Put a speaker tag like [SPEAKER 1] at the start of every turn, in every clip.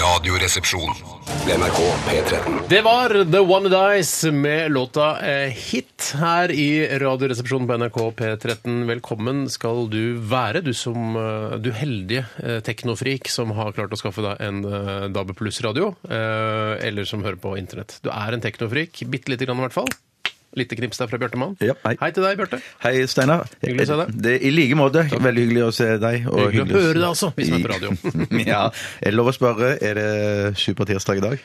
[SPEAKER 1] Radioresepsjon.
[SPEAKER 2] NRK P13.
[SPEAKER 3] Det var The One Dice med låta eh, Hit her i Radioresepsjonen på NRK P13. Velkommen skal du være, du som eh, du heldige eh, teknofrik som har klart å skaffe deg en eh, DAB pluss-radio, eh, eller som hører på internett. Du er en teknofrik, bitte lite grann i hvert fall. Lite knips der fra Bjarte Mann.
[SPEAKER 4] Ja, hei.
[SPEAKER 3] til deg, Bjarte.
[SPEAKER 4] Hei, Steinar.
[SPEAKER 3] Hyggelig å se deg.
[SPEAKER 4] Det, I like måte. Veldig hyggelig å se deg. og
[SPEAKER 3] Hyggelig å
[SPEAKER 4] hyggelig
[SPEAKER 3] høre deg også, vi som er på radio.
[SPEAKER 4] ja. Er det lov å spørre, er det supertirsdag i dag?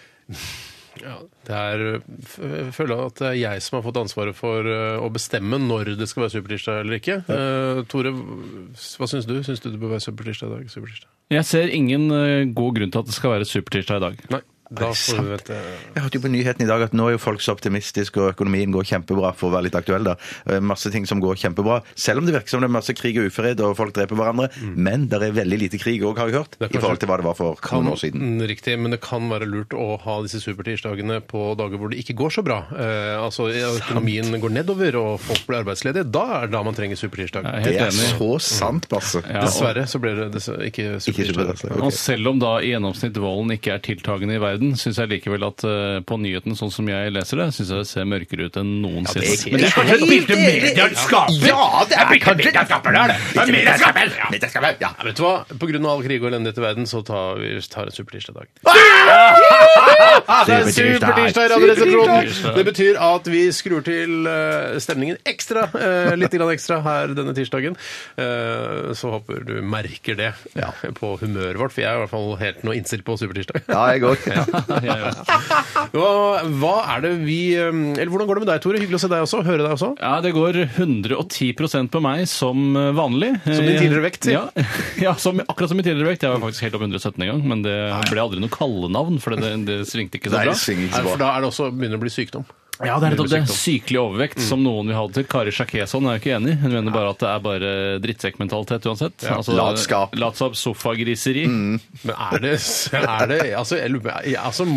[SPEAKER 3] Ja, det er, f- jeg føler at det er jeg som har fått ansvaret for eh, å bestemme når det skal være supertirsdag eller ikke. Eh, Tore, hva syns du? Syns du det bør være supertirsdag i dag? Supertirsdag?
[SPEAKER 5] Jeg ser ingen eh, god grunn til at det skal være supertirsdag i dag.
[SPEAKER 3] Nei. Da får vi vente.
[SPEAKER 4] Jeg hørte jo på nyheten i dag at nå er jo folk så optimistiske, og økonomien går kjempebra, for å være litt aktuell, da. Eh, Masse ting som går kjempebra. Selv om det virker som det er masse krig og ufred, og folk dreper hverandre. Men det er veldig lite krig òg, har jeg hørt,
[SPEAKER 3] Mm. Det er
[SPEAKER 4] i forhold til hva det var for
[SPEAKER 3] Kan,
[SPEAKER 4] noen år siden.
[SPEAKER 3] Mm, riktig, men det kan være lurt å ha disse supertirsdagene på dager hvor det ikke går så bra. Eh, altså ja, økonomien går nedover og folk blir arbeidsledige. Da er det da man trenger supertirsdag.
[SPEAKER 5] Jeg er
[SPEAKER 4] Det
[SPEAKER 5] helt
[SPEAKER 4] er
[SPEAKER 5] enig.
[SPEAKER 4] så sant, Basse.
[SPEAKER 5] Ja, og-
[SPEAKER 3] Dessverre så blir det dessverre ikke
[SPEAKER 4] Ikke
[SPEAKER 3] supertirsdag.
[SPEAKER 4] supertirsdag.
[SPEAKER 5] Og
[SPEAKER 4] ok.
[SPEAKER 5] selv om da i gjennomsnitt volden ikke er tiltagende i verden, syns jeg likevel at eh, på nyhetene sånn som jeg leser det, syns jeg det ser mørkere ut enn noensinne.
[SPEAKER 4] det er-
[SPEAKER 5] Men det er kanskje et bilde media skaper!
[SPEAKER 4] Ja, det er kanskje
[SPEAKER 5] media skaper, det er det! Det er media skaper! Ja.
[SPEAKER 4] Ja.
[SPEAKER 3] Ja, vet du hva? På grunn av all krig og elendighet i verden, så tar vi tar en supertirsdag i dag. Det er Supertirsdag i Radioresepsjonen! Det betyr at vi skrur til eh, stemningen ekstra, eh, litt grann ekstra her denne tirsdagen. Eh, Så håper du merker det eh, på humøret vårt, for jeg er i hvert fall helt noe innstilt på supertirsdag.
[SPEAKER 4] Ja, jeg òg.
[SPEAKER 5] Ja, ja.
[SPEAKER 3] Hva, hva er det vi eh, Eller hvordan går det med deg, Tore? Hyggelig å se deg også. Høre deg også.
[SPEAKER 5] Ja, det går 110 på meg som eh, vanlig.
[SPEAKER 3] Som din tidligere vekt, sier
[SPEAKER 5] Ja, ja som, akkurat som min tidligere vekt. Jeg var faktisk helt opp 117 en gang, men det ble aldri noe kallenavn, for det, det svingte ikke så
[SPEAKER 4] Nei,
[SPEAKER 5] bra.
[SPEAKER 4] det svinger ikke
[SPEAKER 3] Nei,
[SPEAKER 4] så
[SPEAKER 3] For
[SPEAKER 4] bra.
[SPEAKER 3] da er det også begynner å bli sykdom.
[SPEAKER 5] Ja, det er nettopp det. Sykelig overvekt,
[SPEAKER 4] Mm.
[SPEAKER 5] som noen vil ha det til. Kari Sjakeson er jo ikke enig. Hun mener bare at det er bare drittsekkmentalitet uansett. Altså,
[SPEAKER 4] Latskap. Mm.
[SPEAKER 5] Latskap, sofagriseri.
[SPEAKER 3] Men er det, er det altså, jeg, lurer på- jeg- altså,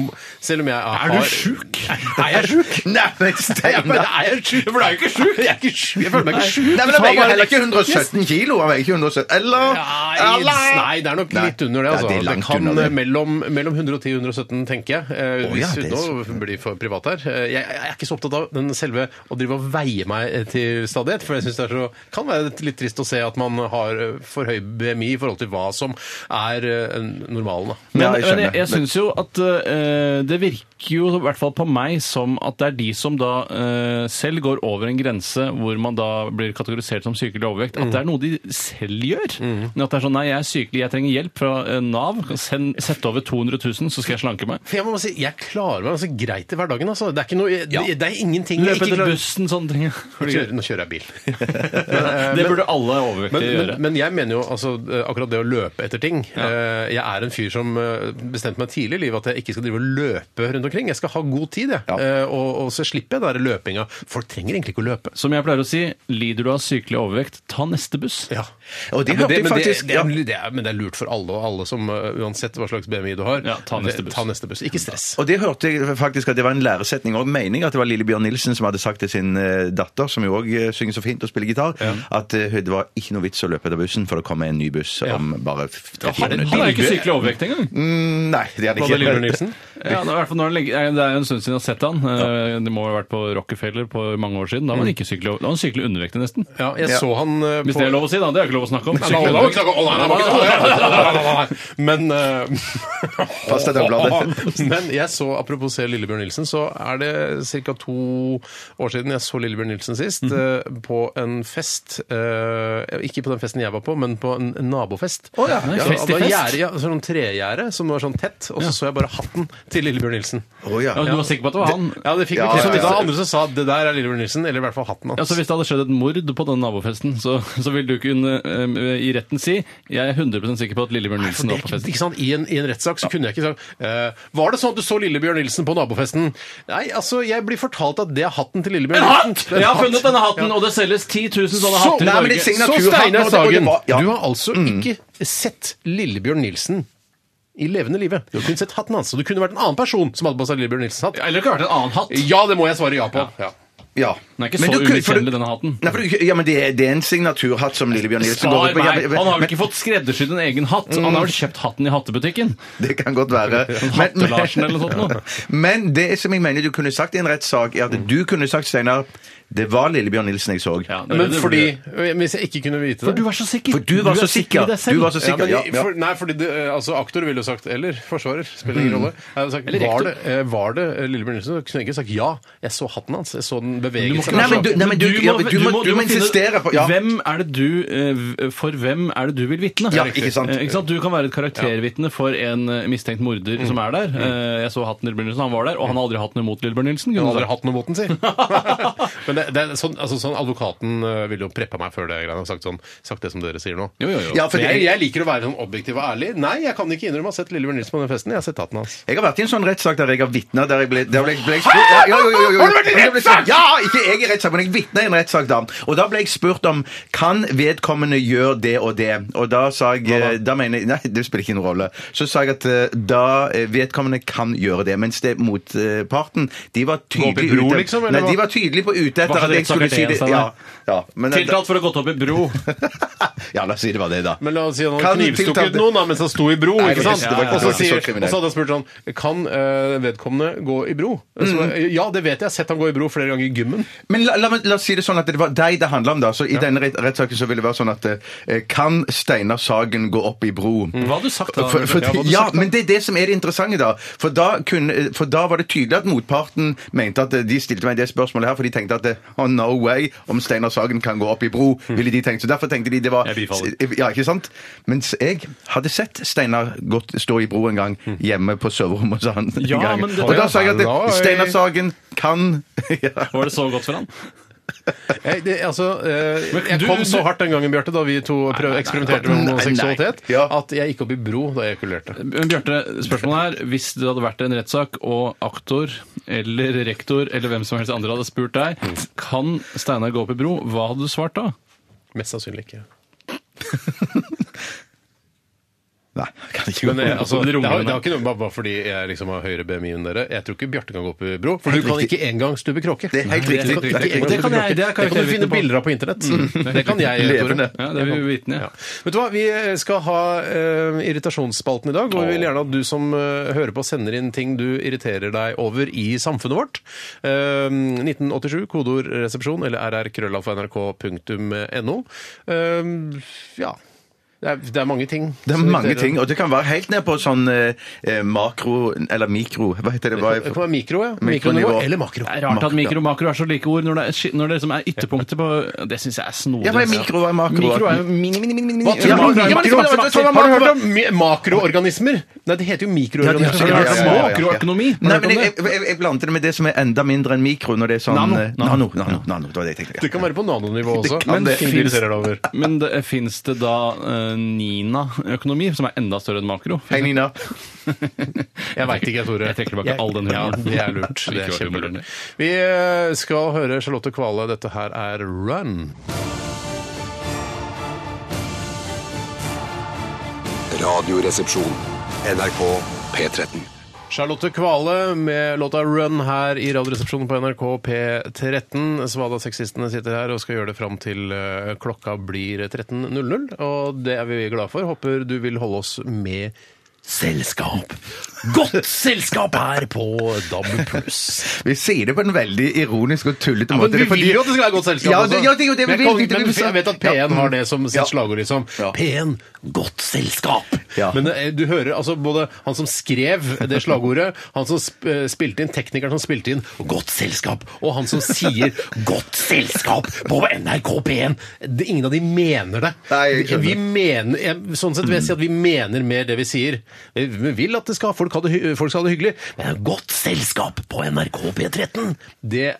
[SPEAKER 3] Selv om jeg har
[SPEAKER 5] sjuk?
[SPEAKER 3] Er jeg sjuk?
[SPEAKER 4] Nei, men Steinar
[SPEAKER 3] er jeg sjuk? For du er jo ikke sjuk! Jeg er ikke sjuk. Jeg føler meg ikke sjuk.
[SPEAKER 4] Nei, men
[SPEAKER 3] Du
[SPEAKER 4] jeg
[SPEAKER 3] tar
[SPEAKER 4] veier jo
[SPEAKER 3] bare-
[SPEAKER 4] heller ikke 117 kilo. Jeg veier ikke 117 Eller?
[SPEAKER 3] Nei, nei, det er nok
[SPEAKER 4] Nei.
[SPEAKER 3] litt under det.
[SPEAKER 4] Ja,
[SPEAKER 3] Altså.
[SPEAKER 4] det er
[SPEAKER 3] det,
[SPEAKER 4] langt
[SPEAKER 3] kan
[SPEAKER 4] under det.
[SPEAKER 3] Mellom, mellom 110 og 117, tenker jeg. Eh,
[SPEAKER 4] Å, ja, det
[SPEAKER 3] Hvis
[SPEAKER 4] er
[SPEAKER 3] Nå blir det for privat her. Eh, Jeg, jeg er ikke så opptatt av den selve å drive og veie meg eh, til stadighet, for jeg syns det er så, kan være litt trist å se at man har eh, for høy BMI i forhold til hva som er eh, normalen. Da.
[SPEAKER 5] Men,
[SPEAKER 4] Ja, jeg
[SPEAKER 5] jeg, men jeg,
[SPEAKER 4] skjønner.
[SPEAKER 5] jeg syns jo at eh, det virker jo i hvert fall på meg som at det er de som da eh, selv går over en grense hvor man da blir kategorisert som sykelig overvekt, at det er noe de selv gjør. Men At det er sånn nei, jeg er sykelig, jeg trenger hjelp fra eh, Nav, send, sett over 200 000, så skal jeg slanke meg.
[SPEAKER 3] For jeg må bare si, jeg klarer meg ganske greit i hverdagen. Altså. Det, er ikke noe, det, det er ingenting jeg
[SPEAKER 5] Løpe
[SPEAKER 3] ikke
[SPEAKER 5] etter
[SPEAKER 3] klarer.
[SPEAKER 5] bussen, sånne ting.
[SPEAKER 3] Nå kjører, nå kjører jeg bil.
[SPEAKER 5] Det burde alle
[SPEAKER 3] Eh, Men,
[SPEAKER 5] overvektige
[SPEAKER 3] men,
[SPEAKER 5] gjøre.
[SPEAKER 3] men jeg mener jo altså, eh, akkurat det å løpe etter ting eh, Jeg er en fyr som eh, bestemte meg tidlig i livet at jeg ikke skal drive og løpe rundt omkring. Jeg skal ha god tid, jeg. Eh, Og, og så slipper jeg den der løpinga. Folk trenger egentlig ikke å løpe.
[SPEAKER 5] Som jeg pleier å si, lider du av sykelig overvekt, ta neste buss.
[SPEAKER 3] Ja.
[SPEAKER 4] Og det
[SPEAKER 3] men,
[SPEAKER 4] hørte jeg
[SPEAKER 3] men,
[SPEAKER 4] faktisk,
[SPEAKER 3] det, det, er, det er, men det er lurt for alle og alle som eh, Uansett hva slags BMI du har,
[SPEAKER 5] Ja, ta neste
[SPEAKER 3] det-
[SPEAKER 5] buss.
[SPEAKER 3] ta neste buss. Ikke stress.
[SPEAKER 4] Og det hørte jeg faktisk at det var en læresetning og en mening at det var Lillebjørn Nilsen som hadde sagt til sin eh, datter, som jo òg eh, synger så fint og spiller gitar, at eh, det var ikke noe vits å løpe etter bussen, for det kommer en ny buss om bare f- 30
[SPEAKER 5] Han
[SPEAKER 4] minutter.
[SPEAKER 5] er ikke sykelig overvekt engang.
[SPEAKER 4] Mm, Nei, det hadde
[SPEAKER 3] Hva med Lillebjørn
[SPEAKER 4] ikke
[SPEAKER 3] Nilsen?
[SPEAKER 5] Ja, det, er i hvert fall når han legger, nei, det er jo en stund siden jeg har sett han. Eh, Det må ha vært på Rockefeller på mange år siden. Da var
[SPEAKER 3] Mm.
[SPEAKER 5] han ikke sykelig, over- da var han sykelig undervektig, nesten.
[SPEAKER 3] Ja, jeg så han eh,
[SPEAKER 5] Hvis det er lov å si, da. Det er jo ikke lov å snakke om.
[SPEAKER 3] Nei, nei,
[SPEAKER 5] Sykelig
[SPEAKER 3] nei,
[SPEAKER 5] overvekt.
[SPEAKER 3] nei, nei, nei, nei. Men eh,
[SPEAKER 4] Pass deg, Dagbladet.
[SPEAKER 3] Men jeg så, apropos se Lillebjørn Nilsen, så er det ca. to år siden jeg så Lillebjørn Nilsen sist.
[SPEAKER 5] Mhm.
[SPEAKER 3] eh, På en fest eh, Ikke på den festen jeg var på, men på en nabofest. Oh, ja.
[SPEAKER 5] Nei, fest i fest.
[SPEAKER 3] Gjerde, ja, sånn tregjerde som var sånn tett, og så så jeg bare hatten til Lillebjørn Nilsen.
[SPEAKER 4] Å, ja.
[SPEAKER 5] Ja, du var sikker på at det var han?
[SPEAKER 3] Ja, det fikk
[SPEAKER 4] Ja, ja,
[SPEAKER 3] meg kreft.
[SPEAKER 4] ja.
[SPEAKER 3] Det var andre som sa det der er Lillebjørn Nilsen, eller i hvert fall
[SPEAKER 5] Ja,
[SPEAKER 3] hatten hans.
[SPEAKER 5] så Altså, Hvis det hadde skjedd et mord på den nabofesten, så, så ville du kunne eh, i retten si jeg er 100 sikker på at Lillebjørn
[SPEAKER 3] For
[SPEAKER 5] Nilsen
[SPEAKER 3] det,
[SPEAKER 5] var på festen.
[SPEAKER 3] ikke sant? I en, I en rettssak så kunne jeg ikke sagt eh, Var det sånn at du så Lillebjørn Nilsen på nabofesten? Nei, altså, jeg blir fortalt at det er hatten til Lillebjørn Nilsen.
[SPEAKER 5] Jeg
[SPEAKER 3] Det er en
[SPEAKER 5] har
[SPEAKER 3] hatt.
[SPEAKER 5] funnet denne hatten, og det selges 10 000 sånne
[SPEAKER 3] Så,
[SPEAKER 5] hatter i
[SPEAKER 3] nei, men det
[SPEAKER 5] Norge.
[SPEAKER 4] signatur-
[SPEAKER 3] så Steinar altså
[SPEAKER 4] hatten,
[SPEAKER 3] Mm.
[SPEAKER 4] og det- og det
[SPEAKER 3] Sagen,
[SPEAKER 4] var- ja.
[SPEAKER 3] du har altså ikke sett Lillebjørn Nilsen i levende live. Du kunne sett hatten hans, og det kunne vært en annen person som hadde på seg Lillebjørn Nilsen-hatt.
[SPEAKER 5] Eller det kunne vært en annen hatt.
[SPEAKER 3] Ja, det må jeg svare ja på. Ja.
[SPEAKER 4] Ja.
[SPEAKER 5] Den er ikke
[SPEAKER 4] Men du
[SPEAKER 5] så
[SPEAKER 4] kunne- for du-
[SPEAKER 5] umiskjennelig, denne hatten.
[SPEAKER 4] Nei, for du, ja, men det er, det er en signaturhatt som Lillebjørn Nilsen går
[SPEAKER 5] Svar
[SPEAKER 4] ut på. Ja,
[SPEAKER 5] meg!
[SPEAKER 4] men-
[SPEAKER 5] Han har vel
[SPEAKER 4] men- Mm.
[SPEAKER 5] ikke fått skreddersydd en egen hatt? Han har vel kjøpt hatten i hattebutikken?
[SPEAKER 4] Det kan godt være.
[SPEAKER 5] Hattelarsen eller noe sånt noe.
[SPEAKER 4] men det som jeg mener du kunne sagt i en rettssak, er at du kunne sagt, Steinar, det var Lillebjørn Nilsen jeg så.
[SPEAKER 5] Ja, det-
[SPEAKER 3] Men
[SPEAKER 5] det-
[SPEAKER 3] fordi Hvis jeg ikke kunne vite det
[SPEAKER 5] For du er så sikker.
[SPEAKER 4] For du var
[SPEAKER 5] er
[SPEAKER 4] så sikker.
[SPEAKER 5] i deg selv.
[SPEAKER 4] Du var så sikker.
[SPEAKER 3] Ja,
[SPEAKER 4] Ja,
[SPEAKER 3] men,
[SPEAKER 4] ja.
[SPEAKER 3] For, nei, fordi det, eh, altså, aktor ville jo sagt Eller forsvarer. Spiller ingen rolle. Jeg hadde sagt,
[SPEAKER 5] Eller rektor.
[SPEAKER 3] var, det, eh, var det eh, Lillebjørn Nilsen? Da kunne jeg ikke sagt ja. Jeg så hatten hans. Jeg så den
[SPEAKER 5] Du
[SPEAKER 3] bevege
[SPEAKER 5] Altså, må ikke-
[SPEAKER 3] seg.
[SPEAKER 4] Nei, men du- nei, men du- ja, men du må- du må
[SPEAKER 5] finne-
[SPEAKER 4] insistere på- ja.
[SPEAKER 5] Hvem er det du eh, v- For hvem er det du vil vitne?
[SPEAKER 4] Ja, ikke sant.
[SPEAKER 5] Eh, Ikke sant? Du kan være et karaktervitne for en eh, mistenkt
[SPEAKER 4] Mm.
[SPEAKER 5] morder som er der. Eh, Jeg så hatten Lillebjørn Nilsen, han var der, og han har aldri hatt noe imot Lillebjørn Nilsen.
[SPEAKER 3] Jeg
[SPEAKER 5] kunne du
[SPEAKER 3] har aldri
[SPEAKER 5] sagt.
[SPEAKER 3] hatt noe mot den, si. men det, det er sånn, altså, sånn advokaten eh, ville jo preppa meg før det greiene og sagt, sånn, sagt det som dere sier nå.
[SPEAKER 5] Jo, jo, jo.
[SPEAKER 4] Ja, for
[SPEAKER 3] Men
[SPEAKER 4] jeg,
[SPEAKER 3] jeg, jeg liker å være sånn objektiv og ærlig. Nei, jeg kan ikke innrømme å ha sett Lillebjørn Nilsen på den festen. Jeg har sett hatten hans.
[SPEAKER 4] jeg har vært i en sånn rettssak der jeg har vitna der jeg ble, der ble, ble jeg spurt ja, jo, jo, jo, jo, jo.
[SPEAKER 3] Har du vært i
[SPEAKER 4] Men jeg ble spurt-
[SPEAKER 3] rettssak?
[SPEAKER 4] Ja! Ikke jeg i rettssak, men jeg vitna i en rettssak da. Og da ble jeg spurt om kan vedkommende gjøre det og det. Og da sa jeg eh, da mener jeg, Nei, det spiller ikke noen rolle. Så sa jeg at eh, da eh, vedkommende kan gjøre det. Mens det motparten, de var tydelig
[SPEAKER 3] bro,
[SPEAKER 4] ute
[SPEAKER 3] liksom, eller
[SPEAKER 4] Nei, de
[SPEAKER 3] hva?
[SPEAKER 4] var tydelig på ute
[SPEAKER 5] Hva
[SPEAKER 4] etter at jeg
[SPEAKER 5] slags
[SPEAKER 4] skulle
[SPEAKER 5] rettssak er
[SPEAKER 4] si
[SPEAKER 5] det
[SPEAKER 4] det.
[SPEAKER 5] igjen,
[SPEAKER 4] Ja,
[SPEAKER 5] Steinar?
[SPEAKER 4] ja. Men,
[SPEAKER 5] Tiltalt for å ha gått opp i bro.
[SPEAKER 4] ja, la oss si det var det, da.
[SPEAKER 3] Men la oss si han
[SPEAKER 4] Kan
[SPEAKER 3] hadde knivstukket
[SPEAKER 4] tiltalte-
[SPEAKER 3] noen da, mens han sto i bro.
[SPEAKER 4] Nei,
[SPEAKER 3] ikke
[SPEAKER 4] det var
[SPEAKER 3] sant?
[SPEAKER 4] ikke- det var ikke-
[SPEAKER 3] Og
[SPEAKER 4] det
[SPEAKER 3] så
[SPEAKER 4] var ikke så
[SPEAKER 3] sier- og
[SPEAKER 4] kriminelt.
[SPEAKER 3] så hadde han spurt sånn Kan eh, vedkommende gå i bro? Så,
[SPEAKER 4] Mm.
[SPEAKER 3] Ja, det vet jeg. Jeg har sett ham gå i bro flere ganger i gymmen.
[SPEAKER 4] Men la, la, meg- la oss si det sånn at det var deg det handla om, da. Så i denne rett, rettssaken så vil det være sånn at eh, Kan Steinar Sagen gå opp i bro?
[SPEAKER 5] Mm. Hva hadde du sagt da?
[SPEAKER 4] For, for,
[SPEAKER 5] Ja, hva hadde du
[SPEAKER 4] ja,
[SPEAKER 5] sagt da?
[SPEAKER 4] men det er det som er det interessante, da. For da, kunne, eh, for da var det tydelig at motparten mente at eh, de stilte meg det spørsmålet her, for de tenkte at eh, oh, no way om Steinar Sagen kan gå opp i bro, ville de tenkt. Så derfor tenkte de det var
[SPEAKER 5] Mm. Jeg bifaller.
[SPEAKER 4] Ja, ikke sant? Mens jeg hadde sett Steinar gått, stå i bro en gang hjemme på soverommet hos han. en
[SPEAKER 5] Mm. Ja,
[SPEAKER 4] gang.
[SPEAKER 5] men det-
[SPEAKER 4] Og da sa jeg at
[SPEAKER 3] Halloi.
[SPEAKER 4] eh, Steinar Sagen kan ja.
[SPEAKER 5] Var det så godt for han?
[SPEAKER 3] Jeg, det, altså, eh,
[SPEAKER 5] Men
[SPEAKER 3] jeg
[SPEAKER 5] du-
[SPEAKER 3] kom så
[SPEAKER 5] du-
[SPEAKER 3] hardt den gangen, Bjarte, da vi to prøv, eksperimenterte med
[SPEAKER 4] nei, nei.
[SPEAKER 3] homoseksualitet,
[SPEAKER 4] Ja.
[SPEAKER 3] at jeg gikk opp i bro da jeg ekulerte.
[SPEAKER 5] Men Bjarte, spørsmålet er hvis det hadde vært en rettssak og aktor eller rektor eller hvem som helst andre hadde spurt deg kan Steinar gå opp i bro, hva hadde du svart da?
[SPEAKER 3] Mest sannsynlig ikke.
[SPEAKER 4] Nei, kan ikke
[SPEAKER 3] Men
[SPEAKER 4] gå
[SPEAKER 3] eh,
[SPEAKER 4] opp.
[SPEAKER 5] Det
[SPEAKER 3] altså, det,
[SPEAKER 5] runger
[SPEAKER 3] har, det
[SPEAKER 5] meg.
[SPEAKER 3] har ikke noe bare- bare fordi jeg liksom har høyere BMI enn dere. Jeg tror ikke Bjarte kan gå opp i bro, for du kan
[SPEAKER 4] riktig.
[SPEAKER 3] ikke engang stupe kråke.
[SPEAKER 4] Det er helt riktig. Det
[SPEAKER 3] Nei, du kan
[SPEAKER 4] er
[SPEAKER 3] ikke
[SPEAKER 4] helt
[SPEAKER 5] riktig.
[SPEAKER 3] engang
[SPEAKER 5] Det
[SPEAKER 3] stupe kråke. Det
[SPEAKER 5] kan jeg- det er
[SPEAKER 3] kan du
[SPEAKER 5] karaktervitne
[SPEAKER 3] finne
[SPEAKER 5] på.
[SPEAKER 3] bilder av på internett. Det kan jeg.
[SPEAKER 4] Levende.
[SPEAKER 5] Ja, det vil vi vitne.
[SPEAKER 3] Ja.
[SPEAKER 5] Ja.
[SPEAKER 3] Vet du hva, Vi eh, skal ha eh, irritasjonsspalten i dag. Og vi vil gjerne at du som eh, hører på, sender inn ting du irriterer deg over i samfunnet vårt. Eh, 1987, kodeord 'resepsjon' eller rrkrøllalfa.nrk.no. Eh, ja. Det er, det er mange ting.
[SPEAKER 4] Det er
[SPEAKER 3] som
[SPEAKER 4] mange
[SPEAKER 3] irriterer.
[SPEAKER 4] ting, og det kan være helt ned på sånn eh, makro Eller mikro, hva heter det? Hva er
[SPEAKER 3] Det kan være mikro, ja.
[SPEAKER 4] Mikronivå.
[SPEAKER 3] Mikronivå eller makro.
[SPEAKER 5] Det er rart at
[SPEAKER 4] Makro.
[SPEAKER 5] mikro og makro er så like ord når det, er, ski- når det liksom er ytterpunkter på Det syns jeg er snodig.
[SPEAKER 4] Ja, hva er
[SPEAKER 5] altså.
[SPEAKER 4] mikro, hva er makro?
[SPEAKER 5] Mikro er jo mini, mini, mini, mini.
[SPEAKER 4] tror du
[SPEAKER 5] Ja,
[SPEAKER 4] om
[SPEAKER 5] makro er
[SPEAKER 4] mikro? Ja, men
[SPEAKER 5] makro.
[SPEAKER 3] sånn-
[SPEAKER 4] det var-
[SPEAKER 3] Har du hørt om mi- makroorganismer? Nei, det heter jo mikroorganismer.
[SPEAKER 5] Ja,
[SPEAKER 4] Ja, ja, ja, ja, ja.
[SPEAKER 5] Makroøkonomi.
[SPEAKER 4] Nei,
[SPEAKER 5] Har du hørt
[SPEAKER 4] men
[SPEAKER 5] om
[SPEAKER 4] jeg, jeg, jeg blander det med det som er enda mindre enn mikro, når det er sånn
[SPEAKER 5] sånn- Nano.
[SPEAKER 4] eh, Nano, nano, nano, det var det jeg tenkte.
[SPEAKER 3] Det kan være på nanonivå også.
[SPEAKER 4] Det kan det.
[SPEAKER 3] ting du irriterer deg over.
[SPEAKER 5] Men det, finnes det da eh, Nina-økonomi, som er enda større enn makro?
[SPEAKER 4] Hei, Nina.
[SPEAKER 3] Jeg veit ikke, Tore.
[SPEAKER 5] Jeg trekker tilbake all den
[SPEAKER 3] Ja,
[SPEAKER 5] humoren.
[SPEAKER 3] det er lurt. Det er
[SPEAKER 5] Ikke humor,
[SPEAKER 3] kjempelurt. Vi eh, skal høre Charlotte Kvale. Dette her er Run.
[SPEAKER 2] Radioresepsjon. NRK P13.
[SPEAKER 3] Charlotte Kvale med låta 'Run' her i Radioresepsjonen på NRK P13. Svada-sexistene sitter her og skal gjøre det fram til eh, klokka blir 13.00. Og det er vi glad for. Håper du vil holde oss med selskap. Godt selskap her på DAB pluss.
[SPEAKER 4] Vi sier det på en veldig ironisk og tullete måte.
[SPEAKER 3] Men vi
[SPEAKER 4] det er fordi-
[SPEAKER 3] vil jo at det skal være godt selskap
[SPEAKER 4] Ja,
[SPEAKER 3] også.
[SPEAKER 4] det, ja, det er jo det vi
[SPEAKER 3] Men
[SPEAKER 4] vil.
[SPEAKER 3] jeg kan-
[SPEAKER 4] det er det vi
[SPEAKER 3] men
[SPEAKER 4] vil.
[SPEAKER 3] jeg vet at P1 har det som sitt
[SPEAKER 4] Ja.
[SPEAKER 3] slagord, liksom.
[SPEAKER 4] Ja.
[SPEAKER 3] P1 godt selskap!
[SPEAKER 4] Ja.
[SPEAKER 3] Men eh, du hører altså både han som skrev det slagordet, han som sp eh, spilte inn, teknikeren som spilte inn 'godt selskap', og han som sier 'godt selskap' på NRK P1. Det, ingen av de mener det.
[SPEAKER 4] Nei, jeg skjønner.
[SPEAKER 3] vi mener, jeg, sånn sett vil jeg si at vi mener mer det vi sier. Vi vi vil at det skal, folk, ha det, hy- folk skal ha det hyggelig, men 'godt selskap' på NRK P13 Det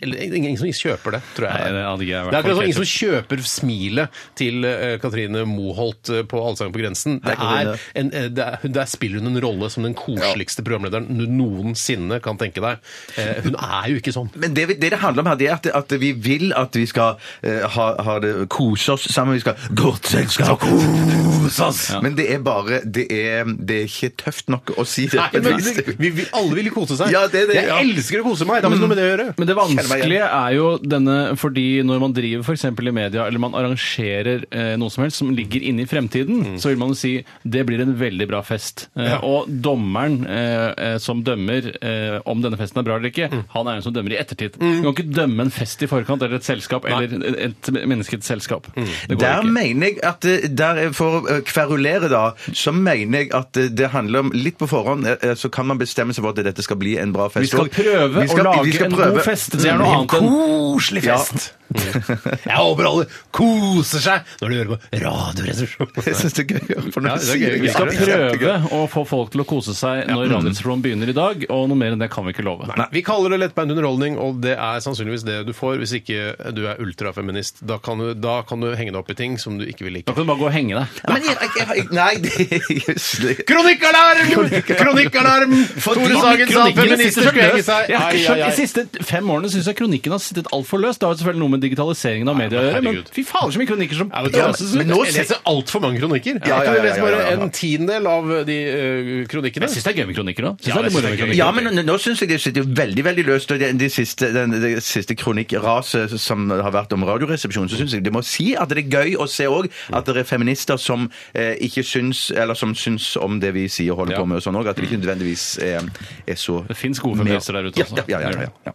[SPEAKER 3] eller, Ingen som kjøper det, tror jeg.
[SPEAKER 5] Nei, det hadde ikke jeg vært
[SPEAKER 3] Det er
[SPEAKER 5] folk
[SPEAKER 3] akkurat som ingen som kjøper smilet til eh, Katrine Moholt eh, på Allsang på grensen. Det er
[SPEAKER 4] Katrine.
[SPEAKER 3] en, eh, det er, hun- der spiller hun en rolle som den koseligste programlederen du noensinne kan tenke deg. Eh, hun er jo ikke sånn.
[SPEAKER 4] Men det, vi- det det handler om her, det er at, at vi vil at vi skal eh, ha, ha det, kose oss sammen. Vi skal godt selskap, kose oss! Men det er bare det er eh, det er ikke tøft nok å si det.
[SPEAKER 3] Nei, men vi, vi, vi, alle vil kose seg.
[SPEAKER 4] Ja, det er det,
[SPEAKER 3] jeg
[SPEAKER 4] ja.
[SPEAKER 3] elsker å kose meg! Det har ikke noe med det å gjøre.
[SPEAKER 5] Men det
[SPEAKER 4] Kjenner meg
[SPEAKER 5] vanskelige er jo denne fordi når man driver for eksempel i media, eller man arrangerer eh, noe som helst som ligger inne i fremtiden,
[SPEAKER 4] Mm.
[SPEAKER 5] så vil man jo si det blir en veldig bra fest. Eh, Og dommeren eh, eh, som dømmer eh, om denne festen er bra eller
[SPEAKER 4] Mm.
[SPEAKER 5] ikke, han er den som dømmer i ettertid. Du kan ikke dømme en fest i forkant eller et selskap eller et menneskets selskap.
[SPEAKER 4] Mm.
[SPEAKER 5] Det går
[SPEAKER 4] Der
[SPEAKER 5] ikke.
[SPEAKER 4] mener jeg at eh, der, eh, For å eh, kverulere, da, så mener jeg at eh, det handler om Litt på forhånd eh, eh, så kan man bestemme seg for at dette skal bli en bra fest.
[SPEAKER 5] Vi skal
[SPEAKER 4] Og-
[SPEAKER 5] prøve
[SPEAKER 4] vi skal-
[SPEAKER 5] å lage
[SPEAKER 4] vi skal
[SPEAKER 5] en
[SPEAKER 4] prøve- Mm.
[SPEAKER 5] god fest. Det er noe
[SPEAKER 3] En
[SPEAKER 5] annet enn
[SPEAKER 3] koselig fest! Jeg håper alle koser seg når de hører på
[SPEAKER 4] Jeg
[SPEAKER 3] Radioresepsjonen.
[SPEAKER 4] syns det er gøy å få
[SPEAKER 3] Ja,
[SPEAKER 4] noe å
[SPEAKER 3] det er
[SPEAKER 4] si.
[SPEAKER 3] gøy.
[SPEAKER 5] Vi skal
[SPEAKER 4] Det er
[SPEAKER 5] prøve
[SPEAKER 4] kjempegøy. Mm.
[SPEAKER 5] å få folk til å kose seg når Radioresepsjonen begynner i dag, og noe mer enn det kan vi ikke love.
[SPEAKER 3] Vi kaller det lettbeint underholdning, og det er sannsynligvis det du får hvis ikke du er ultrafeminist. Da kan du, da kan du henge deg opp i ting som du ikke vil
[SPEAKER 5] Da
[SPEAKER 3] like.
[SPEAKER 5] kan du bare gå og henge deg.
[SPEAKER 4] Men jeg, jeg, jeg, nei, det er
[SPEAKER 3] Kronikkalarm! Kronikkalarm! Tore Sagen sa feminister skulle henge seg.
[SPEAKER 5] Jeg har ikke
[SPEAKER 3] Ai, ai,
[SPEAKER 5] skjønt, De
[SPEAKER 3] ai.
[SPEAKER 5] siste fem årene syns jeg kronikken har sittet altfor løst. Det har jo selvfølgelig noe med digitaliseringen av media å gjøre, men
[SPEAKER 3] herregud.
[SPEAKER 5] fy fader så mye kronikker som
[SPEAKER 3] Ja, vet du hva?
[SPEAKER 5] pøses ut.
[SPEAKER 3] Jeg leser altfor mange kronikker.
[SPEAKER 4] Ja, ja, ja,
[SPEAKER 3] Jeg leser
[SPEAKER 4] ja,
[SPEAKER 3] bare
[SPEAKER 4] ja, ja.
[SPEAKER 3] en tiendedel av de eh, kronikkene.
[SPEAKER 5] Jeg syns det er gøy med kronikker òg.
[SPEAKER 3] Ja, det synes jeg er gøy.
[SPEAKER 4] Ja, men nå- nå syns jeg det sitter veldig veldig løst. og Det, de siste, den, det siste kronikkraset som har vært om Radioresepsjonen, så syns jeg det må si at det er gøy å se òg at det er feminister som eh, ikke syns Eller som syns om det vi sier og holder på med og sånn òg. At det ikke nødvendigvis er, er så
[SPEAKER 5] Det fins gode feminister der ute,
[SPEAKER 4] Ja, ja, ja, ja, ja.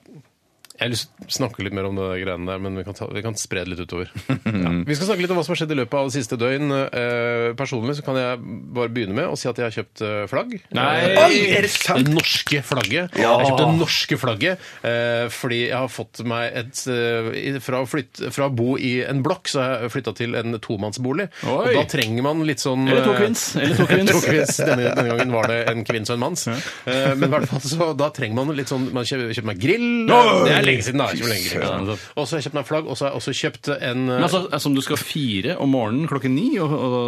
[SPEAKER 3] Jeg har lyst til å snakke litt mer om det greiene der, men vi kan, ta, vi kan spre det litt utover. Ja. Vi skal snakke litt om hva som har skjedd i løpet av det siste døgn. Eh, personlig så kan jeg bare begynne med å si at jeg har kjøpt eh, flagg.
[SPEAKER 5] Nei!
[SPEAKER 3] Eh,
[SPEAKER 4] Oi, er det sant?
[SPEAKER 3] Det norske flagget.
[SPEAKER 4] Ja.
[SPEAKER 3] Jeg har kjøpt det norske flagget eh, fordi jeg har fått meg et eh, i- fra, å flytte, fra å bo i en blokk, så har jeg flytta til en tomannsbolig.
[SPEAKER 5] Oi.
[SPEAKER 3] Og da trenger man litt sånn
[SPEAKER 5] Eller to
[SPEAKER 3] eh,
[SPEAKER 5] kvinns. Eller to kvinns.
[SPEAKER 3] To kvinns. Denne, denne gangen var det en kvinns og en manns. Eh, Men i hvert fall så da trenger man litt sånn Man kjøper, kjøper meg grill. Det er lenge siden, da. Ikke lenge siden. Og så har jeg kjøpt meg flagg, og så har jeg også kjøpt en
[SPEAKER 5] Men altså, Som du skal fire om morgenen klokken ni? Og, og,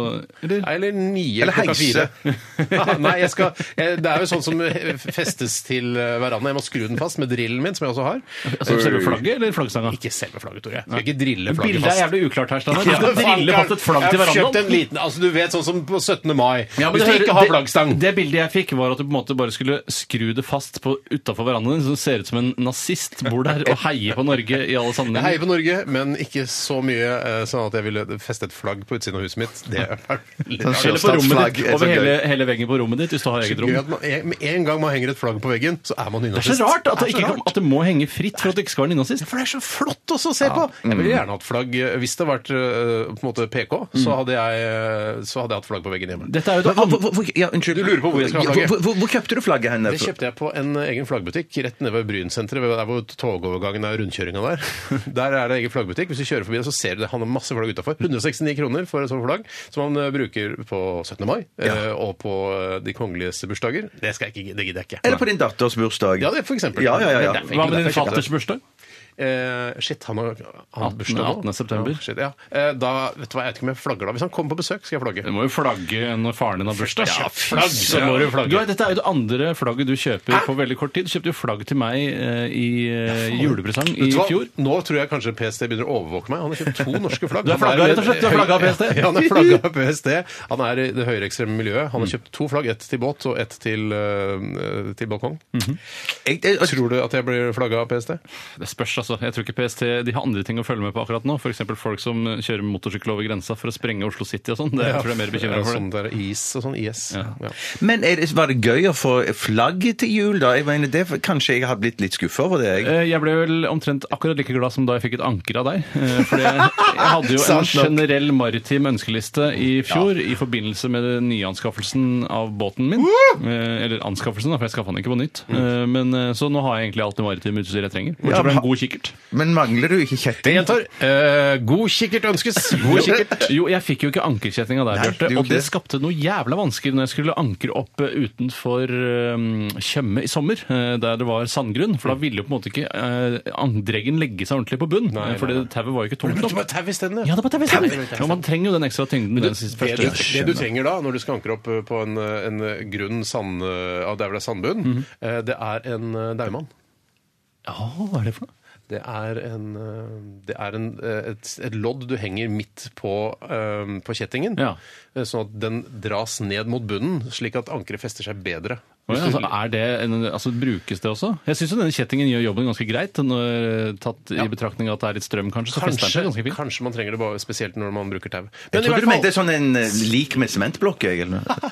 [SPEAKER 5] eller?
[SPEAKER 3] eh, Nei, Eller nye
[SPEAKER 4] Eller
[SPEAKER 3] klokka fire. Ah,
[SPEAKER 4] heise.
[SPEAKER 3] Nei, jeg skal, eh, det er jo sånn som eh, festes til eh, hverandre. Jeg må skru den fast med drillen min, som jeg også har.
[SPEAKER 5] Altså, selve flagget eller flaggstanga?
[SPEAKER 3] Ikke selve flagget, Tore. Skal ikke drille flagget
[SPEAKER 5] Bildet er
[SPEAKER 3] fast.
[SPEAKER 5] jævlig uklart her. Steinar. Du skal
[SPEAKER 3] Ja,
[SPEAKER 5] drille
[SPEAKER 3] faen,
[SPEAKER 5] fast et flagg til
[SPEAKER 3] jeg har
[SPEAKER 5] hverandre.
[SPEAKER 3] kjøpt en liten, altså Du vet, sånn som på 17. mai.
[SPEAKER 5] Ja, men
[SPEAKER 3] Hvis
[SPEAKER 5] det
[SPEAKER 3] du
[SPEAKER 5] hører-
[SPEAKER 3] ikke har
[SPEAKER 5] det-
[SPEAKER 3] flaggstang.
[SPEAKER 5] Det bildet jeg fikk, var at du på en måte bare skulle skru det fast utafor verandaen din, så det ser ut som en nazist bor der og heier på Norge i alle
[SPEAKER 3] Jeg heier
[SPEAKER 5] sammenhenger.
[SPEAKER 3] på Norge, men ikke så mye eh, sånn at jeg ville festet flagg på utsiden av huset mitt. Det er veldig
[SPEAKER 4] Sånn
[SPEAKER 3] rart.
[SPEAKER 5] Eller på rommet
[SPEAKER 4] Statsflagg
[SPEAKER 5] ditt,
[SPEAKER 4] er så
[SPEAKER 5] over
[SPEAKER 4] gøy.
[SPEAKER 5] hele, hele veggen på rommet ditt, hvis du har eget rom.
[SPEAKER 3] Gøy at man, med en gang man henger et flagg på veggen, så er man
[SPEAKER 5] Det
[SPEAKER 3] nynazist.
[SPEAKER 5] er så rart at det,
[SPEAKER 3] så
[SPEAKER 5] ikke,
[SPEAKER 3] rart.
[SPEAKER 5] kan- at det må henge fritt for at det ikke skal være nynazist.
[SPEAKER 3] For det er så flott også å se på! Jeg ville gjerne hatt flagg eh, Hvis det hadde vært eh, på en måte PK, så hadde jeg, eh, så hadde jeg hatt flagg på veggen hjemme.
[SPEAKER 5] Dette er jo
[SPEAKER 4] Hvor,
[SPEAKER 5] det andre
[SPEAKER 4] hvor, hvor, hvor- ja, unnskyld.
[SPEAKER 3] Du lurer på hvor jeg skal ha
[SPEAKER 4] Ja,
[SPEAKER 3] flagget.
[SPEAKER 4] hvor, hvor, hvor kjøpte du flagget hen?
[SPEAKER 3] Det kjøpte jeg på en eh, egen flaggbutikk rett nede ved Brynsenteret. ved- Der hvor togovergangen er rundkjøringa der. Der er det egen flaggbutikk. Hvis du kjører forbi det, så ser du det. Han har masse flagg utafor. 169 kroner for et sånt flagg, som han eh, bruker på 17. mai eh, og på eh, de kongeliges bursdager. Det, skal jeg ikke, det gidder jeg ikke.
[SPEAKER 4] Eller på din datters bursdag?
[SPEAKER 3] Ja, det er for eksempel.
[SPEAKER 4] Ja, ja, ja, ja.
[SPEAKER 3] Det er-
[SPEAKER 5] Hva med din
[SPEAKER 3] Derfor kjøpte jeg
[SPEAKER 5] fatters bursdag?
[SPEAKER 3] Eh, shit, han har han har
[SPEAKER 5] 18.
[SPEAKER 3] bursdag nå.
[SPEAKER 5] 18. september.
[SPEAKER 3] Ja, shit, ja. Eh, da, vet du hva, jeg vet ikke om jeg flagger da. Hvis han kommer på besøk, skal jeg flagge.
[SPEAKER 5] Du må jo flagge når faren din har bursdag.
[SPEAKER 3] Ja, flagg, så må du flagge.
[SPEAKER 5] vet, dette er jo det andre flagget du kjøper på veldig kort tid. Du kjøpte jo flagg til meg eh, i eh, julepresang i
[SPEAKER 3] Vet du hva?
[SPEAKER 5] fjor.
[SPEAKER 3] Nå tror jeg kanskje PST begynner å overvåke meg. Han har kjøpt to norske flagg.
[SPEAKER 5] Du er
[SPEAKER 3] Han
[SPEAKER 5] flagga, rett og slett. Du er flagga av PST.
[SPEAKER 3] Ja, han er flagga av PST. Han er i det høyreekstreme miljøet.
[SPEAKER 5] Mm.
[SPEAKER 3] Han har kjøpt to flagg. Ett til båt og ett til, eh, til balkong.
[SPEAKER 4] Jeg- jeg-
[SPEAKER 3] Tror du at jeg blir flagga av PST?
[SPEAKER 5] Det spørs, altså. Mhm. Jeg tror ikke PST de har andre ting å følge med på akkurat nå. F.eks. folk som kjører motorsykkel over grensa for å sprenge Oslo City og sånn. Det tror jeg er mer bekymra for.
[SPEAKER 3] Sånn
[SPEAKER 5] det.
[SPEAKER 3] der is og sånn IS. Ja.
[SPEAKER 4] Men er det, var det gøy å få flagg til jul, da? Jeg mener, det, kanskje jeg har blitt litt skuffa over det? Jeg.
[SPEAKER 5] Eh, Jeg ble vel omtrent akkurat like glad som da jeg fikk et anker av deg. eh, For jeg, jeg hadde jo en
[SPEAKER 3] Sant nok.
[SPEAKER 5] generell maritim ønskeliste i fjor i forbindelse med den nyanskaffelsen av båten min. Eh, Eller anskaffelsen, da, for jeg skaffa den ikke på nytt. Eh, Men, eh, så nå har jeg egentlig alt det maritime utstyret jeg trenger.
[SPEAKER 4] Mm. Ja,
[SPEAKER 5] Bortsett fra
[SPEAKER 4] men-
[SPEAKER 5] en god kikkert.
[SPEAKER 4] Men mangler du ikke kjetting?
[SPEAKER 3] Jeg gjentar. eh, god kikkert ønskes. God kikkert.
[SPEAKER 5] Jo, jeg fikk jo ikke ankerkjetting av deg,
[SPEAKER 4] Nei,
[SPEAKER 5] Bjarte.
[SPEAKER 4] du gjorde
[SPEAKER 5] Og det
[SPEAKER 4] ikke det.
[SPEAKER 5] skapte noe jævla vansker når jeg skulle ankre opp eh, utenfor eh, Tjøme i sommer, eh, der det var sandgrunn. For da ville jo på en måte ikke eh, andreggen legge seg ordentlig på bunn,
[SPEAKER 3] Nei,
[SPEAKER 5] eh, fordi
[SPEAKER 3] nei, nei.
[SPEAKER 5] tauet var jo ikke
[SPEAKER 3] Du
[SPEAKER 5] tungt
[SPEAKER 3] brukte
[SPEAKER 5] nok.
[SPEAKER 3] bare tau isteden,
[SPEAKER 5] Ja, det var tauet
[SPEAKER 3] Tau, tau, tau.
[SPEAKER 5] isteden. Og man trenger jo den ekstra tyngden. i den siste
[SPEAKER 3] Det,
[SPEAKER 5] første.
[SPEAKER 3] det du trenger da, når du skal ankre opp eh, på en, eh, en eh, grunn sand,
[SPEAKER 5] Mhm.
[SPEAKER 3] eh, ja, det er vel en sandbunn, eh, det er en eh, daumann.
[SPEAKER 5] Ja, hva er det for noe?
[SPEAKER 3] Det er, en, eh, det er en, eh, et, et lodd du henger midt på, eh, på kjettingen,
[SPEAKER 5] Ja.
[SPEAKER 3] eh, sånn at den dras ned mot bunnen, slik at ankeret fester seg bedre.
[SPEAKER 5] Å ja, altså, er det en, altså, brukes det også? Jeg syns denne kjettingen gjør jobben ganske greit. Når, eh, tatt i betraktning at det er litt strøm, kanskje. Så fester den
[SPEAKER 3] Kanskje,
[SPEAKER 5] seg ganske fint.
[SPEAKER 3] kanskje man trenger det bare spesielt når man bruker tau.
[SPEAKER 4] Jeg
[SPEAKER 3] Men i
[SPEAKER 4] trodde
[SPEAKER 3] hvert
[SPEAKER 4] du mente
[SPEAKER 3] fall,
[SPEAKER 4] sånn en eh, lik med sementblokk, jeg. eller noe.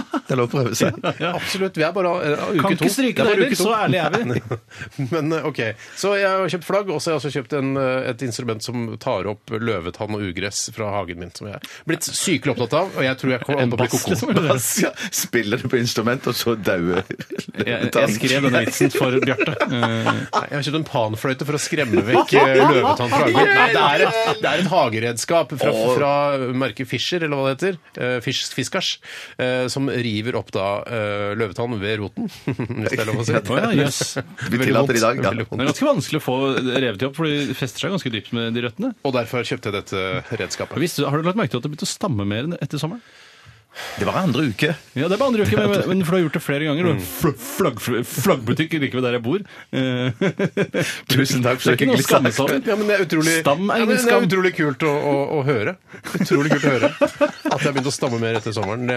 [SPEAKER 4] Det er lov å prøve seg.
[SPEAKER 3] absolutt. Vi er bare eh, uke to.
[SPEAKER 5] Kan ikke stryke det
[SPEAKER 3] er bare
[SPEAKER 5] heller,
[SPEAKER 3] uke to.
[SPEAKER 5] så ærlig er vi.
[SPEAKER 3] Nei. Men eh, OK. Så jeg har kjøpt flagg, og så har jeg også kjøpt en, eh, et instrument som tar opp løvetann og ugress fra hagen min, som jeg er blitt sykelig opptatt av, og jeg tror jeg kommer
[SPEAKER 5] En
[SPEAKER 3] an på å bli
[SPEAKER 5] bass,
[SPEAKER 3] koko.
[SPEAKER 5] liksom. eller?
[SPEAKER 4] Ja, Spiller du på instrument, og så dauer
[SPEAKER 5] Jeg, jeg skrev denne vitsen for Bjarte. Eh,
[SPEAKER 3] Nei, jeg har kjøpt en panfløyte for å skremme vekk eh, løvetann fra hagen. Nei, Det er et, det er et hageredskap fra, fra merket Fischer, eller hva det heter, eh, Fisch, Fiskars, eh, som river opp da eh, løvetann ved roten, hvis det er lov å si.
[SPEAKER 5] Å ja, jøss.
[SPEAKER 4] Vi
[SPEAKER 3] Veldig
[SPEAKER 4] tillater
[SPEAKER 3] vondt,
[SPEAKER 4] i dag, da.
[SPEAKER 3] veldig
[SPEAKER 5] Det er
[SPEAKER 3] vondt.
[SPEAKER 5] ganske vanskelig å få revet i opp, for de fester seg ganske dypt med de røttene.
[SPEAKER 3] Og derfor kjøpte jeg dette redskapet.
[SPEAKER 5] Visste du- har du lagt merke til at det begynte å stamme mer enn etter sommeren?
[SPEAKER 4] Det var andre uke.
[SPEAKER 5] Ja, det er på andre uke, men, men for du har gjort det flere ganger. Mm. Flagg, flaggbutikk like ved der jeg bor. Eh,
[SPEAKER 4] Tusen takk
[SPEAKER 5] Det er
[SPEAKER 4] for
[SPEAKER 5] ikke noe å
[SPEAKER 4] hyggelig
[SPEAKER 5] skamme seg
[SPEAKER 4] sagt.
[SPEAKER 5] over.
[SPEAKER 3] Ja, men det er utrolig,
[SPEAKER 5] Stam er
[SPEAKER 3] ja, men
[SPEAKER 5] ingen
[SPEAKER 3] det er
[SPEAKER 5] skam.
[SPEAKER 3] utrolig kult å, å, å høre. Utrolig kult å høre At jeg har begynt å stamme mer etter sommeren. Det,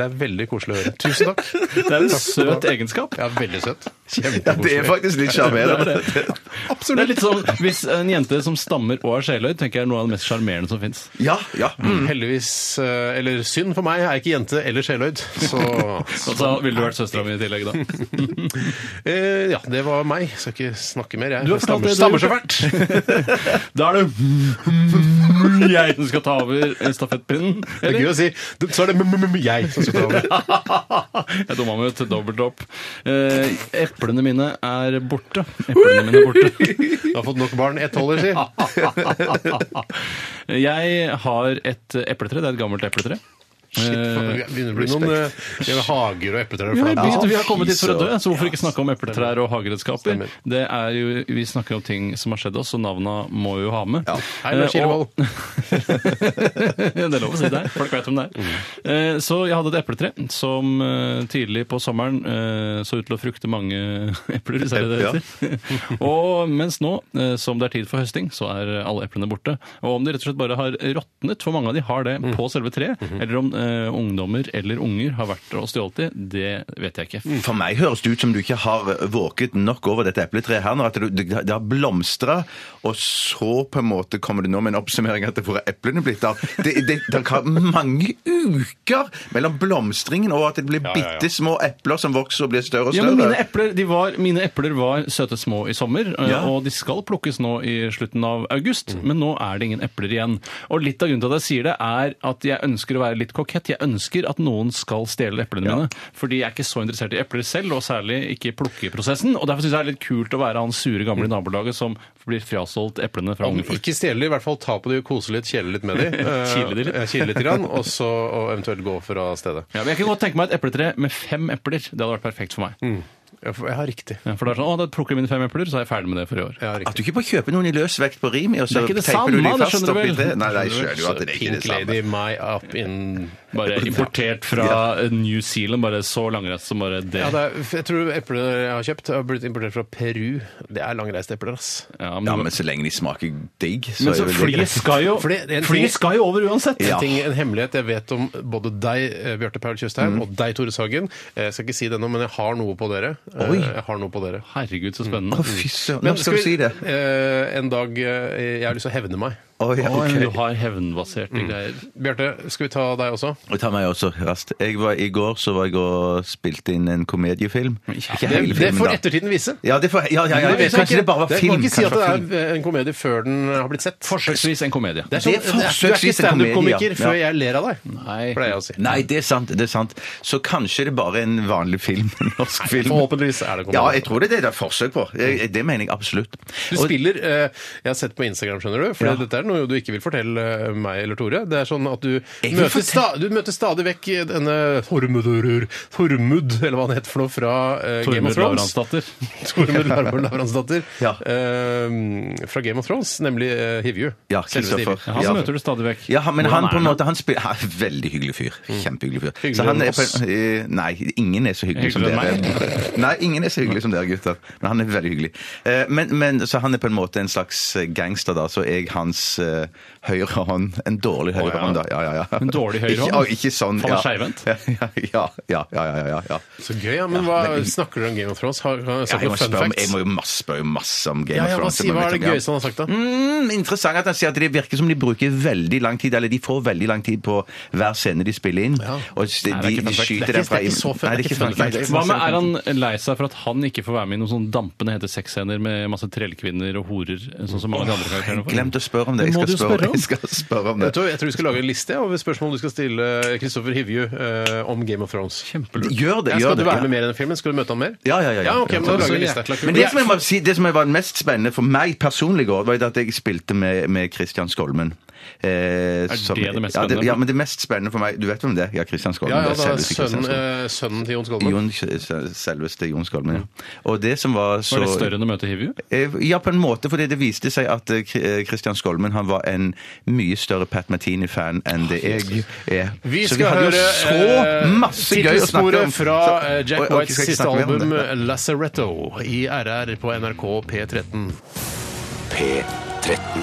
[SPEAKER 3] det er veldig koselig å høre. Tusen takk.
[SPEAKER 5] Det er en søt egenskap.
[SPEAKER 3] Ja, veldig søtt.
[SPEAKER 4] Ja, det er
[SPEAKER 3] Kjempekoselig.
[SPEAKER 4] faktisk litt sjarmerende.
[SPEAKER 5] Det er litt sånn, Hvis en jente som stammer og har sjeløyd, tenker jeg er noe av det mest sjarmerende som fins.
[SPEAKER 4] Ja, ja.
[SPEAKER 3] Mm. Heldigvis, eh, eller synd for meg, er jeg ikke jente eller sjeløyd. Så
[SPEAKER 5] Altså, ville du vært søstera mi i tillegg, da?
[SPEAKER 3] eh, ja, det var meg. Skal ikke snakke mer, jeg.
[SPEAKER 5] Du har
[SPEAKER 3] Jeg stammer,
[SPEAKER 5] fortalt det
[SPEAKER 3] stammer
[SPEAKER 5] du
[SPEAKER 3] så
[SPEAKER 5] har
[SPEAKER 3] fælt.
[SPEAKER 5] Da er det jeg som skal ta over stafettpinnen.
[SPEAKER 3] Det er gøy å si. Det- Så er det m-m-m jeg som skal ta over.
[SPEAKER 5] Jeg dumma meg ut. Dobbelt opp. Eh, eplene mine er borte. Eplene mine er borte.
[SPEAKER 3] Du har fått nok barn. Ett holder, si.
[SPEAKER 5] Jeg har et epletre. Det er et gammelt epletre.
[SPEAKER 3] Shit, det begynner å bli noen eh, det er hager og epletrær.
[SPEAKER 5] Ja,
[SPEAKER 3] for
[SPEAKER 5] jeg
[SPEAKER 3] deg.
[SPEAKER 5] begynte, vi har
[SPEAKER 4] fy
[SPEAKER 5] kommet dit for å dø,
[SPEAKER 4] søren.
[SPEAKER 5] så hvorfor ikke snakke om epletrær og hageredskaper?
[SPEAKER 3] Stemmer.
[SPEAKER 5] Det er jo, Vi snakker om ting som har skjedd oss, og navna må jo ha med.
[SPEAKER 3] Hei, Lars
[SPEAKER 5] Eh,
[SPEAKER 3] Kilevold.
[SPEAKER 5] og- det er lov å si det. her. Folk vet hvem det er. Eh, Så jeg hadde et epletre som eh, tidlig på sommeren eh, så ut til å frukte mange epler. hvis det er det det heter. Og mens nå, eh, som det er tid for høsting, så er eh, alle eplene borte. Og om de rett og slett bare har råtnet, for mange av de har det på selve treet, eller om eh, ungdommer eller unger har vært og stjålet de, det vet jeg ikke.
[SPEAKER 4] For meg høres det ut som du ikke har våket nok over dette epletreet her. nå, At du- det, det har blomstra, og så på en måte kommer du nå med en oppsummering etter hvor er eplene blitt av. Det, det, det kan mange uker mellom blomstringen og at det blir
[SPEAKER 3] ja, ja.
[SPEAKER 4] bitte små epler som vokser og blir større og
[SPEAKER 5] Ja,
[SPEAKER 4] større.
[SPEAKER 5] men mine epler, de var, mine epler var søte små i sommer, eh,
[SPEAKER 4] Ja.
[SPEAKER 5] og de skal plukkes nå i slutten av august, men nå er det ingen epler igjen. Og litt av grunnen til at jeg sier det, er at jeg ønsker å være litt kokett. Jeg ønsker at noen skal stjele eplene mine, fordi jeg er ikke så interessert i epler selv, og særlig ikke i plukkeprosessen. Og derfor syns jeg det er litt kult å være han sure gamle i nabolaget som blir frastjålet eplene fra
[SPEAKER 3] Om
[SPEAKER 5] unge folk.
[SPEAKER 3] ikke stjele de, i hvert fall ta på de, kose litt, kjele litt med de. Eh,
[SPEAKER 5] Kile de litt.
[SPEAKER 3] ja, Kile litt, grann, og så og eventuelt gå fra stedet.
[SPEAKER 5] Ja, men jeg kan godt tenke meg et epletre med fem epler. Det hadde vært perfekt for meg.
[SPEAKER 3] Ja, for Jeg har riktig.
[SPEAKER 5] Ja, For da er det sånn, å, da plukker jeg mine fem epler, så er jeg ferdig med det for i år.
[SPEAKER 3] Jeg har riktig.
[SPEAKER 4] At du ikke bare kjøper noen i løs vekt på Rimi, og
[SPEAKER 5] Det er
[SPEAKER 4] så
[SPEAKER 5] ikke det
[SPEAKER 4] teiper du
[SPEAKER 5] samme,
[SPEAKER 4] de
[SPEAKER 5] det
[SPEAKER 4] fast
[SPEAKER 5] skjønner du
[SPEAKER 4] oppi
[SPEAKER 5] vel.
[SPEAKER 4] treet. Nei, nei, jeg skjønner jo at det er ikke
[SPEAKER 3] Pink
[SPEAKER 4] det samme.
[SPEAKER 3] lady, my up in
[SPEAKER 5] Bare importert fra New Zealand, bare så langreist som bare det.
[SPEAKER 3] Ja,
[SPEAKER 5] Ja,
[SPEAKER 3] det er, jeg tror eplet jeg har kjøpt, har blitt importert fra Peru. Det er langreist epler, ass.
[SPEAKER 5] men,
[SPEAKER 4] Ja, men så lenge de smaker digg, så,
[SPEAKER 5] men så
[SPEAKER 4] er vel det
[SPEAKER 5] flyet
[SPEAKER 4] greit.
[SPEAKER 5] skal jo,
[SPEAKER 3] For det- det er en ting-
[SPEAKER 5] flyet skal jo over uansett!
[SPEAKER 3] En,
[SPEAKER 4] Ja.
[SPEAKER 3] ting, en hemmelighet jeg vet om både deg, eh, Bjarte Paul
[SPEAKER 4] Mm.
[SPEAKER 3] Tjøstheim, og deg, Tore Sagen. Eh, Jeg skal ikke si det nå, men jeg har noe på dere. Eh,
[SPEAKER 4] Oi.
[SPEAKER 3] Jeg har noe på dere.
[SPEAKER 5] Herregud, så spennende.
[SPEAKER 4] Mm. Å, fy søren.
[SPEAKER 3] Men
[SPEAKER 4] Nå skal du si det.
[SPEAKER 3] eh, en dag eh, Jeg har lyst til å hevne meg.
[SPEAKER 4] Å, ja,
[SPEAKER 5] Oi,
[SPEAKER 4] ok. Mm.
[SPEAKER 5] Du har hevnbaserte greier.
[SPEAKER 3] Bjarte, skal vi ta deg også?
[SPEAKER 4] Og ta meg også raskt. Jeg var, I går så var jeg og spilte inn en komediefilm. Ikke
[SPEAKER 3] Det,
[SPEAKER 4] hele
[SPEAKER 3] det
[SPEAKER 4] filmen,
[SPEAKER 3] får
[SPEAKER 4] da.
[SPEAKER 3] ettertiden vise.
[SPEAKER 4] Ja, det får, ja, ja, ja,
[SPEAKER 3] Men
[SPEAKER 4] ja.
[SPEAKER 3] hvis
[SPEAKER 4] Kanskje
[SPEAKER 3] ikke-
[SPEAKER 4] det bare var film.
[SPEAKER 3] Jeg kan ikke si
[SPEAKER 4] kanskje
[SPEAKER 3] at
[SPEAKER 4] det
[SPEAKER 3] det
[SPEAKER 4] var film.
[SPEAKER 3] er eh, en komedie før den eh, har blitt sett.
[SPEAKER 5] Forsøksvis en komedie.
[SPEAKER 3] Det er
[SPEAKER 4] Det
[SPEAKER 3] sånn,
[SPEAKER 4] er
[SPEAKER 3] du er ikke
[SPEAKER 4] forsøksvis en komedie, ja.
[SPEAKER 3] standup-komiker før
[SPEAKER 4] Ja.
[SPEAKER 3] jeg ler av deg,
[SPEAKER 5] Nei.
[SPEAKER 3] pleier jeg å si.
[SPEAKER 4] Nei, det er sant. det er sant. Så kanskje det bare er en vanlig film. En norsk film.
[SPEAKER 3] Forhåpentligvis er det komedie.
[SPEAKER 4] Ja, jeg tror det er det det er forsøk på. Jeg- Det mener jeg absolutt.
[SPEAKER 3] Du
[SPEAKER 4] Og-
[SPEAKER 3] spiller eh, Jeg har sett på Instagram, skjønner du. For
[SPEAKER 4] Ja.
[SPEAKER 3] dette er noe noe du ikke vil fortelle eh, meg eller Tore. Det er sånn at du,
[SPEAKER 4] vil
[SPEAKER 3] møter, sta, du møter stadig vekk denne Hormudurur, Hormud, eller hva han heter for noe, fra eh, Game
[SPEAKER 5] Tormod
[SPEAKER 3] of Thrones.
[SPEAKER 5] Lavransdatter.
[SPEAKER 3] Tormund Larvold Lavransdatter.
[SPEAKER 4] Ja.
[SPEAKER 3] eh, fra Game of Thrones, nemlig eh, Hivju.
[SPEAKER 4] Ja,
[SPEAKER 3] Selveste Hivju.
[SPEAKER 4] Kristoffer.
[SPEAKER 5] Han
[SPEAKER 4] Ja.
[SPEAKER 5] møter du stadig vekk.
[SPEAKER 4] Ja, men
[SPEAKER 5] Hvordan
[SPEAKER 4] han
[SPEAKER 5] er
[SPEAKER 4] på en måte, han spiller han er en Veldig hyggelig fyr. Kjempehyggelig fyr.
[SPEAKER 3] Hyggeligere
[SPEAKER 4] Så han
[SPEAKER 3] enn
[SPEAKER 4] er på,
[SPEAKER 3] Mm. oss.
[SPEAKER 4] eh, nei, ingen er så hyggelig som
[SPEAKER 5] Hyggeligere enn
[SPEAKER 4] dere. Nei, ingen er så hyggelig som dere, gutter. Men han er veldig hyggelig. Eh, Men, men så han er på en måte en slags eh, gangster, da. Så er jeg hans eh, høyre hånd. En dårlig høyre
[SPEAKER 5] ja.
[SPEAKER 4] hånd, da. Ja, ja, ja.
[SPEAKER 5] En dårlig høyre
[SPEAKER 4] Ikke-
[SPEAKER 5] hånd?
[SPEAKER 4] å, Ikke sånn.
[SPEAKER 5] Faller
[SPEAKER 4] ja.
[SPEAKER 5] skeivhendt?
[SPEAKER 4] Ja, ja, ja, ja, ja, ja, ja.
[SPEAKER 3] Så gøy, ja. Men hva snakker dere om Game of Thrones? Har, har jeg
[SPEAKER 4] Ja,
[SPEAKER 3] sagt
[SPEAKER 4] jeg, må
[SPEAKER 3] noen fun
[SPEAKER 4] spørre, om- jeg
[SPEAKER 3] facts?
[SPEAKER 4] må jo masse, spørre masse om Game
[SPEAKER 3] Ja,
[SPEAKER 4] of
[SPEAKER 3] ja, hva,
[SPEAKER 4] Thrones.
[SPEAKER 3] si, hva er det
[SPEAKER 4] Ja.
[SPEAKER 3] gøyeste han har sagt, da?
[SPEAKER 4] Mm, interessant at han sier at det virker som de bruker veldig lang tid, eller de får veldig lang tid på hver scene de spiller inn.
[SPEAKER 3] Ja.
[SPEAKER 4] Og s- de,
[SPEAKER 5] Nei, det er ikke
[SPEAKER 4] de
[SPEAKER 5] perfekt.
[SPEAKER 4] skyter
[SPEAKER 3] Det er
[SPEAKER 4] den fra
[SPEAKER 3] ikke- det er ikke så fun-
[SPEAKER 4] Nei,
[SPEAKER 3] det er ikke fun
[SPEAKER 4] fun-
[SPEAKER 3] fact.
[SPEAKER 5] Hva med, Er han lei seg for at han ikke får være med i noen sånn dampende hete sexscener med masse trellkvinner og horer? Sånn som mange av de andre
[SPEAKER 4] Jeg
[SPEAKER 5] karakterene får?
[SPEAKER 4] glemte å spørre om det. Jeg
[SPEAKER 5] Det må
[SPEAKER 4] skal
[SPEAKER 5] du
[SPEAKER 4] spørre,
[SPEAKER 5] spørre om.
[SPEAKER 4] jeg skal spørre om det.
[SPEAKER 3] Jeg tror, jeg tror vi skal lage en liste over spørsmål du skal stille Kristoffer Hivju eh, om Game of Thrones.
[SPEAKER 5] Kjempelurt.
[SPEAKER 4] Gjør det,
[SPEAKER 3] Ja,
[SPEAKER 4] gjør
[SPEAKER 3] skal du
[SPEAKER 4] det.
[SPEAKER 3] være
[SPEAKER 4] ja.
[SPEAKER 3] med mer i den filmen? Skal du møte han mer?
[SPEAKER 4] Ja, ja, ja, ja.
[SPEAKER 3] ja ok, men da
[SPEAKER 4] Ja,
[SPEAKER 3] lager
[SPEAKER 5] så
[SPEAKER 3] vi en liste.
[SPEAKER 5] jækla
[SPEAKER 4] Men det som, jeg må si, det som var mest spennende for meg personlig i går, var jo at jeg spilte med, med Christian Skolmen. Eh,
[SPEAKER 5] det det mest
[SPEAKER 4] Ja,
[SPEAKER 5] spennende?
[SPEAKER 4] ja, men det mest spennende for meg Du vet hvem det er? Ja, Christian Skolmen.
[SPEAKER 3] Ja, ja,
[SPEAKER 4] det er
[SPEAKER 3] da,
[SPEAKER 4] selveste Christian
[SPEAKER 3] sønnen,
[SPEAKER 4] Skolmen.
[SPEAKER 3] eh, sønnen til Jon Skolmen.
[SPEAKER 4] Jon, selveste Jon Skolmen, ja. Og det som var så
[SPEAKER 5] Var det større enn å møte Hivju?
[SPEAKER 4] Eh, Ja, på en måte, fordi det viste seg at eh, Kri- eh, Christian Skolmen han var en mye større Pat Martini-fan enn det jeg er.
[SPEAKER 3] Ah, Vi
[SPEAKER 4] Så
[SPEAKER 3] skal
[SPEAKER 4] vi hadde jo
[SPEAKER 3] høre
[SPEAKER 4] så
[SPEAKER 3] eh,
[SPEAKER 4] masse gøy å snakke om.
[SPEAKER 3] tittelsporet fra eh,
[SPEAKER 4] Så- Oi,
[SPEAKER 3] Jack
[SPEAKER 4] ok,
[SPEAKER 3] Whites
[SPEAKER 4] skal jeg ikke
[SPEAKER 3] siste
[SPEAKER 4] snakke mer om
[SPEAKER 3] album eh,
[SPEAKER 4] det?
[SPEAKER 3] Lazaretto i RR på NRK P13.
[SPEAKER 2] P13.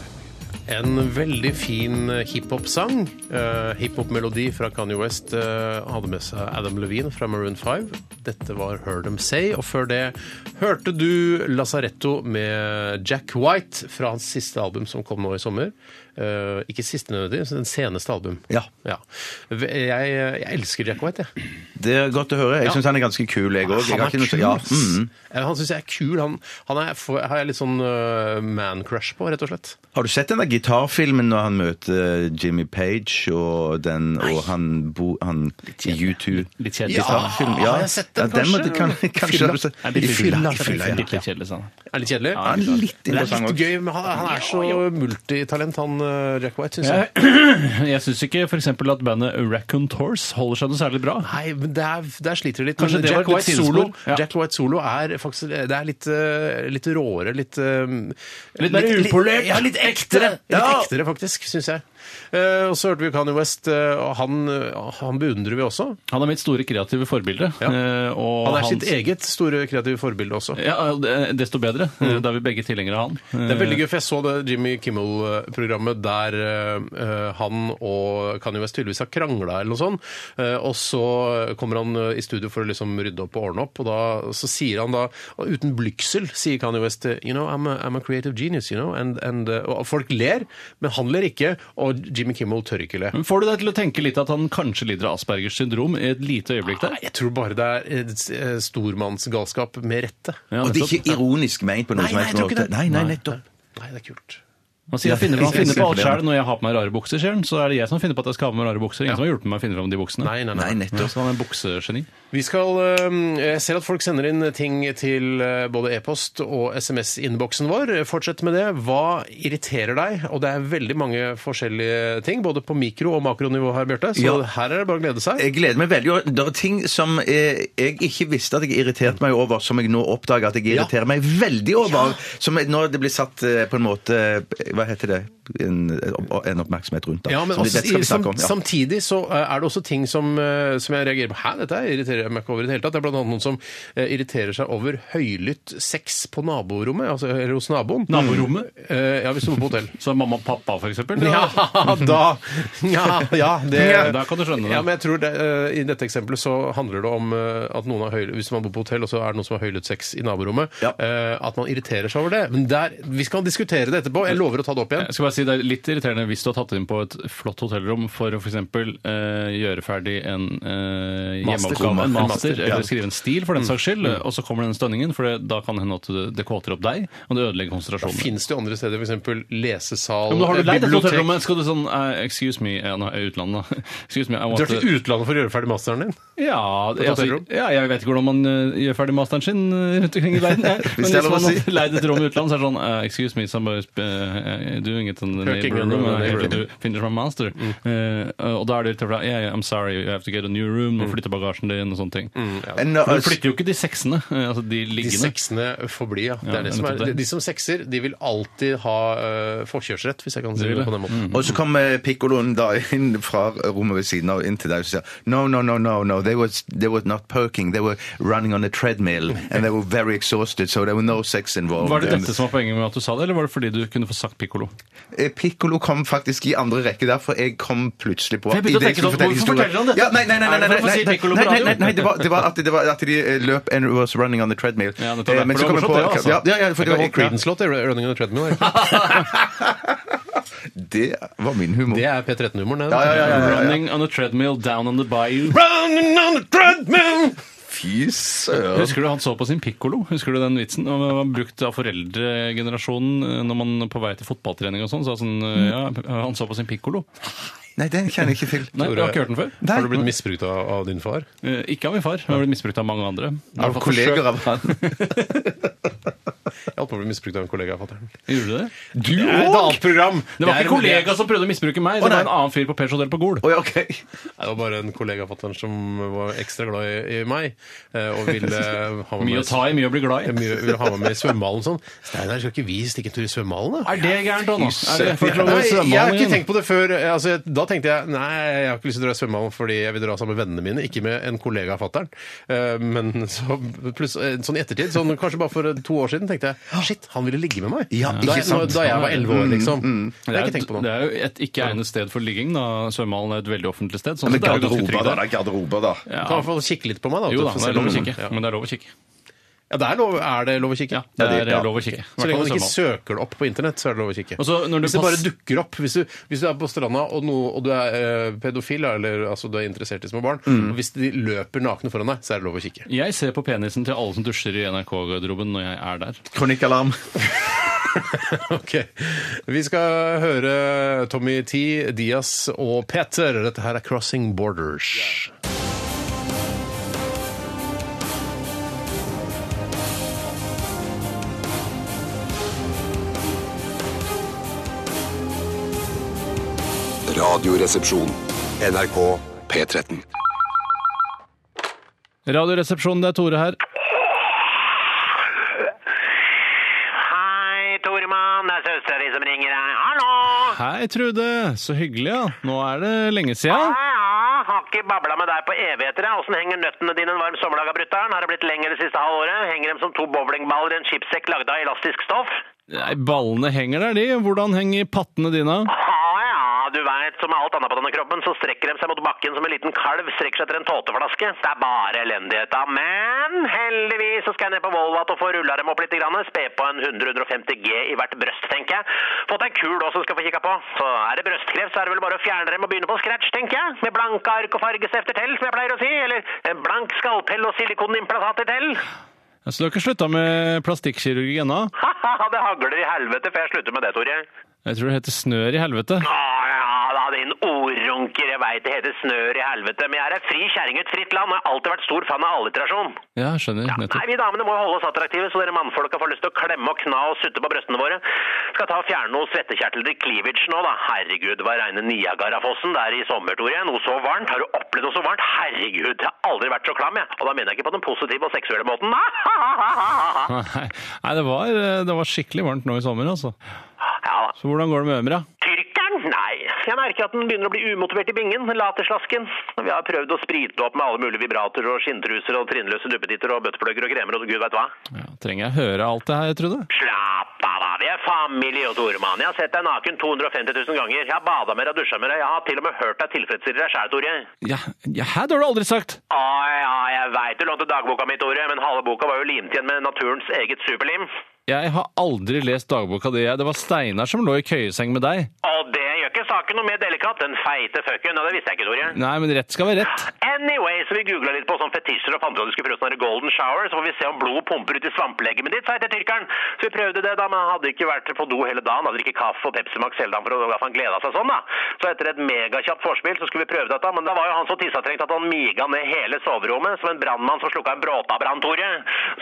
[SPEAKER 3] En veldig fin hiphop-sang. eh, Hiphop-melodi fra Kanye West. eh, hadde med seg Adam Levine fra Maroon 5. Dette var Heard Them Say. Og før det hørte du Lazaretto med Jack White fra hans siste album som kom nå i sommer. Eh, ikke siste nødvendigvis, men den seneste album.
[SPEAKER 4] Ja.
[SPEAKER 3] Jeg, jeg elsker Jack White, jeg.
[SPEAKER 4] Det er godt å høre. Jeg syns han er ganske kul, jeg òg.
[SPEAKER 3] Han er kul,
[SPEAKER 4] ja,
[SPEAKER 3] ass.
[SPEAKER 4] mm.
[SPEAKER 3] Eh, Han syns jeg er kul. Han, han er, får- har jeg litt sånn eh, man-crush på, rett og slett.
[SPEAKER 4] Har du sett den der gitarfilmen når han møter eh, Jimmy Page og, den, og han, bo, han i U2?
[SPEAKER 5] Litt kjedelig.
[SPEAKER 4] Gitarfilm,
[SPEAKER 3] Ja, har jeg sett den,
[SPEAKER 4] må
[SPEAKER 3] kanskje?
[SPEAKER 4] du- kan, kanskje
[SPEAKER 3] Fylla.
[SPEAKER 4] har du sett-
[SPEAKER 5] Nei,
[SPEAKER 4] I
[SPEAKER 5] litt
[SPEAKER 4] fylla.
[SPEAKER 5] kjedelig.
[SPEAKER 4] i fylla, ja.
[SPEAKER 5] Litt kjedelig, sa han.
[SPEAKER 3] Er litt kjedelig?
[SPEAKER 4] Han er litt
[SPEAKER 3] Det er
[SPEAKER 4] interessant
[SPEAKER 3] litt
[SPEAKER 4] også.
[SPEAKER 3] gøy, men han, han er så multitalent, han eh, Jack White, syns jeg.
[SPEAKER 5] Jeg syns ikke f.eks. at bandet Raccoon Tours holder seg noe særlig bra.
[SPEAKER 3] Nei, men der, der sliter de litt.
[SPEAKER 5] Kanskje
[SPEAKER 3] Men
[SPEAKER 5] det var
[SPEAKER 3] Jack,
[SPEAKER 5] et
[SPEAKER 3] White
[SPEAKER 5] litt
[SPEAKER 3] solo,
[SPEAKER 5] sidespor? Ja.
[SPEAKER 3] Jack White solo er faktisk det er litt, eh, litt råere, litt eh,
[SPEAKER 5] Litt mer upolert.
[SPEAKER 3] Ja, litt ektere!
[SPEAKER 5] Ja.
[SPEAKER 3] Litt ektere, faktisk, syns jeg. Eh, og så hørte vi Kanye West, eh, og han, eh, han beundrer vi også.
[SPEAKER 5] Han er mitt store kreative forbilde. eh, Og
[SPEAKER 3] Han er
[SPEAKER 5] hans-
[SPEAKER 3] sitt eget store kreative forbilde også.
[SPEAKER 5] Ja, det- desto bedre. Eh,
[SPEAKER 3] Mm.
[SPEAKER 5] Da er vi begge tilhengere av han.
[SPEAKER 3] Det er veldig gøy, for jeg så det Jimmy Kimmel-programmet der eh, han og Kanye West tydeligvis har krangla eller noe sånt. Eh, og så kommer han eh, i studio for å liksom rydde opp og ordne opp, og da, så sier han da, og uten blygsel, sier Kanye West eh, You know, I'm a, I'm a creative genius, you know. And, and, eh, og folk ler, men han ler ikke, og Jimmy Kimmel tør ikke le.
[SPEAKER 5] Men Får du deg til å tenke litt at han kanskje lider av Aspergers syndrom i et lite øyeblikk der?
[SPEAKER 3] Nei, jeg tror bare det er eh, stormannsgalskap med rette.
[SPEAKER 5] Ja,
[SPEAKER 4] Og det er
[SPEAKER 5] nettopp.
[SPEAKER 4] ikke ironisk meint på noen som helst måte. Nei, nei, nettopp.
[SPEAKER 3] Nei, det er kult.
[SPEAKER 5] Han sier han finner, han
[SPEAKER 4] Jeg- jeg-
[SPEAKER 5] finner på alt
[SPEAKER 4] jeg-
[SPEAKER 5] sjøl. Når jeg har på meg rare bukser, sier han, så er det jeg som finner på at jeg skal ha på meg rare bukser. Ingen som har hjulpet meg å finne fram de buksene.
[SPEAKER 3] Nei, nei, nei.
[SPEAKER 4] Nei,
[SPEAKER 5] Ja,
[SPEAKER 4] nettopp.
[SPEAKER 5] så han er en buksegeni.
[SPEAKER 3] Vi skal, eh, Jeg ser at folk sender inn ting til eh, både e-post og SMS-innboksen vår. Fortsett med det. Hva irriterer deg? Og det er veldig mange forskjellige ting, både på mikro- og makronivå her, Bjarte. Så
[SPEAKER 4] Ja.
[SPEAKER 3] her er det bare å glede seg.
[SPEAKER 4] Jeg gleder meg veldig. og Det er ting som eh, jeg ikke visste at jeg irriterte meg over, som jeg nå oppdager at jeg irriterer meg veldig over. Som jeg- når det blir satt eh, på en måte Hva heter det? En, en oppmerksomhet rundt. Da,
[SPEAKER 3] Ja, men
[SPEAKER 4] som vi
[SPEAKER 3] også,
[SPEAKER 4] vet skal vi snakke om,
[SPEAKER 3] sam,
[SPEAKER 4] ja.
[SPEAKER 3] samtidig så eh, er det også ting som, eh, som jeg reagerer på. Hæ, dette her irriterer jeg meg ikke over i det hele tatt. Det er blant annet noen som eh, irriterer seg over høylytt sex på naborommet, altså eller hos naboen.
[SPEAKER 5] Naborommet?
[SPEAKER 3] Eh, Ja, hvis du bor på hotell.
[SPEAKER 5] Mm. Så mamma og pappa, for eksempel.
[SPEAKER 3] Ja, da Ja, ja det
[SPEAKER 5] Ja, da kan du skjønne det.
[SPEAKER 3] Ja, men jeg tror det, eh, I dette eksempelet så handler det om eh, at noen har høy, hvis man bor på hotell, og så er det noen som har høylytt sex i naborommet,
[SPEAKER 4] Ja.
[SPEAKER 3] eh, at man irriterer seg over det. Men der, vi skal diskutere det etterpå. Jeg lover å ta det opp
[SPEAKER 5] Jeg
[SPEAKER 3] igjen.
[SPEAKER 5] skal bare si si det er litt irriterende hvis du har tatt inn på et flott hotellrom for å f.eks. Eh, gjøre ferdig en eh,
[SPEAKER 3] Master.
[SPEAKER 5] hjemmeoppgave, en
[SPEAKER 3] En
[SPEAKER 5] master,
[SPEAKER 3] master, ja. Mm.
[SPEAKER 5] eller skrive en stil, for den saks skyld, og så kommer den stønningen, for det, da kan det hende at det- det kåter opp deg, og det ødelegger konsentrasjonen.
[SPEAKER 3] Fins det jo andre steder, f.eks.
[SPEAKER 5] Ja,
[SPEAKER 3] lesesal,
[SPEAKER 5] men da har du
[SPEAKER 3] eh,
[SPEAKER 5] leid et
[SPEAKER 3] bibliotek?
[SPEAKER 5] hotellrommet, skal du sånn eh, Excuse me, ja, nå er jeg i utlandet, da. Excuse me, I
[SPEAKER 3] Du
[SPEAKER 5] want
[SPEAKER 3] drar til utlandet for å gjøre ferdig masteren din?
[SPEAKER 5] Ja,
[SPEAKER 3] et
[SPEAKER 5] altså,
[SPEAKER 3] hotellrom?
[SPEAKER 5] ja, jeg vet ikke hvordan man eh, gjør ferdig masteren sin eh, rundt omkring i verden. jeg. Men
[SPEAKER 4] det
[SPEAKER 5] hvis
[SPEAKER 4] er lov å
[SPEAKER 5] man
[SPEAKER 4] si.
[SPEAKER 5] har leid et rom i utlandet, så er det sånn eh, Excuse me, somebody's uh, doing it in the
[SPEAKER 3] Working
[SPEAKER 5] neighbor
[SPEAKER 3] in the
[SPEAKER 5] room. I have
[SPEAKER 3] neighbor
[SPEAKER 5] to finish my master.
[SPEAKER 4] Mm.
[SPEAKER 5] Eh, og da er det litt tøffere. Yeah, yeah, I'm sorry, you have to get a new room.
[SPEAKER 4] Mm.
[SPEAKER 5] Og flytte bagasjen din og sånne ting.
[SPEAKER 4] En, uh,
[SPEAKER 5] Men du flytter jo ikke de seksene, eh, altså de
[SPEAKER 3] De
[SPEAKER 5] liggende.
[SPEAKER 3] seksene får bli, ja. Det
[SPEAKER 5] Ja,
[SPEAKER 3] er det som er.
[SPEAKER 5] nettopp det.
[SPEAKER 3] De som sekser, de vil alltid ha eh, forkjørsrett, hvis jeg kan si
[SPEAKER 5] vil
[SPEAKER 3] det
[SPEAKER 5] det.
[SPEAKER 3] på den måten.
[SPEAKER 4] Og så kom eh, pikkoloen da inn fra rommet ved siden av inn til deg og sa No, no, no, no, no, they was, they were not poking, they were running on a treadmill and they were very exhausted, so there were no sex involved.
[SPEAKER 5] Var det dette som var poenget med at du sa det, eller var det fordi du kunne få sagt pikkolo?
[SPEAKER 4] Eh, Piccolo kom faktisk i andre rekke, derfor jeg kom plutselig på
[SPEAKER 5] Jeg begynte å
[SPEAKER 4] i det jeg
[SPEAKER 5] tenke
[SPEAKER 4] skulle
[SPEAKER 5] sånn,
[SPEAKER 4] fortelle
[SPEAKER 5] hvorfor
[SPEAKER 4] historien-
[SPEAKER 5] forteller han dette?
[SPEAKER 4] Ja, nei, nei, nei, nei,
[SPEAKER 5] Er det
[SPEAKER 4] nei,
[SPEAKER 5] for å få
[SPEAKER 4] nei,
[SPEAKER 5] si
[SPEAKER 4] nei,
[SPEAKER 5] Piccolo på
[SPEAKER 4] nei, nei,
[SPEAKER 5] radio?
[SPEAKER 4] nei, nei, det var, det var at, det var at de eh, løp and was running on a treadmill.
[SPEAKER 5] Ja, nettopp,
[SPEAKER 4] Eh,
[SPEAKER 5] derfor
[SPEAKER 4] men så
[SPEAKER 5] det var
[SPEAKER 4] kom jeg på
[SPEAKER 5] morsomt, det, altså.
[SPEAKER 4] ja, ja, ja, for
[SPEAKER 3] Det
[SPEAKER 4] det,
[SPEAKER 3] var
[SPEAKER 4] var,
[SPEAKER 3] Creedence-låt, det er Running on a Treadmill. er det ikke?
[SPEAKER 4] det var min humor.
[SPEAKER 3] Det er P13-humoren, det.
[SPEAKER 4] Ja, ja, ja, ja, ja, ja.
[SPEAKER 5] Running on a treadmill down on the bayou.
[SPEAKER 3] Running on a treadmill!
[SPEAKER 4] Fy søren.
[SPEAKER 5] Husker du han så på sin pikkolo? Husker du den vitsen? Og Den var brukt av foreldregenerasjonen eh, når man på vei til fotballtrening og sånn. Sa sånn eh, Ja, han så på sin pikkolo.
[SPEAKER 4] Nei, den kjenner jeg ikke til.
[SPEAKER 5] Nei, du har ikke hørt den før?
[SPEAKER 4] Nei.
[SPEAKER 3] Har du blitt misbrukt av, av din far?
[SPEAKER 5] Eh, Ikke av min far. Han har blitt misbrukt av mange andre.
[SPEAKER 4] Av kolleger av han.
[SPEAKER 3] Jeg holdt på å bli misbrukt av en kollega av fatter'n.
[SPEAKER 5] Gjorde du det?
[SPEAKER 3] Du òg! Det er et annet program!
[SPEAKER 5] Det var
[SPEAKER 3] er-
[SPEAKER 5] ikke kollega som prøvde å misbruke meg, det var en annen fyr på Pers Hotel på Gol.
[SPEAKER 4] Å, ja, ok.
[SPEAKER 3] Nei, Det var bare en kollega av fatter'n som var ekstra glad i, i meg, eh, og ville ha meg
[SPEAKER 5] Mye å ta i, mye å bli glad i.
[SPEAKER 3] mye, ville ha meg med i svømmehallen sånn. Steinar, skal ikke vi stikke en tur i svømmehallen, da?
[SPEAKER 5] Er det gærent, da? nå? Er det-
[SPEAKER 4] søren.
[SPEAKER 5] for å
[SPEAKER 3] Nei, jeg har ikke
[SPEAKER 5] svømmehallen igjen?
[SPEAKER 3] tenkt på det før. eh, Altså, jeg- da tenkte jeg nei, jeg har ikke lyst til å dra i svømmehallen fordi jeg vil dra sammen med vennene mine, ikke med en kollega av fatter'n. Eh, Men så, pluss, eh, sånn i ettertid, sånn, kanskje bare for to år siden, tenkte jeg shit, han ville ligge med meg.
[SPEAKER 4] Ja,
[SPEAKER 3] da,
[SPEAKER 4] ikke
[SPEAKER 3] jeg,
[SPEAKER 4] sant.
[SPEAKER 3] da jeg var elleve
[SPEAKER 5] Mm,
[SPEAKER 3] år, liksom. Det
[SPEAKER 5] Det
[SPEAKER 3] har
[SPEAKER 5] er,
[SPEAKER 3] jeg ikke tenkt på nå.
[SPEAKER 5] det er jo et ikke egnet sted for ligging. da Svømmehallen er et veldig offentlig sted. Sånn
[SPEAKER 4] Men
[SPEAKER 5] sett er det jo ganske
[SPEAKER 4] garderober,
[SPEAKER 5] trygt
[SPEAKER 4] da.
[SPEAKER 5] der.
[SPEAKER 4] det er Garderober, da.
[SPEAKER 5] Ja.
[SPEAKER 3] Kan i hvert fall kikke litt på meg, da.
[SPEAKER 5] Jo da,
[SPEAKER 3] for å
[SPEAKER 5] det
[SPEAKER 3] se
[SPEAKER 5] er lov å
[SPEAKER 3] om-
[SPEAKER 5] kikke.
[SPEAKER 3] Ja.
[SPEAKER 5] Men det er lov å kikke.
[SPEAKER 3] Ja, det er, lov, er det lov å kikke?
[SPEAKER 5] Ja, det
[SPEAKER 4] det er-
[SPEAKER 5] er
[SPEAKER 4] ja.
[SPEAKER 5] lov å kikke.
[SPEAKER 3] Så lenge man
[SPEAKER 5] Hvertfall
[SPEAKER 3] ikke
[SPEAKER 5] svømmehallen.
[SPEAKER 3] søker det opp på internett, så er det lov å kikke.
[SPEAKER 5] Og så når du
[SPEAKER 3] hvis det bare
[SPEAKER 5] pass-
[SPEAKER 3] dukker opp, hvis du, hvis du er på stranda og, no, og du er eh, pedofil, da, eller altså, du er interessert i små barn,
[SPEAKER 5] Mm.
[SPEAKER 3] og hvis de løper nakne foran deg, så er det lov å kikke.
[SPEAKER 5] Jeg ser på penisen til alle som dusjer i NRK-garderoben når jeg er der.
[SPEAKER 4] Kronikkalarm.
[SPEAKER 3] Ok. Vi skal høre Tommy T, Diaz og Peter. Dette her er 'Crossing Borders'.
[SPEAKER 2] Radioresepsjon. NRK P13.
[SPEAKER 5] Radioresepsjonen, det er Tore her.
[SPEAKER 6] Hei, Tormann. Det er søstera di som ringer deg. Hallo!
[SPEAKER 5] Hei, Trude. Så hyggelig, ja. Nå er det lenge siden.
[SPEAKER 6] Ja, ja. Har ikke babla med deg på evigheter. jeg. Åssen henger nøttene dine en varm sommerdag av brutter'n? Har det blitt lenger det siste halvåret? Henger dem som to bowlingballer i en chipsekk lagd av elastisk stoff?
[SPEAKER 5] Nei, ballene henger der, de. Hvordan henger pattene dine?
[SPEAKER 6] Ja, Ah, ja. Du veit, som med alt annet på denne kroppen, så strekker de seg mot bakken som en liten kalv strekker seg etter en tåteflaske. Det er bare elendighet, da. Men heldigvis så skal jeg ned på Volvat og få rulla dem opp litt. grann. Spe på en 150 G i hvert brøst, tenker jeg. Fått ei kul også som skal få kikka på. Så er det brøstkreft, så er det vel bare å fjerne dem og begynne på scratch, tenker jeg. Med blanke ark og fargestifter til, som jeg pleier å si. Eller en blank skalpell og silikonimplantater til.
[SPEAKER 5] Så Altså, du har ikke slutta med plastikkirurgi ennå?
[SPEAKER 6] Ha-ha, det hagler i helvete, for jeg slutter med det, Tore.
[SPEAKER 5] Jeg tror det heter snør i helvete.
[SPEAKER 6] Å ja da, din ordrunker. Jeg veit det heter snør i helvete, men jeg er ei fri kjerring i et fritt land og jeg har alltid vært stor fan av alliterasjon.
[SPEAKER 5] Ja, skjønner.
[SPEAKER 6] Nei,
[SPEAKER 5] Nettopp.
[SPEAKER 6] vi damene må jo holde oss attraktive, så dere mannfolka får lyst til å klemme og kna og sutte på brøstene våre. Skal ta og fjerne noen svettekjertler til cleavage nå, da. Herregud, hva regner Niagarafossen der i sommer, Tore? Noe så varmt? Har du opplevd noe så varmt? Herregud, jeg har aldri vært så klam, jeg. Og da mener jeg ikke på den positive og seksuelle måten.
[SPEAKER 5] Nei, Nei, det var, eh, det var skikkelig varmt nå i sommer, altså.
[SPEAKER 6] Ja da.
[SPEAKER 5] Så hvordan går det med Ømra?
[SPEAKER 6] Tyrkeren? Nei. Jeg merker at den begynner å bli umotivert i bingen, laterslasken. Vi har prøvd å sprite opp med alle mulige vibratorer og skinntruser og trinnløse duppeditter og bøtteplugger og kremer og gud veit hva.
[SPEAKER 5] Ja, trenger jeg høre alt det her, Trude?
[SPEAKER 6] Slapp av, da. Vi er familie, og Toremann. Jeg har sett deg naken 250 000 ganger. Jeg har bada med deg og dusja med deg. Jeg har til og med hørt deg tilfredsstille deg sjæl, Tore.
[SPEAKER 5] Ja, ja, hæ, det har du aldri sagt!
[SPEAKER 6] Å ja, jeg veit du lånte dagboka mi, Tore, men halve boka var jo limt igjen med naturens eget superlim.
[SPEAKER 5] Jeg har aldri lest dagboka di. jeg. Det var Steinar som lå i køyeseng med deg.
[SPEAKER 6] Og det gjør ikke saken noe mer delikat. Den feite fucken. Og det visste jeg ikke, Tore.
[SPEAKER 5] Nei, men rett skal være rett.
[SPEAKER 6] Anyway, så vi googla litt på sånn fetisjer og fant ut at du skulle prøve sånn her golden shower, så får vi se om blodet pumper ut i svampelegemet ditt, sa jeg til tyrkeren. Så vi prøvde det, da, men han hadde ikke vært på do hele dagen. Han hadde drukket kaffe og Pepsi Max hele dagen for å- at han gleda seg sånn, da. Så etter et megakjapt vorspiel så skulle vi prøve dette, men da var jo han så tissetrengt at han miga ned hele soverommet som en brannmann som slukka en bråtabrann, Tore.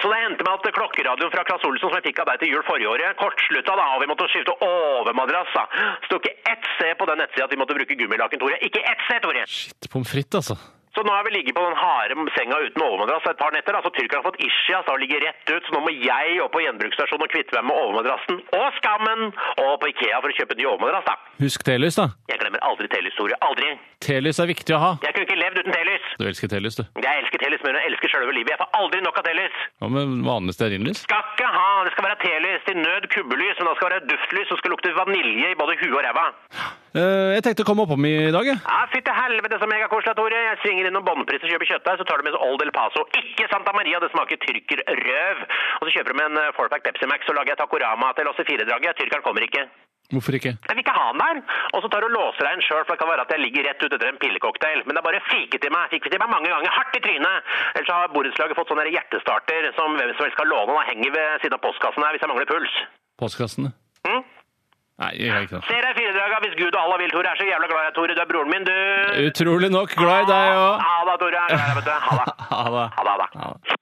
[SPEAKER 6] Så det endte med at klokkeradioen fra Claes Olsson som jeg fikk av deg til jul forrige året, kortslutta da, og vi måtte skifte overmadrass, da. Sto ikke ett sted på den nettsida at vi måtte bruke gummilaken, Tore. Ikke ett sted, Tore!
[SPEAKER 5] Shit, pommes frites, altså.
[SPEAKER 6] Så nå har vi ligget på den harde senga uten overmadrass et par netter. Altså, Tyrkerne har fått ischias og ligger rett ut, så nå må jeg opp på gjenbruksstasjonen og kvitte meg med overmadrassen og skammen, og på Ikea for å kjøpe ny overmadrass, da.
[SPEAKER 5] Husk telys, da.
[SPEAKER 6] Jeg glemmer aldri telehistorie. Aldri.
[SPEAKER 5] Telys er viktig å ha.
[SPEAKER 6] Jeg kunne ikke levd uten telys.
[SPEAKER 5] Du elsker telys, du.
[SPEAKER 6] Jeg elsker telys mer enn jeg elsker selve livet. Jeg får aldri nok av telys.
[SPEAKER 5] Hva med vanlig stearinlys?
[SPEAKER 6] Skal ikke ha. Det skal være telys til nød kubbelys, men det skal være duftlys som skal lukte vanilje i både huet og ræva.
[SPEAKER 5] Eh, jeg tenkte å komme oppom i dag, jeg.
[SPEAKER 6] Ja, Fy til helvete, så megakoselig, Tore. Jeg svinger innom Bånnpris og kjøper kjøttdeig, så tar du med så Old El Paso. Ikke Santa Maria, det smaker tyrkerrøv. Og så kjøper du med en eh, fourpack Pepsi Max, så lager jeg tacorama til oss i firedraget. Tyrkeren kommer ikke.
[SPEAKER 5] Hvorfor ikke?
[SPEAKER 6] Jeg vil ikke ha den der. Og så tar du og låser deg inn sjøl, for det kan være at jeg ligger rett ut etter en pillecocktail. Men det er bare fiket i meg. Fikk til meg mange ganger. Hardt i trynet. Ellers har borettslaget fått sånne der hjertestarter som hvem som helst skal låne. og henger ved siden av postkassen her hvis jeg mangler puls.
[SPEAKER 5] Postkassene?
[SPEAKER 6] Mm?
[SPEAKER 5] Nei, jeg gjør ikke det.
[SPEAKER 6] Ser deg i firedraget hvis Gud og Allah vil, Tore. Jeg er så jævla glad i deg, Tore. Du er broren min, du.
[SPEAKER 5] Utrolig nok glad i deg òg.
[SPEAKER 6] Ha det, Tore. Jeg er glad i deg, vet du. Ha det.
[SPEAKER 5] Ha det.
[SPEAKER 6] Ha det, ha det.
[SPEAKER 5] Ha det.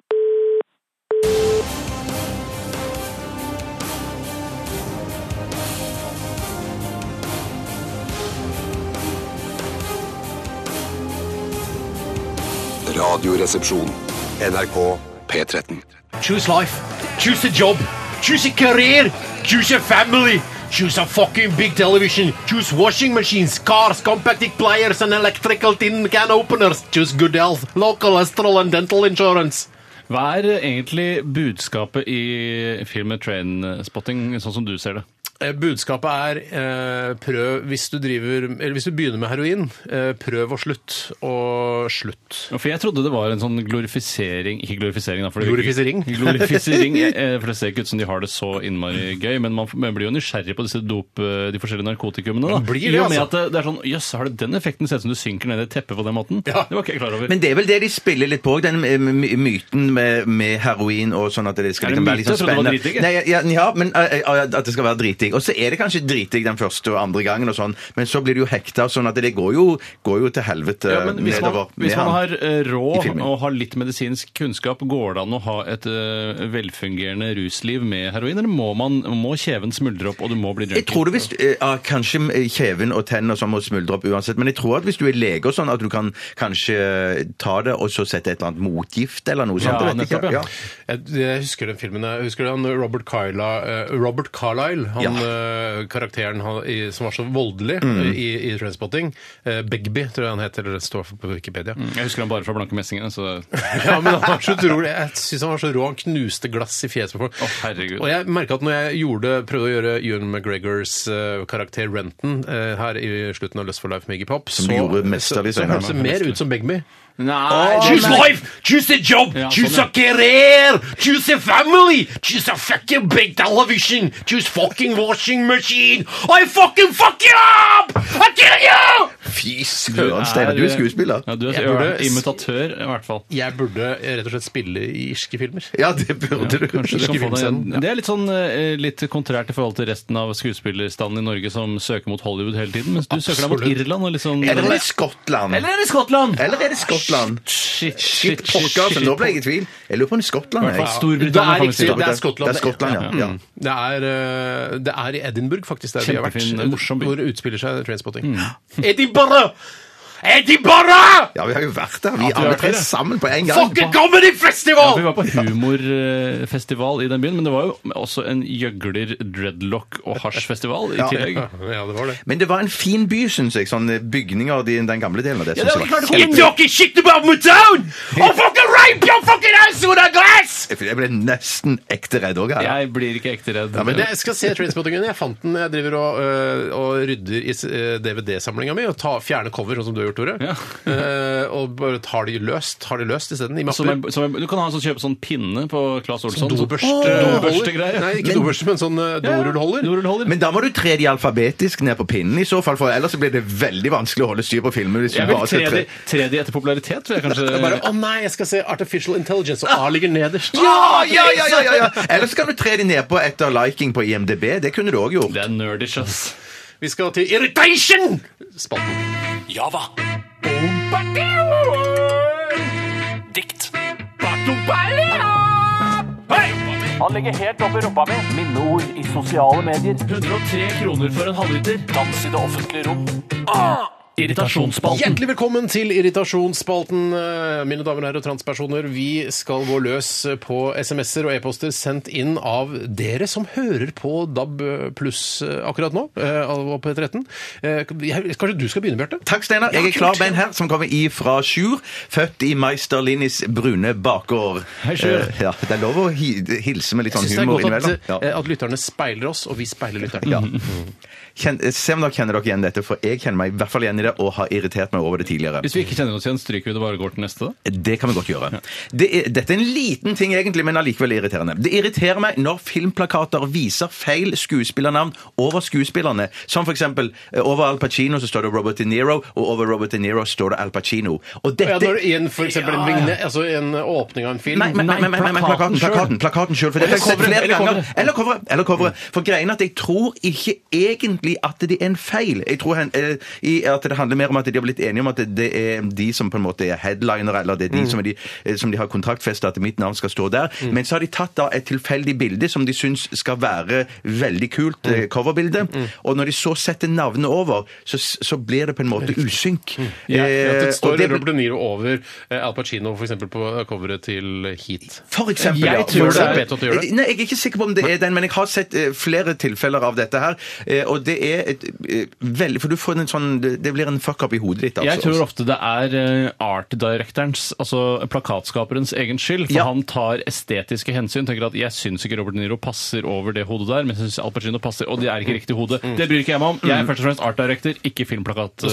[SPEAKER 2] Radioresepsjon. NRK P13.
[SPEAKER 3] Choose life. Choose a job. Choose a career. Choose a family. Choose a fucking big television. Choose washing machines, cars, compacting pliers, and electrical tin can openers. Choose good health, local astral and dental insurance.
[SPEAKER 5] Hva er egentlig budskapet i filmen Trainspotting, sånn som du ser det?
[SPEAKER 3] Eh, Budskapet er eh, prøv hvis du driver Eller hvis du begynner med heroin, eh, prøv og slutt. Og slutt.
[SPEAKER 5] For jeg trodde det var en sånn glorifisering Ikke glorifisering, da. For det-
[SPEAKER 3] Glorifisering.
[SPEAKER 5] glorifisering eh, for det ser ikke ut som de har det så innmari gøy, men man, man blir jo nysgjerrig på disse dop, eh, de forskjellige narkotikumene. Da.
[SPEAKER 3] Man blir det,
[SPEAKER 5] I og med
[SPEAKER 3] altså.
[SPEAKER 5] at det, det er sånn Jøss, har det den effekten? Ser ut som du synker ned i et teppe på den måten?
[SPEAKER 3] Ja.
[SPEAKER 5] Det var ikke jeg klar over.
[SPEAKER 4] Men det er vel det de spiller litt på, den eh, my- myten med, med heroin og sånn at det skal
[SPEAKER 5] Er det
[SPEAKER 4] liksom være
[SPEAKER 5] myte?
[SPEAKER 4] litt sånn
[SPEAKER 5] Jeg trodde det var
[SPEAKER 4] spennende.
[SPEAKER 5] dritdigg, jeg.
[SPEAKER 4] Nei, ja, ja, men eh, eh, at det skal være dritdigg. Og så er det kanskje dritdigg den første og andre gangen og sånn, men så blir det jo hekta, sånn at det går jo, går jo til helvete
[SPEAKER 5] ja, men hvis man,
[SPEAKER 4] nedover
[SPEAKER 5] hvis man
[SPEAKER 4] han.
[SPEAKER 5] har eh,
[SPEAKER 4] i
[SPEAKER 5] råd
[SPEAKER 4] filmen.
[SPEAKER 5] og har litt medisinsk kunnskap, går det an å ha et eh, velfungerende rusliv med heroin, eller må, man, må kjeven smuldre opp og du må bli
[SPEAKER 4] Jeg
[SPEAKER 5] drunken?
[SPEAKER 4] tror du hvis, eh, ja, Kanskje eh, kjeven og tennene og sånn må smuldre opp uansett, men jeg tror at hvis du er lege og sånn, at du kan kanskje eh, ta det og så sette et eller annet motgift eller noe sånt.
[SPEAKER 5] Ja,
[SPEAKER 4] jeg vet ikke.
[SPEAKER 5] nettopp, ja.
[SPEAKER 3] Jeg, jeg husker den filmen. Jeg husker han Robert, Carla, eh, Robert Carlyle, han eh, karakteren han, i, som var så voldelig
[SPEAKER 4] Mm.
[SPEAKER 3] eh, i, i Trainspotting. Eh, Begby, tror jeg han heter, eller det står på Wikipedia.
[SPEAKER 4] Mm.
[SPEAKER 5] Jeg husker han bare fra Blanke messingene, så
[SPEAKER 3] Ja, men han var så utrolig. Jeg syns han var så rå. Han knuste glass i fjeset på folk.
[SPEAKER 5] Å, herregud.
[SPEAKER 3] Og jeg merka at når jeg gjorde, prøvde å gjøre Ewan McGregors eh, karakter Renton eh, her i slutten av Lust for life med Iggy Pop,
[SPEAKER 4] Som du gjorde mesterlig
[SPEAKER 3] så, så
[SPEAKER 4] senere.
[SPEAKER 3] hørtes det mer ut som Begby.
[SPEAKER 5] Nei!
[SPEAKER 3] Choose life! Choose a job!
[SPEAKER 5] Ja,
[SPEAKER 3] choose
[SPEAKER 5] sånn,
[SPEAKER 3] a career! Choose a family! Choose a fucking big television! Choose fucking washing machine! I fucking fuck you up! I kill you!
[SPEAKER 4] Fy søren, Steinar, du er skuespiller.
[SPEAKER 5] Ja, du er
[SPEAKER 3] Jeg burde-
[SPEAKER 5] ørn- imitatør, i hvert fall.
[SPEAKER 3] Jeg burde eh, rett og slett spille i irske filmer.
[SPEAKER 4] Ja, det burde du.
[SPEAKER 5] Kanskje du
[SPEAKER 3] Irske
[SPEAKER 5] kan få deg
[SPEAKER 3] filmscenen,
[SPEAKER 5] en- Det er litt sånn eh, litt kontrært i forhold til resten av skuespillerstanden i Norge som søker mot Hollywood hele tiden, mens du søker deg mot
[SPEAKER 3] Absolutt.
[SPEAKER 5] Irland og litt sånn
[SPEAKER 4] Eller er det Skottland?
[SPEAKER 5] Eller er det Skottland?
[SPEAKER 4] Eller er det Skottland?
[SPEAKER 5] Shit,
[SPEAKER 4] Shit, pokker, altså, nå ble jeg i tvil. Jeg lurer på om det er Skottland.
[SPEAKER 5] Hvertfall
[SPEAKER 4] jeg.
[SPEAKER 5] Storbritannia,
[SPEAKER 3] Det er
[SPEAKER 5] kan vi si.
[SPEAKER 3] riktig, det er
[SPEAKER 4] Det
[SPEAKER 3] Skottland.
[SPEAKER 4] er Skottland, ja. ja.
[SPEAKER 3] Det er, eh, det er i Edinburgh, faktisk, der vi
[SPEAKER 5] Kjempefin,
[SPEAKER 3] har vært.
[SPEAKER 5] morsom by.
[SPEAKER 3] Hvor det utspiller seg Trainspotting. Edinburgh! Edinburgh!
[SPEAKER 4] Ja, vi har jo vært der. Vi
[SPEAKER 5] har
[SPEAKER 4] alle
[SPEAKER 5] vært
[SPEAKER 4] tre
[SPEAKER 5] der, ja.
[SPEAKER 4] sammen på en gang.
[SPEAKER 3] Fucking comedy
[SPEAKER 5] Ja,
[SPEAKER 3] festival!
[SPEAKER 5] Vi var på humorfestival i den byen, men det var jo også en gjøgler, dreadlock og hasjfestival i
[SPEAKER 4] Ja.
[SPEAKER 5] tillegg.
[SPEAKER 3] Ja, det var det.
[SPEAKER 4] Men det var en fin by, syns jeg. Sånne bygninger i den gamle delen av det. Synes jeg, var
[SPEAKER 3] You talking shit about my town! I'll fucking rape your fucking ass with a glass!
[SPEAKER 4] kjempe- jeg ble nesten ekte redd òg.
[SPEAKER 5] Jeg blir ikke ekte redd.
[SPEAKER 3] Men jeg skal se eh, Trainspotting igjen. Jeg fant den. Jeg driver og, øh, og rydder i DVD-samlinga mi og ta, fjerner cover, sånn som du har gjort, Tore.
[SPEAKER 5] Ja.
[SPEAKER 3] Eh, og bare tar de løst tar de løst isteden. I mapper. sånn
[SPEAKER 5] Som en, som en, du kan ha en sånn, kjøpe sånn pinne på Claes
[SPEAKER 4] Sånn
[SPEAKER 5] Olsson. sånn
[SPEAKER 3] Dobørste-
[SPEAKER 5] Dobørstegreie.
[SPEAKER 3] eh, Nei, ikke dobørste, men sånn eh, dorullholder.
[SPEAKER 5] Dorullholder.
[SPEAKER 4] Men da må du tre de alfabetisk ned på pinnen i så fall, for ellers så blir det veldig vanskelig å holde styr på filmer hvis du
[SPEAKER 5] Jeg vil
[SPEAKER 4] bare
[SPEAKER 5] tre
[SPEAKER 4] skal
[SPEAKER 5] de,
[SPEAKER 4] tre.
[SPEAKER 5] tre de etter popularitet, tror jeg kanskje.
[SPEAKER 3] Det er bare, Å nei, jeg skal se Artificial Intelligence, og A ligger nederst.
[SPEAKER 4] Ja, ja, ja, ja, ja, ja. Ellers kan du tre de ned på etter liking på IMDb. Det kunne du òg gjort.
[SPEAKER 5] Det er nerdish, ass.
[SPEAKER 3] Vi skal til Irritation! Spalten.
[SPEAKER 7] Java. Dikt. Han ligger helt oppi rumpa mi. Minneord i sosiale medier.
[SPEAKER 5] 103 kroner for en halvliter.
[SPEAKER 7] Dans i det offentlige rom. Ah!
[SPEAKER 5] Irritasjonsspalten.
[SPEAKER 3] Hjertelig velkommen til Irritasjonsspalten, eh, mine damer og herrer og transpersoner. Vi skal gå løs på SMS-er og e-poster sendt inn av dere som hører på DAB pluss akkurat nå, eh, og på P13. Eh, jeg- Kanskje du skal begynne, Bjarte?
[SPEAKER 4] Takk, Steinar. Jeg er klar med en her som kommer ifra Sjur. Født i Meister Linnis brune bakgård.
[SPEAKER 5] Hei, Sjur.
[SPEAKER 4] Eh, Ja, det er lov å hi- hilse med litt
[SPEAKER 3] Jeg
[SPEAKER 4] sånn
[SPEAKER 3] syns det er
[SPEAKER 4] humor
[SPEAKER 3] godt at,
[SPEAKER 4] innimellom. Ja.
[SPEAKER 3] eh, at lytterne speiler oss, og vi speiler lytterne.
[SPEAKER 4] Ja. Kjenn, eh, se om dere kjenner dere igjen dette, for jeg kjenner meg i hvert fall igjen i det og har irritert meg over det tidligere.
[SPEAKER 5] Hvis vi ikke kjenner oss igjen, stryker vi det bare og går til neste, da?
[SPEAKER 4] Det kan vi godt gjøre. Det er, dette er en liten ting egentlig, men allikevel irriterende. Det irriterer meg når filmplakater viser feil skuespillernavn over skuespillerne. Som for eksempel eh, over Al Pacino så står det Robert De Niro, og over Robert De Niro står det Al Pacino. Og dette...
[SPEAKER 3] Ja, når igjen for eksempel en, vigne, altså en åpning av en film
[SPEAKER 4] Nei, men, men, men, men, men plakaten, plakaten, plakaten selv. For det har jeg sett
[SPEAKER 5] coveret,
[SPEAKER 4] flere
[SPEAKER 5] eller
[SPEAKER 4] ganger.
[SPEAKER 5] coveret.
[SPEAKER 4] Eller coveret. Eller coveret. For greien er at jeg tror ikke egentlig at det er en feil. Jeg tror hen, eh, i at det handler mer om at de har blitt enige om at det- det er de som på en måte er headliner, eller det er de, som, er de eh, som de har kontraktfestet at mitt navn skal stå der. Men så har de tatt da et tilfeldig bilde som de syns skal være veldig kult eh, coverbilde. Og når de så setter navnet over, så, så blir det på en måte usynk.
[SPEAKER 3] Ja, at
[SPEAKER 4] Eh,
[SPEAKER 3] det
[SPEAKER 4] og
[SPEAKER 3] står
[SPEAKER 4] det-
[SPEAKER 3] Robert De Niro over eh, Al Pacino for eksempel, på coveret til Heat.
[SPEAKER 4] For eksempel,
[SPEAKER 5] Jeg
[SPEAKER 4] ja. For
[SPEAKER 5] tror det er-
[SPEAKER 4] eksempel.
[SPEAKER 3] Vet du at det gjør det?
[SPEAKER 4] Nei, jeg er ikke sikker på om det er den, men jeg har sett eh, flere tilfeller av dette her. eh, Og det er et eh, veldig For du får en sånn Det det blir en fuck up i hodet ditt, altså.
[SPEAKER 5] Jeg tror ofte det er eh, art directorens, altså plakatskaperens, egen skyld. For
[SPEAKER 4] Ja.
[SPEAKER 5] han tar estetiske hensyn. tenker at 'jeg syns ikke Robert De Niro passer over det hodet der', men jeg syns Al Pacino passer, og det er ikke riktig hode. Det bryr ikke jeg meg om. Jeg er først og fremst art director, ikke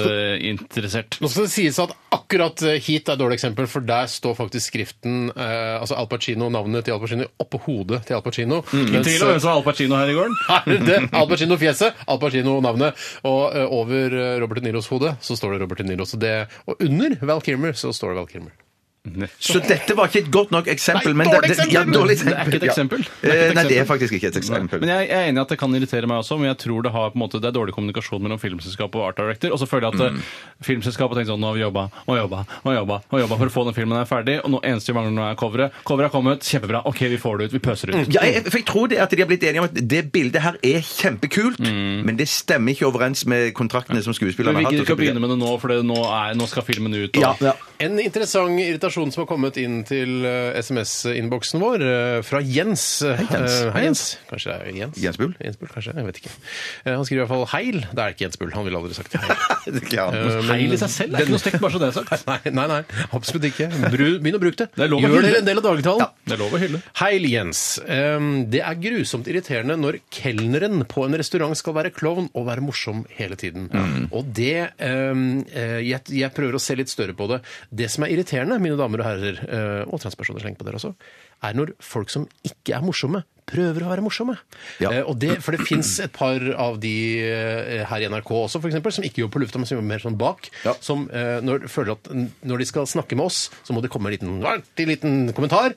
[SPEAKER 5] filmplakatinteressert.
[SPEAKER 3] Nå skal det sies at akkurat eh, Heat er et dårlig eksempel, for der står faktisk skriften eh, altså Al Pacino, navnet til Al Pacino, oppå hodet til Al Pacino.
[SPEAKER 5] Ingen tvil om hvem som har Al Pacino her i gården.
[SPEAKER 3] er det Al Pacino-fjeset, Al Pacino-navnet. Og eh, over eh, Robert De Niros hode så står det Robert De Niro. Så det, og under Val Kilmer så står det Val Kilmer.
[SPEAKER 4] Så dette var ikke et godt nok eksempel.
[SPEAKER 3] Nei,
[SPEAKER 4] men
[SPEAKER 3] dårlig
[SPEAKER 4] det- det-
[SPEAKER 3] eksempel!
[SPEAKER 4] Ja, dårlig
[SPEAKER 5] Det er ikke et
[SPEAKER 4] ja.
[SPEAKER 5] eksempel. Det er ikke et
[SPEAKER 4] Eh, Nei, det er
[SPEAKER 5] eksempel.
[SPEAKER 4] faktisk ikke et eksempel.
[SPEAKER 5] Men jeg, jeg er enig i at det kan irritere meg også, men jeg tror det, har, på en måte, det er dårlig kommunikasjon mellom filmselskapet og art director. Og så føler jeg at eh, filmselskapet tenker sånn Nå har vi jobba og jobba og jobba og jobba for å få den filmen her ferdig, og nå eneste vi mangler nå er coveret. Coveret er kommet, kjempebra. OK, vi får det ut. Vi pøser ut.
[SPEAKER 4] Mm. Ja, jeg, for jeg tror det at de har blitt enige om at det bildet her er kjempekult, men det stemmer ikke overens med kontraktene som
[SPEAKER 5] Mm. Men
[SPEAKER 4] skuespillerne
[SPEAKER 5] vi
[SPEAKER 4] har hatt. og
[SPEAKER 5] gidder
[SPEAKER 4] så
[SPEAKER 5] ikke å
[SPEAKER 4] blir
[SPEAKER 5] begynne med det nå, for det nå, er, nå skal filmen ut. Og,
[SPEAKER 4] ja, ja.
[SPEAKER 3] En interessant irritasjon som har kommet inn til eh, SMS-innboksen vår, eh, fra Jens. Hei,
[SPEAKER 4] Jens.
[SPEAKER 3] Hei, Jens. Kanskje det er Jens?
[SPEAKER 4] Jens Bull?
[SPEAKER 3] Jens Bull, kanskje. Jeg vet ikke. Eh, Han skriver i hvert fall 'heil'. Det er ikke Jens Bull. Han ville aldri sagt heil. Eh,
[SPEAKER 4] Ja.
[SPEAKER 5] Feil i seg selv er ikke noe stekt, bare så det er sagt.
[SPEAKER 3] Nei, nei, nei, absolutt ikke. Bru, begynn å bruke det.
[SPEAKER 5] Det er lov å
[SPEAKER 3] Gjør
[SPEAKER 5] hylle.
[SPEAKER 3] dere en del av dagligtalen.
[SPEAKER 5] Det er lov å hylle.
[SPEAKER 3] Heil, Jens. Ehm, det er grusomt irriterende når kelneren på en restaurant skal være klovn og være morsom hele tiden. Mm. Og det ehm, eh, jeg, jeg prøver å se litt større på det. Det som er irriterende, mine damer og herrer, eh, og transpersoner sleng på dere også, er når folk som ikke er morsomme, prøver å være morsomme.
[SPEAKER 4] Ja.
[SPEAKER 3] Eh, og det, for det fins et par av de eh, her i NRK også, for eksempel, som ikke jobber på lufta, men som jobber mer sånn bak.
[SPEAKER 4] Ja.
[SPEAKER 3] Som eh, når, føler at n- når de skal snakke med oss, så må det komme en liten, artig liten kommentar.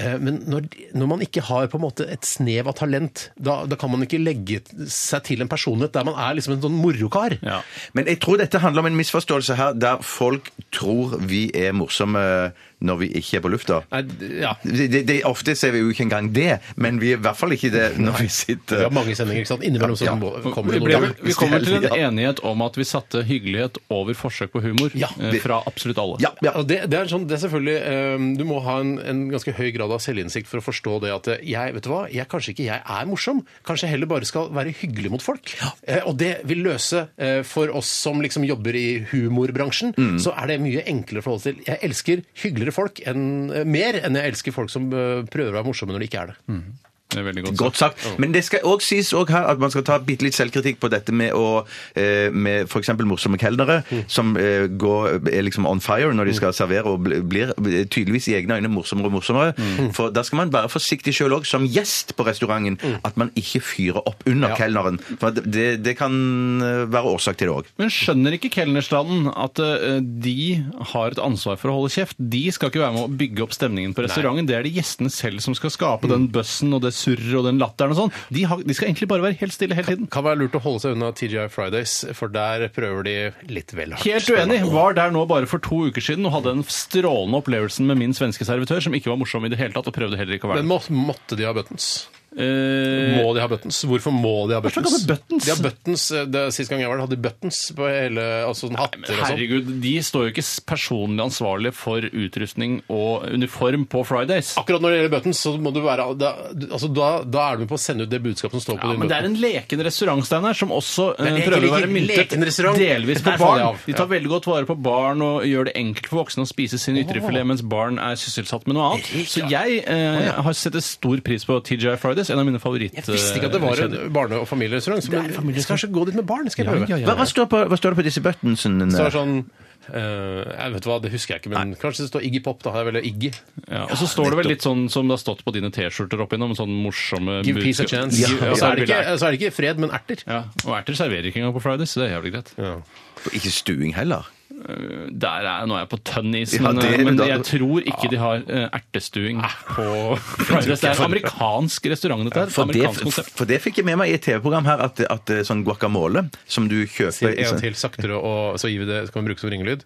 [SPEAKER 3] Eh, men når, de- når man ikke har på en måte et snev av talent, da, da kan man ikke legge seg til en personlighet der man er liksom en sånn morokar.
[SPEAKER 5] Ja.
[SPEAKER 4] Men jeg tror dette handler om en misforståelse her, der folk tror vi er morsomme eh, når vi ikke er på lufta.
[SPEAKER 3] Nei, d- ja.
[SPEAKER 4] Det, det, det, ofte ser vi jo ikke engang det, men vi er i hvert fall ikke det når vi
[SPEAKER 3] Vi
[SPEAKER 4] sitter
[SPEAKER 3] har mange sendinger, ikke sant? Innimellom så
[SPEAKER 4] Ja.
[SPEAKER 3] må- kommer
[SPEAKER 5] Vi,
[SPEAKER 3] det
[SPEAKER 5] ble,
[SPEAKER 3] noe.
[SPEAKER 5] vi kommer til en enighet om at vi satte hyggelighet over forsøk på humor
[SPEAKER 3] Ja,
[SPEAKER 5] eh,
[SPEAKER 4] vi-
[SPEAKER 5] fra absolutt alle.
[SPEAKER 4] Ja, ja.
[SPEAKER 3] Og Det, det er sånn, det er selvfølgelig ehm, Du må ha en, en ganske høy grad av selvinnsikt for å forstå det at eh, jeg, vet du hva, jeg, kanskje ikke jeg er morsom. Kanskje jeg heller bare skal være hyggelig mot folk. Eh, og det vil løse eh, for oss som liksom jobber i humorbransjen,
[SPEAKER 5] Mm.
[SPEAKER 3] så er det mye enklere forhold til. Jeg
[SPEAKER 5] Mm.
[SPEAKER 3] elsker hyggeligere folk enn, eh, mer enn jeg elsker folk som eh, prøver å være morsomme når de ikke er det.
[SPEAKER 5] Det er veldig godt,
[SPEAKER 4] Godt sagt. Men det skal også sies også her at man skal ta bitte litt selvkritikk på dette med å eh, med f.eks. morsomme kelnere
[SPEAKER 5] Mm.
[SPEAKER 4] som eh, går, er liksom on fire når de skal servere og bl- blir eh, tydeligvis i egne øyne morsommere og morsommere.
[SPEAKER 5] Mm.
[SPEAKER 4] For da skal man være forsiktig sjøl òg, som gjest på restauranten,
[SPEAKER 5] Mm.
[SPEAKER 4] at man ikke fyrer opp under kelneren. For at det, det kan eh, være årsak til det òg.
[SPEAKER 5] Men skjønner ikke kelnerstanden at eh, de har et ansvar for å holde kjeft? De skal ikke være med å bygge opp stemningen på restauranten. Det er de gjestene selv som skal skape
[SPEAKER 3] Mm.
[SPEAKER 5] den bøssen og det surret og den latteren og sånn. De, har- de skal egentlig bare være helt stille hele tiden.
[SPEAKER 3] Kan være lurt å holde seg unna TGI Fridays, for der prøver de litt vel hardt.
[SPEAKER 5] Helt uenig. Var der nå bare for to uker siden og hadde den strålende opplevelsen med min svenske servitør, som ikke var morsom i det hele tatt, og prøvde heller ikke å være
[SPEAKER 3] Men må, måtte de ha buttons?
[SPEAKER 5] Eh,
[SPEAKER 3] Må de ha buttons? Hvorfor må de ha
[SPEAKER 5] slags
[SPEAKER 3] buttons?
[SPEAKER 5] hadde buttons?
[SPEAKER 3] De har buttons. Det, sist gang jeg var der, hadde de buttons på hele altså, sånn hatter og sånn.
[SPEAKER 5] Herregud, de står jo ikke personlig ansvarlig for utrustning og uniform på Fridays.
[SPEAKER 3] Akkurat når det gjelder buttons, så må du være da, du- altså, da, da er du med på å sende ut det budskapet som står på
[SPEAKER 5] Ja,
[SPEAKER 3] din
[SPEAKER 5] men det er en leken restaurant, Steinar, som også eh,
[SPEAKER 3] en
[SPEAKER 5] prøver å være
[SPEAKER 3] leken-
[SPEAKER 5] myntet
[SPEAKER 3] leken restaurant.
[SPEAKER 5] delvis på
[SPEAKER 3] Der faller jeg
[SPEAKER 5] barn.
[SPEAKER 3] av.
[SPEAKER 5] De tar veldig godt vare på barn og gjør det enkelt for voksne å spise sin ytrefilet mens barn er sysselsatt med noe annet. Så jeg eh, har sett et stor pris på TGI Fridays, en av mine favoritt...
[SPEAKER 3] Jeg visste ikke at det var en barne- og familierestaurant. så- Men jeg skal kanskje gå dit med barn, skal jeg prøve.
[SPEAKER 5] Ja, ja,
[SPEAKER 4] Hva, hva, står på, hva står det på disse buttonsene?
[SPEAKER 3] Så er det sånn eh, jeg vet hva, Det husker jeg ikke, men kanskje det står Iggy Pop. Da har jeg vel Iggy.
[SPEAKER 5] Ja, og så står det vel litt sånn som det har stått på dine T-skjorter opp igjennom, sånn morsomme
[SPEAKER 3] Give peace a
[SPEAKER 5] budskap.
[SPEAKER 3] chance.
[SPEAKER 5] Ja,
[SPEAKER 3] Og så er, det ikke, så er det ikke fred, men erter.
[SPEAKER 5] Ja, og erter serverer ikke engang på Fridays, så det er jævlig greit. sånn- Eh,
[SPEAKER 4] Ikke stuing heller.
[SPEAKER 5] Der er, nå er jeg på tønn is,
[SPEAKER 4] Ja,
[SPEAKER 5] men, eh,
[SPEAKER 4] det er det
[SPEAKER 5] men
[SPEAKER 4] da.
[SPEAKER 5] jeg tror ikke de har eh, ertestuing
[SPEAKER 3] Ah.
[SPEAKER 5] på Fridays. Det er en amerikansk restaurant, dette her.
[SPEAKER 4] For det,
[SPEAKER 5] Amerikansk konsept.
[SPEAKER 4] for det fikk jeg med meg i et TV-program her, at, at sånn guacamole som du kjøper
[SPEAKER 3] Si
[SPEAKER 4] i
[SPEAKER 3] en
[SPEAKER 4] sånn-
[SPEAKER 3] til saktere, og så gir vi det, så kan vi bruke som ringelyd.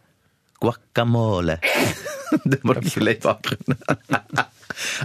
[SPEAKER 4] Guacamole. Det må du ikke le i bakgrunnen.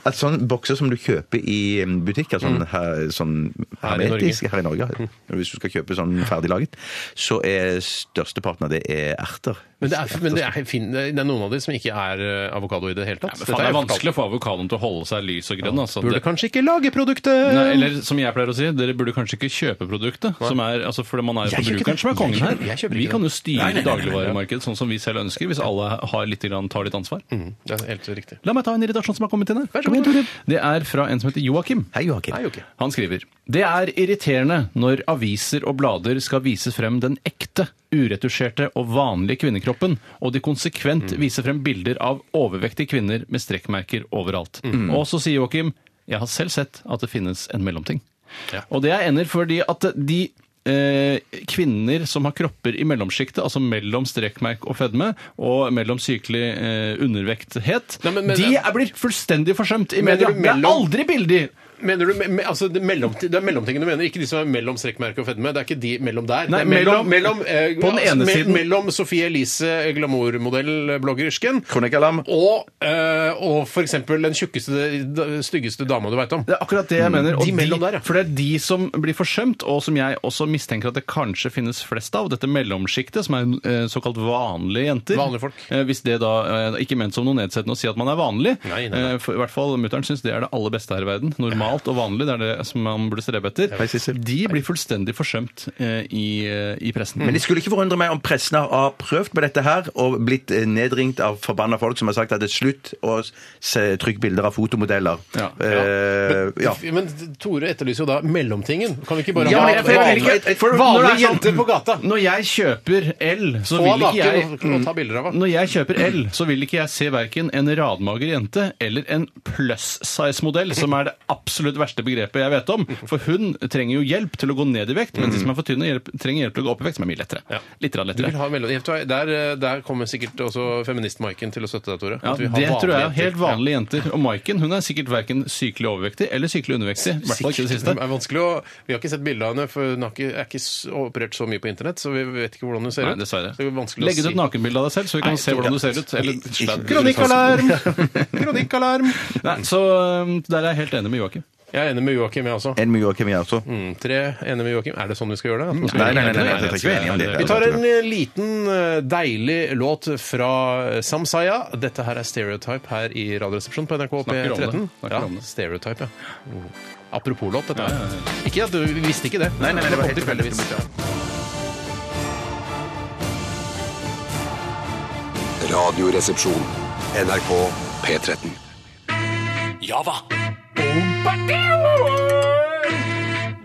[SPEAKER 4] At sånne bokser som du kjøper i butikker, sånn, her, sånn
[SPEAKER 3] Her i Norge.
[SPEAKER 4] hermetisk her i Norge, hvis du skal kjøpe sånn ferdiglaget, så er størsteparten av det er erter.
[SPEAKER 3] Men det er, men det er, fin, det er noen av de som ikke er eh, avokado i det hele tatt.
[SPEAKER 5] Men faen,
[SPEAKER 3] Dette
[SPEAKER 5] det
[SPEAKER 3] er
[SPEAKER 5] er
[SPEAKER 3] jo
[SPEAKER 5] vanskelig å få avokadoen til å holde seg lys og grønn. Altså.
[SPEAKER 3] fortalt. Burde
[SPEAKER 5] Det-
[SPEAKER 3] kanskje ikke lage produktet!
[SPEAKER 5] Nei, eller som jeg pleier å si, dere burde kanskje ikke kjøpe produktet. Som er, altså, for man er jo
[SPEAKER 3] Jeg kjøper
[SPEAKER 5] forbrukeren
[SPEAKER 3] ikke det.
[SPEAKER 5] som er kongen
[SPEAKER 3] Jeg
[SPEAKER 5] her.
[SPEAKER 3] kjøper- jeg kjøper
[SPEAKER 5] Vi
[SPEAKER 3] ikke
[SPEAKER 5] kan jo
[SPEAKER 3] det. Nei, nei,
[SPEAKER 5] styre
[SPEAKER 3] nei, nei, nei.
[SPEAKER 5] dagligvaremarkedet sånn som vi selv ønsker, hvis alle har litt, grann- tar litt ansvar.
[SPEAKER 3] Mm, Det er helt riktig.
[SPEAKER 5] La meg ta en irritasjon som har kommet inn her.
[SPEAKER 3] så god.
[SPEAKER 5] Kom igjen, Tore. Det er fra en som heter Joakim.
[SPEAKER 4] Hei, Joakim.
[SPEAKER 3] Nei, jo ikke.
[SPEAKER 5] Han skriver Det er irriterende når aviser og blader skal vise frem den ekte, uretusjerte og vanlige kvinnekroppen, og de konsekvent viser frem bilder av overvektige kvinner med strekkmerker overalt. Og så sier Joakim Jeg har selv sett at det finnes en mellomting. Og det er ender fordi at de eh, kvinner som har kropper i mellomsjiktet, altså mellom strekkmerk og fedme, og mellom sykelig eh, undervekthet,
[SPEAKER 3] Nei, men- men-
[SPEAKER 5] de er, blir fullstendig forsømt i
[SPEAKER 3] Mener
[SPEAKER 5] media.
[SPEAKER 3] du
[SPEAKER 5] Det er
[SPEAKER 3] mellom-
[SPEAKER 5] aldri bilder!
[SPEAKER 3] Mener du, me, me- altså, det, er mellomting- det er mellomtingene du mener, ikke de som er mellom strekkmerke og fedme. Det er ikke de mellom der.
[SPEAKER 5] Nei,
[SPEAKER 3] Det er mellom,
[SPEAKER 5] mellom-
[SPEAKER 3] mellom, eh,
[SPEAKER 5] på den ene
[SPEAKER 3] me-
[SPEAKER 5] siden.
[SPEAKER 3] Mellom Sofie Elise, glamourmodell, bloggersken,
[SPEAKER 4] Kronikalam.
[SPEAKER 3] og, eh, og for eksempel den tjukkeste, da- styggeste dama du veit om.
[SPEAKER 5] Det er akkurat det jeg mener.
[SPEAKER 3] Mm. De mellom der, ja.
[SPEAKER 5] For det er de som blir forsømt, og som jeg også mistenker at det kanskje finnes flest av. Dette mellomsjiktet, som er eh, såkalt vanlige jenter.
[SPEAKER 3] Vanlige folk.
[SPEAKER 5] Eh, Hvis det da eh, Ikke ment som noe nedsettende å si at man er vanlig.
[SPEAKER 3] Nei, nei, nei.
[SPEAKER 5] Eh, For, I hvert fall mutter'n syns det er det aller beste her i verden. Normalt og vanlig, det er det som man burde strebe etter.
[SPEAKER 4] Hei, Sissel.
[SPEAKER 5] De blir fullstendig forsømt eh, i, eh, i pressen.
[SPEAKER 4] Men det skulle ikke forundre meg om pressen har prøvd på dette her og blitt eh, nedringt av forbanna folk som har sagt at det er slutt å se- trykke bilder av fotomodeller.
[SPEAKER 5] Ja.
[SPEAKER 4] Eh, ja.
[SPEAKER 3] Men Tore etterlyser jo da mellomtingen. Kan vi ikke bare
[SPEAKER 5] Ja,
[SPEAKER 3] ha
[SPEAKER 5] men jeg- for jeg vil ikke-
[SPEAKER 3] vanlige-
[SPEAKER 5] for- når det
[SPEAKER 3] vanlige
[SPEAKER 5] er sånn-
[SPEAKER 3] jenter på gata?
[SPEAKER 5] Når jeg kjøper L, så
[SPEAKER 3] Få
[SPEAKER 5] vil ikke
[SPEAKER 3] naken
[SPEAKER 5] jeg
[SPEAKER 3] og- og ta bilder av han.
[SPEAKER 5] Når jeg kjøper L, så vil ikke jeg se verken en radmager jente eller en plus size-modell, som er det absolutt verste begrepet jeg vet om. For hun trenger jo hjelp til å gå ned i vekt, mens de som er for tynne, hjelp, trenger hjelp til å gå opp i vekt, som er mye lettere.
[SPEAKER 3] Ja.
[SPEAKER 5] Litt grann
[SPEAKER 3] Du vil
[SPEAKER 5] lettere.
[SPEAKER 3] ha mellom... Vet du hva, Der, eh, der kommer sikkert også feminist-Maiken til å støtte deg, Tore.
[SPEAKER 5] Ja,
[SPEAKER 3] At vi har
[SPEAKER 5] det tror jeg.
[SPEAKER 3] vanlige
[SPEAKER 5] Helt
[SPEAKER 3] jenter.
[SPEAKER 5] vanlige jenter. Og Maiken hun er sikkert verken sykelig overvektig eller sykelig undervektig. I hvert fall ikke det siste.
[SPEAKER 3] Det er vanskelig å, vi har ikke sett bilde av henne, for hun har ikke, er ikke s- operert så mye på internett. Så vi vet ikke hvordan hun ser
[SPEAKER 5] Nei,
[SPEAKER 3] ut.
[SPEAKER 5] dessverre.
[SPEAKER 3] Så det er vanskelig
[SPEAKER 5] Legg ut
[SPEAKER 3] å
[SPEAKER 5] et
[SPEAKER 3] si.
[SPEAKER 5] nakenbilde av deg selv, så vi kan se hvordan du ser ut. Eller sladd.
[SPEAKER 3] Kronikkalarm! Kronikkalarm!
[SPEAKER 5] Nei, så um, der er jeg helt enig med Joakim.
[SPEAKER 3] Jeg er enig med Joakim, jeg også.
[SPEAKER 4] En med Joakim, jeg også.
[SPEAKER 3] Mm, Tre enig med Joakim. Er det sånn vi skal gjøre det? At man skal
[SPEAKER 4] Nei, nei, nei, nei, nei, jeg er ikke enig om det.
[SPEAKER 3] Vi tar en eh, liten, eh, deilig låt fra eh, Samsaya. Dette her er Stereotype her i Radioresepsjonen på NRK
[SPEAKER 5] Snakker om
[SPEAKER 3] P13.
[SPEAKER 5] det. Snakker
[SPEAKER 3] Ja,
[SPEAKER 5] om det.
[SPEAKER 3] Stereotype, ja. Mm. Apropos låt, dette her. Ikke at du vi visste ikke det.
[SPEAKER 4] Nei, nei, nei, det var helt
[SPEAKER 3] kom
[SPEAKER 4] tilfeldig.
[SPEAKER 3] tilfeldigvis.
[SPEAKER 2] Radioresepsjon. NRK P13.
[SPEAKER 1] Java.
[SPEAKER 3] P13.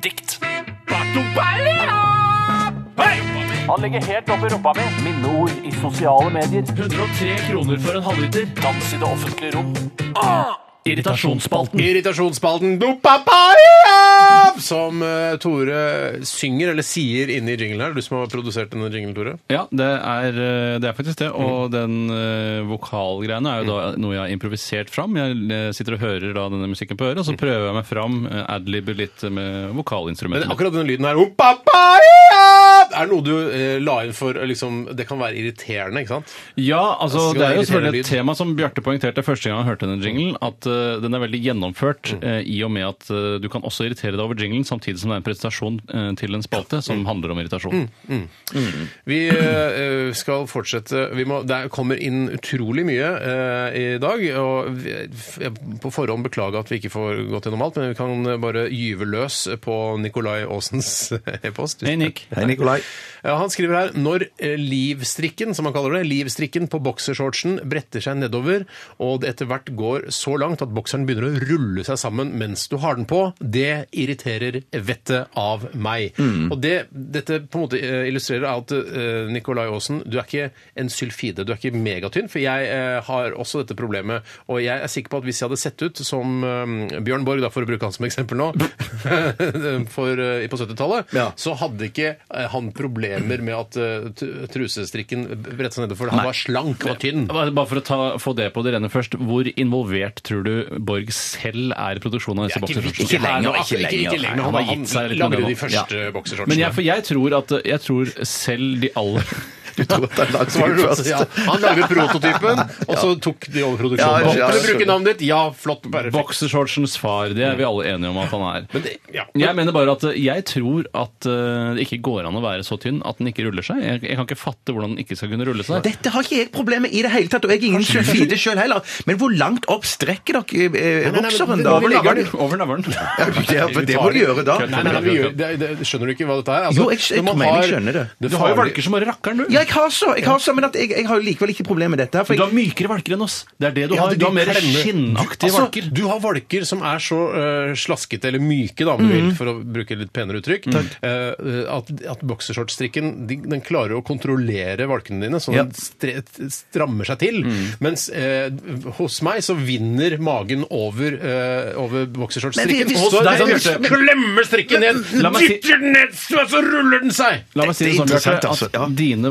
[SPEAKER 1] Dikt.
[SPEAKER 7] Han ligger helt oppi rumpa mi. Minneord i sosiale medier.
[SPEAKER 5] 103 kroner for en halvliter.
[SPEAKER 7] Dans i det offentlige rom.
[SPEAKER 4] Mm.
[SPEAKER 5] Irritasjonsspalten.
[SPEAKER 3] Irritasjonsspalten Dopapaya! Som eh, Tore synger eller sier inni jinglen her. Du som har produsert denne jinglen, Tore.
[SPEAKER 5] Ja, det er, eh, det er faktisk det.
[SPEAKER 3] Mm.
[SPEAKER 5] Og den eh, vokalgreiene er jo da noe jeg har improvisert fram. Jeg eh, sitter og hører da denne musikken på
[SPEAKER 3] Mm.
[SPEAKER 5] øret, og så prøver jeg meg fram, eh, adlibber litt med
[SPEAKER 3] Men
[SPEAKER 5] vokalinstrumentene.
[SPEAKER 3] akkurat den lyden her Dopapaya! Er det noe du eh, la inn for eh, liksom, Det kan være irriterende, ikke sant?
[SPEAKER 5] Ja, altså
[SPEAKER 3] Skal
[SPEAKER 5] det er jo
[SPEAKER 3] irritere
[SPEAKER 5] selvfølgelig et
[SPEAKER 3] lyd.
[SPEAKER 5] tema som Bjarte poengterte første gang han hørte den jinglen,
[SPEAKER 3] Mm.
[SPEAKER 5] at eh, den er veldig gjennomført eh, i og med at eh, du kan også irritere deg over jinglen samtidig som det er en presentasjon eh, til en spalte
[SPEAKER 3] Mm.
[SPEAKER 5] som handler om irritasjon.
[SPEAKER 3] Vi eh, skal fortsette. Vi må, det kommer inn utrolig mye eh, i dag. og vi, jeg På forhånd beklager at vi ikke får gått gjennom alt, men vi kan bare gyve løs på Nikolai Aasens e-post.
[SPEAKER 5] Hei, Nick.
[SPEAKER 4] Hei, Nikolai.
[SPEAKER 3] Ja, han skriver her når eh, livstrikken, som han kaller det, livstrikken på boksershortsen bretter seg nedover, og det etter hvert går så langt at bokseren begynner å rulle seg sammen mens du har den på, det irriterer vettet av meg. Og det dette på en måte eh, illustrerer, er at eh, Nikolai Aasen, du er ikke en sylfide, du er ikke megatynn, for jeg eh, har også dette problemet, og jeg er sikker på at hvis jeg hadde sett ut som eh, Bjørn Borg, da, for å bruke han som eksempel nå, for, eh, på 70-tallet,
[SPEAKER 4] Ja.
[SPEAKER 3] så hadde ikke eh, han problemer med at eh, tr- trusestrikken bredte seg nedover, for han var slank og tynn.
[SPEAKER 5] Bare bare for å ta, få det på det rene først. Hvor involvert tror du Borg selv er i produksjonen av disse boksershortsene?
[SPEAKER 4] ikke lenger,
[SPEAKER 3] Nei, nå-
[SPEAKER 5] altså,
[SPEAKER 4] ikke lenger.
[SPEAKER 3] Ikke, ikke lenger.
[SPEAKER 5] Nei,
[SPEAKER 3] Han,
[SPEAKER 5] han har
[SPEAKER 3] han,
[SPEAKER 5] gitt seg litt med
[SPEAKER 3] lagde
[SPEAKER 5] det
[SPEAKER 3] de
[SPEAKER 5] nå.
[SPEAKER 3] første
[SPEAKER 5] Ja.
[SPEAKER 3] boksershortsene.
[SPEAKER 5] Men jeg, for jeg tror at jeg tror selv de aller
[SPEAKER 3] Så var det noe- ja, han lagde prototypen, og så tok de
[SPEAKER 4] Ja,
[SPEAKER 3] over
[SPEAKER 4] ja,
[SPEAKER 3] produksjonen. Kan du
[SPEAKER 4] skjønner.
[SPEAKER 3] bruke navnet ditt? Ja, flott. Perfekt.
[SPEAKER 5] Boksershortsens far, det er vi alle enige om at han er.
[SPEAKER 3] Men det- ja.
[SPEAKER 5] Jeg mener bare at eh, jeg tror at eh, det ikke går an å være så tynn at den ikke ruller seg. Jeg, jeg kan ikke fatte hvordan den ikke skal kunne rulle seg.
[SPEAKER 4] Dette har ikke jeg problemer i det hele tatt, og jeg er ingen sulfide sjøl heller. Men hvor langt opp strekker dere eh,
[SPEAKER 3] nei, men
[SPEAKER 4] bokseren,
[SPEAKER 3] det-
[SPEAKER 4] da?
[SPEAKER 3] det-
[SPEAKER 4] Hvor ligger den?
[SPEAKER 5] Over navlen.
[SPEAKER 4] Ja, for det må du gjøre da.
[SPEAKER 3] Nei, nei, nei, vi gjør, det, det, skjønner du ikke hva dette er? Altså,
[SPEAKER 4] Jo, jeg- jeg
[SPEAKER 3] når man
[SPEAKER 4] mener jeg
[SPEAKER 3] har-
[SPEAKER 4] skjønner det.
[SPEAKER 5] Du har jo
[SPEAKER 3] farlige-
[SPEAKER 5] valker som bare rakkeren, du.
[SPEAKER 4] Ja, jeg har så, jeg har så men at jeg, jeg har jo likevel ikke problemer med dette. her, For
[SPEAKER 5] Du
[SPEAKER 4] jeg,
[SPEAKER 5] har mykere valker enn oss. Det er det du
[SPEAKER 3] Ja,
[SPEAKER 5] har.
[SPEAKER 3] de
[SPEAKER 5] Du har mer
[SPEAKER 3] klemmer.
[SPEAKER 5] skinnaktige
[SPEAKER 3] Altså,
[SPEAKER 5] valker.
[SPEAKER 3] Du har valker som er så eh, slaskete eller myke, da, om
[SPEAKER 4] Mhm.
[SPEAKER 3] du vil, for å bruke litt penere uttrykk, eh, at, at boksershortstrikken de- den klarer å kontrollere valkene dine, så
[SPEAKER 4] Ja.
[SPEAKER 3] den stre, strammer seg til.
[SPEAKER 5] Mhm.
[SPEAKER 3] Mens eh, hos meg så vinner magen over, eh, over
[SPEAKER 4] Men
[SPEAKER 3] boksershortstrikken.
[SPEAKER 4] vi- vi-
[SPEAKER 3] Hos deg
[SPEAKER 4] Nei,
[SPEAKER 3] sånn,
[SPEAKER 4] men-
[SPEAKER 3] klemmer strikken ned,
[SPEAKER 5] La meg si-
[SPEAKER 3] dytter den ned, så så ruller den seg!
[SPEAKER 5] La meg si det
[SPEAKER 4] Dette er
[SPEAKER 5] sånn, Bjarte,
[SPEAKER 4] interessant, altså,
[SPEAKER 5] at
[SPEAKER 4] ja.
[SPEAKER 5] dine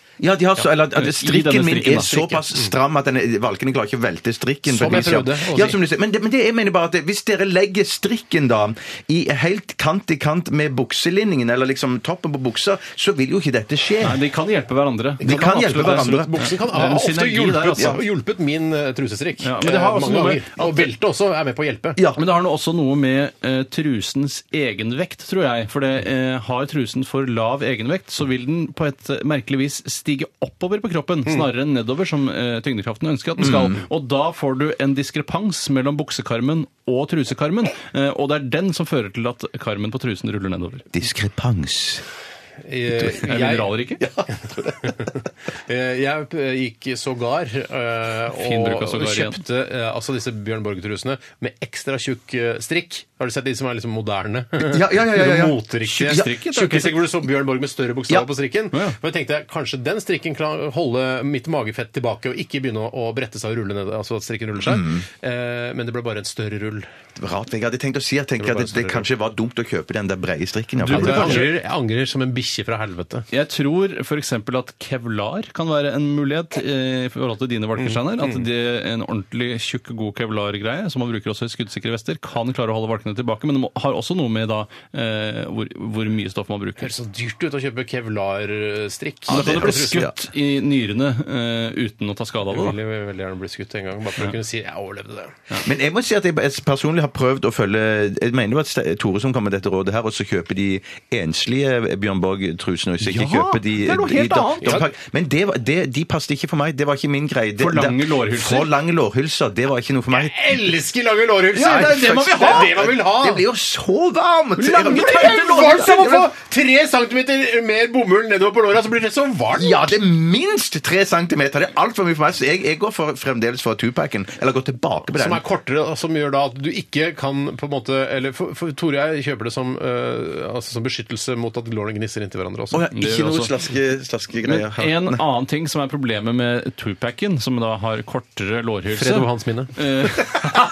[SPEAKER 4] ja, de har så, eller, at
[SPEAKER 5] denne
[SPEAKER 4] strikken min
[SPEAKER 5] strikken,
[SPEAKER 4] er
[SPEAKER 5] da.
[SPEAKER 4] såpass stram at denne, valkene klarer ikke å velte strikken. på
[SPEAKER 3] Mm. Som
[SPEAKER 4] et vis,
[SPEAKER 3] jeg prøvde
[SPEAKER 4] ja.
[SPEAKER 3] å
[SPEAKER 4] Ja,
[SPEAKER 3] si.
[SPEAKER 4] som du sier. Men, det, men det jeg mener bare at det- hvis dere legger strikken da i helt kant til kant med bukselinningen, eller liksom toppen på buksa, så vil jo ikke dette skje.
[SPEAKER 5] Nei, de kan hjelpe hverandre.
[SPEAKER 4] De kan hjelpe
[SPEAKER 5] absolutt-
[SPEAKER 4] hverandre.
[SPEAKER 3] Buksen kan
[SPEAKER 5] Ja, det er en
[SPEAKER 3] ha ofte
[SPEAKER 5] synergi der,
[SPEAKER 3] hjulpet,
[SPEAKER 5] altså.
[SPEAKER 3] hjulpet min eh, trusestrikk.
[SPEAKER 5] Ja, men det har
[SPEAKER 3] eh,
[SPEAKER 5] også
[SPEAKER 3] mange
[SPEAKER 5] noe med
[SPEAKER 3] ganger. Og beltet også er med på å hjelpe.
[SPEAKER 4] Ja.
[SPEAKER 5] Men det har nå også noe med eh, trusens egenvekt, tror jeg. For det, eh, har trusen for lav egenvekt, så vil den på et eh, merkelig vis stige oppover på kroppen,
[SPEAKER 4] Mm.
[SPEAKER 5] snarere enn nedover, som eh, tyngdekraften ønsker at den skal. Og da får du en diskrepans mellom buksekarmen og trusekarmen, eh, og det er den som fører til at karmen på trusen ruller nedover.
[SPEAKER 4] Diskrepans.
[SPEAKER 3] Eh,
[SPEAKER 5] Er
[SPEAKER 3] jeg-
[SPEAKER 5] mineralrike?
[SPEAKER 3] Eh, Jeg eh, gikk sågar eh,
[SPEAKER 5] Fin bruk
[SPEAKER 3] og,
[SPEAKER 5] av sågar
[SPEAKER 3] og
[SPEAKER 5] igjen.
[SPEAKER 3] kjøpte eh, altså disse Bjørn Borg-trusene med ekstra tjukk eh, strikk. Har du sett de som er liksom moderne?
[SPEAKER 4] Ja, ja, ja, ja, ja.
[SPEAKER 3] De Moteriktige
[SPEAKER 4] Tjukk strikk,
[SPEAKER 3] strikker.
[SPEAKER 4] ja, takk.
[SPEAKER 3] Tjukke strikker hvor du så Bjørn Borg med større bokstaver
[SPEAKER 4] Ja.
[SPEAKER 3] på strikken.
[SPEAKER 5] Ja, ja.
[SPEAKER 3] Men jeg tenkte jeg, kanskje den strikken kan holde mitt magefett tilbake og ikke begynne å brette seg og rulle ned, altså at strikken ruller seg.
[SPEAKER 5] Mm.
[SPEAKER 3] Eh, Men det ble bare en større rull.
[SPEAKER 4] Rart. Jeg hadde tenkt å si jeg tenker at det, det kanskje var dumt å kjøpe den der breie strikken.
[SPEAKER 3] Jeg
[SPEAKER 4] iallfall.
[SPEAKER 3] angrer, jeg angrer som en bikkje fra helvete.
[SPEAKER 5] Jeg tror f.eks. at kevlar kan være en mulighet eh, i forhold til dine valkesteiner.
[SPEAKER 3] Mm.
[SPEAKER 5] At det, en ordentlig tjukk, god kevlargreie, som man bruker også i skuddsikre vester, kan klare å holde valkene tilbake, men det må, har også noe med da eh, hvor, hvor mye stoff man
[SPEAKER 3] Det
[SPEAKER 5] bruker.
[SPEAKER 3] høres så dyrt ut å kjøpe kevlarstrikk.
[SPEAKER 5] Da kan
[SPEAKER 4] det
[SPEAKER 5] du bli
[SPEAKER 4] høres-
[SPEAKER 5] skutt i nyrene eh, uten å ta skade av
[SPEAKER 3] Jeg
[SPEAKER 5] det. da.
[SPEAKER 3] ville veldig gjerne bli skutt en gang, bare for å kunne si 'jeg overlevde det'.
[SPEAKER 4] Men jeg må si at jeg personlig har prøvd å følge Jeg mener jo at Ste- Tore som kom med dette rådet her, og så kjøper de enslige eh, Bjørn òg trusene, hvis jeg ikke
[SPEAKER 5] Ja,
[SPEAKER 4] kjøper de eh,
[SPEAKER 5] det er noe
[SPEAKER 4] de-
[SPEAKER 5] helt
[SPEAKER 4] de-
[SPEAKER 5] annet.
[SPEAKER 4] de- de- Men det, var- det, de passet ikke for meg. Det var ikke min greie. Det,
[SPEAKER 5] For lange
[SPEAKER 4] det-
[SPEAKER 5] lårhylser?
[SPEAKER 4] For lange lårhylser. Det var ikke noe for meg.
[SPEAKER 3] Elsker lange lårhylser!
[SPEAKER 4] Ja, det er det man vil ha!
[SPEAKER 3] Det er det man vil ha!
[SPEAKER 4] Det blir jo så varmt!
[SPEAKER 3] Lange, det er varmt som å få tre centimeter mer bomull nedover på låra, så blir det så varmt!
[SPEAKER 4] Ja, det er minst tre centimeter. Det er altfor mye for meg. Så jeg, jeg går for, fremdeles for tupacken. Eller går tilbake på den.
[SPEAKER 3] Som er kortere, og som gjør da at du ikke kan på en måte Eller for, for Tore og jeg kjøper det som, eh, altså som beskyttelse mot at lårene gnisser inntil hverandre også.
[SPEAKER 4] Å ja,
[SPEAKER 5] Det
[SPEAKER 4] ikke
[SPEAKER 5] gjør
[SPEAKER 4] noe
[SPEAKER 5] også.
[SPEAKER 4] slaske- slaskegreier.
[SPEAKER 5] Men en annen ting som er problemet med tupacen, som da har kortere lårhylse eh,
[SPEAKER 3] Fred over hans minne.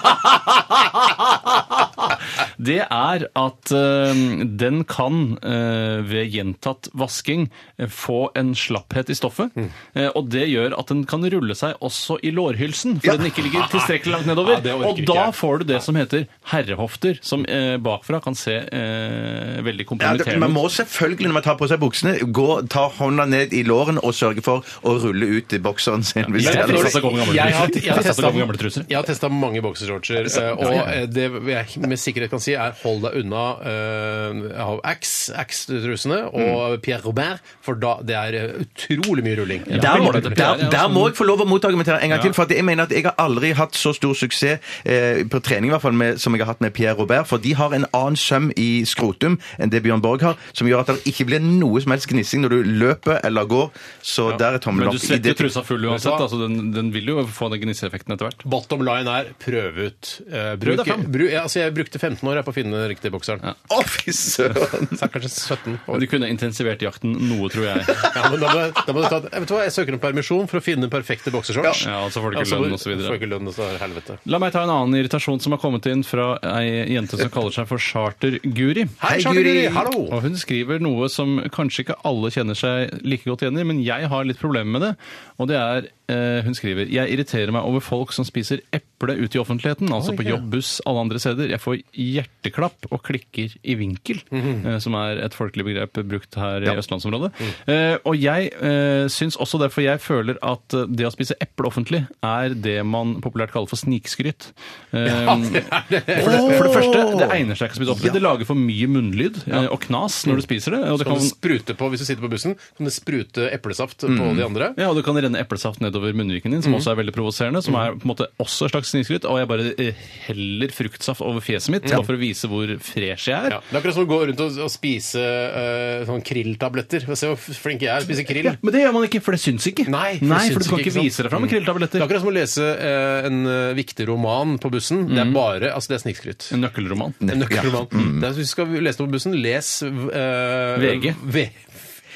[SPEAKER 5] Det er at eh, den kan eh, ved gjentatt vasking eh, få en slapphet i stoffet.
[SPEAKER 4] Mm.
[SPEAKER 5] eh, og det gjør at den kan rulle seg også i lårhylsen, fordi den ikke ligger tilstrekkelig langt nedover.
[SPEAKER 3] Ja, det orker
[SPEAKER 5] og
[SPEAKER 3] ikke
[SPEAKER 5] da
[SPEAKER 3] jeg.
[SPEAKER 5] får du det som heter herrehofter, som eh, bakfra kan se eh,
[SPEAKER 4] Ja, det,
[SPEAKER 5] veldig
[SPEAKER 4] man
[SPEAKER 5] kompromitterende ut.
[SPEAKER 4] må selvfølgelig, når man tar på seg buksene, gå, ta hånda ned i låren og sørge for å rulle ut i bokseren sin. Hvis
[SPEAKER 5] Jeg
[SPEAKER 4] det
[SPEAKER 5] er
[SPEAKER 4] er noe-
[SPEAKER 5] fristet til å gå med gamle
[SPEAKER 3] Jeg har-
[SPEAKER 5] truser.
[SPEAKER 3] jeg har
[SPEAKER 5] Fristet til å gå med gamle
[SPEAKER 3] testet-
[SPEAKER 5] truser.
[SPEAKER 3] jeg har testa mange boksershortser, eh, og eh, det jeg med sikkerhet kan si, er hold deg unna eh, av Axe-trusene og
[SPEAKER 5] Mm.
[SPEAKER 3] Pierre Robert, for da det er eh, utrolig mye rulling.
[SPEAKER 4] Der må,
[SPEAKER 5] det-
[SPEAKER 4] der, der må jeg få lov å motargumentere en gang til. For at jeg mener at jeg har aldri hatt så stor suksess eh, på trening i hvert fall med, som jeg har hatt med Pierre Robert. For de har en annen søm i skrotum enn det Bjørn Borg har, som gjør at det ikke blir noe som helst gnissing når du løper eller går. Så der er tommelen
[SPEAKER 5] Men du
[SPEAKER 4] opp. I
[SPEAKER 5] svetter
[SPEAKER 4] det-
[SPEAKER 5] jo trusa full uansett, altså den, den vil jo få den gnisseeffekten etter hvert.
[SPEAKER 3] Bottom line er prøv ut. Eh, bruk,
[SPEAKER 5] deg fram.
[SPEAKER 3] bru, ja, altså jeg brukte 15 år jeg, på å finne den riktige bokseren.
[SPEAKER 4] Å, fy søren!
[SPEAKER 3] Så er det kanskje 17
[SPEAKER 5] Men
[SPEAKER 3] år.
[SPEAKER 5] du kunne intensivert jakten noe, tror jeg.
[SPEAKER 3] Ja, men da må, da må du ta, et- vet du hva, jeg søker om permisjon for å finne den perfekte boksershorts.
[SPEAKER 5] Ja, og så får du ikke lønn og så videre.
[SPEAKER 3] Får ikke lønn og så er det helvete.
[SPEAKER 5] La meg ta en annen irritasjon som har kommet inn fra ei jente som kaller seg for Charter-Guri.
[SPEAKER 3] Hei,
[SPEAKER 4] Hei,
[SPEAKER 3] Charlie
[SPEAKER 4] Guri.
[SPEAKER 3] Guri! Hallo!
[SPEAKER 5] Og hun skriver noe som kanskje ikke alle kjenner seg like godt igjen i, men jeg har litt problemer med det. Og det er eh, Hun skriver Jeg irriterer meg over folk som spiser eple ute i offentligheten. Altså på jobb, buss, alle andre steder. Jeg får hjerteklapp og klikker i vinkel, eh, som er et folkelig begrep brukt her i østlandsområdet. Eh, og jeg eh, syns også derfor jeg føler at eh, det å spise eple offentlig er det man populært kaller for snikskryt. Eh, For, det, for det første, det egner seg ikke å spise eple. Det lager for mye munnlyd eh, og knas når du spiser det. Og det
[SPEAKER 3] Kan
[SPEAKER 5] kan
[SPEAKER 3] du sprute på, hvis du sitter på bussen, kan du sprute eplesaft på de andre?
[SPEAKER 5] Mm. Ja, og det kan renne eplesaft nedover munnviken din, som også er veldig provoserende. Som er på en måte også et slags snikskryt. Og jeg bare eh, heller fruktsaft over fjeset mitt, bare for å vise hvor fresh jeg er.
[SPEAKER 3] Ja. Det er akkurat som å gå rundt og, og spise eh, sånn krilltabletter. Se hvor flink jeg er, spiser krill.
[SPEAKER 5] Men det gjør man ikke, for det syns ikke.
[SPEAKER 3] Nei, for
[SPEAKER 5] for,
[SPEAKER 3] det
[SPEAKER 5] du kan
[SPEAKER 3] syns ikke,
[SPEAKER 5] ikke,
[SPEAKER 3] ikke sant? Mm.
[SPEAKER 5] vise deg fram med
[SPEAKER 3] Det er
[SPEAKER 5] krilltabletter.
[SPEAKER 3] akkurat som å lese eh, en eh, viktig roman på bussen. Det er bare altså det er snikskryt.
[SPEAKER 5] Mm. En nøkkelroman. Mm.
[SPEAKER 3] En nøkkelroman. Det er, hvis du skal lese noe på bussen, les eh,
[SPEAKER 5] VG.
[SPEAKER 3] V VG.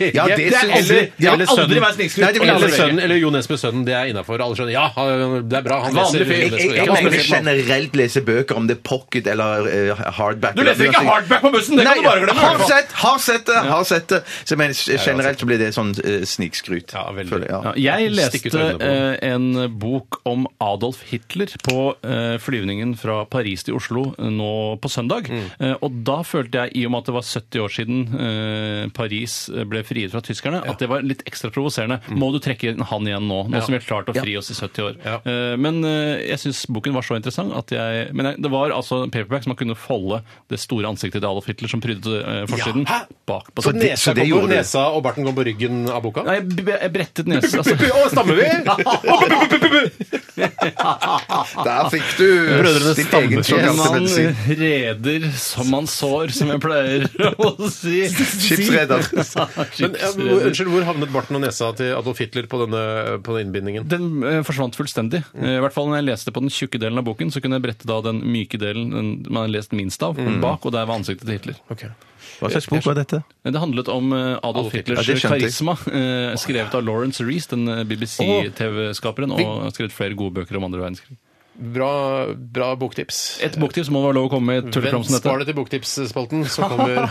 [SPEAKER 4] Ja, det
[SPEAKER 3] er
[SPEAKER 4] synes-
[SPEAKER 3] aldri-
[SPEAKER 4] eller-
[SPEAKER 3] det har
[SPEAKER 5] eller
[SPEAKER 3] aldri
[SPEAKER 5] sønnen.
[SPEAKER 3] vært snikskryt.
[SPEAKER 5] Nei, det vil
[SPEAKER 3] eller,
[SPEAKER 5] aldri
[SPEAKER 3] sønnen, eller Jo Nesbø Sønnen, det er innafor. Alle skjønner ja, han- det er bra. Han
[SPEAKER 5] Vanlig
[SPEAKER 3] leser
[SPEAKER 5] fyr.
[SPEAKER 4] Jeg, jeg, jeg
[SPEAKER 3] Ganske
[SPEAKER 4] mener
[SPEAKER 3] spesielt.
[SPEAKER 4] generelt lese bøker om det er pocket eller eh, hardback.
[SPEAKER 5] Du leser ikke hardback på bussen! Det
[SPEAKER 4] Nei,
[SPEAKER 5] kan du bare glemme!
[SPEAKER 4] har sett, har sett det! har sett det. Så jeg mener, eh, Generelt så blir det sånn eh, snikskryt.
[SPEAKER 3] Ja, veldig.
[SPEAKER 4] føler jeg, ja.
[SPEAKER 5] Ja, jeg
[SPEAKER 3] Stikk ut
[SPEAKER 5] leste
[SPEAKER 3] øynene på den.
[SPEAKER 5] eh, en bok om Adolf Hitler på eh, flyvningen fra Paris til Oslo eh, nå på søndag.
[SPEAKER 3] Mm.
[SPEAKER 5] Eh, og da følte jeg, i og med at det var 70 år siden eh, Paris ble friet fra tyskerne, at det var litt ekstra provoserende. Må du trekke inn han igjen nå, nå som vi har klart å fri oss i 70 år?
[SPEAKER 3] Mm. Ja.
[SPEAKER 5] Eh, men eh, jeg syns boken var så interessant at jeg Men jeg, det var altså en paperback som man kunne folde det store ansiktet til Adolf Hitler som prydet eh, forsiden,
[SPEAKER 3] hæ?
[SPEAKER 5] bak på
[SPEAKER 3] Så
[SPEAKER 5] siden.
[SPEAKER 3] nesa,
[SPEAKER 4] så det
[SPEAKER 3] kom
[SPEAKER 4] gjorde
[SPEAKER 3] på,
[SPEAKER 4] du.
[SPEAKER 3] nesa og barten kom på ryggen av boka?
[SPEAKER 5] Nei, jeg, b- jeg brettet nesen. Altså.
[SPEAKER 3] Å, stammer vi?
[SPEAKER 4] Der fikk du
[SPEAKER 3] Brødrene
[SPEAKER 4] din
[SPEAKER 3] Stampe.
[SPEAKER 4] egen
[SPEAKER 5] Man
[SPEAKER 4] tjeneste.
[SPEAKER 5] reder som man sår, som jeg pleier å si.
[SPEAKER 4] Skipsreder.
[SPEAKER 3] Men, ja, hvor- unnskyld, hvor havnet barten og nesa til Adolf Hitler på denne, på denne innbindingen?
[SPEAKER 5] Den eh, forsvant fullstendig.
[SPEAKER 3] Mm.
[SPEAKER 5] Eh, I hvert fall når jeg leste på den tjukke delen av boken, så kunne jeg brette da den myke delen den man har lest minst av,
[SPEAKER 3] Mm.
[SPEAKER 5] bak, og der var ansiktet til Hitler.
[SPEAKER 4] Hva slags bok var dette?
[SPEAKER 5] Eh, Det handlet om eh, Adolf
[SPEAKER 4] Ja,
[SPEAKER 5] Hitlers
[SPEAKER 4] det skjønte jeg.
[SPEAKER 5] karisma, eh, skrevet av Lawrence Reece, den eh, BBC-TV-skaperen, og har skrevet flere gode bøker om andre verdenskrig.
[SPEAKER 3] Bra, bra boktips.
[SPEAKER 5] Et boktips må det være lov å komme med.
[SPEAKER 3] Eh, mm. Vent,
[SPEAKER 5] Tullekrams som
[SPEAKER 3] spar
[SPEAKER 5] dette.
[SPEAKER 3] det til boktipsspalten som kommer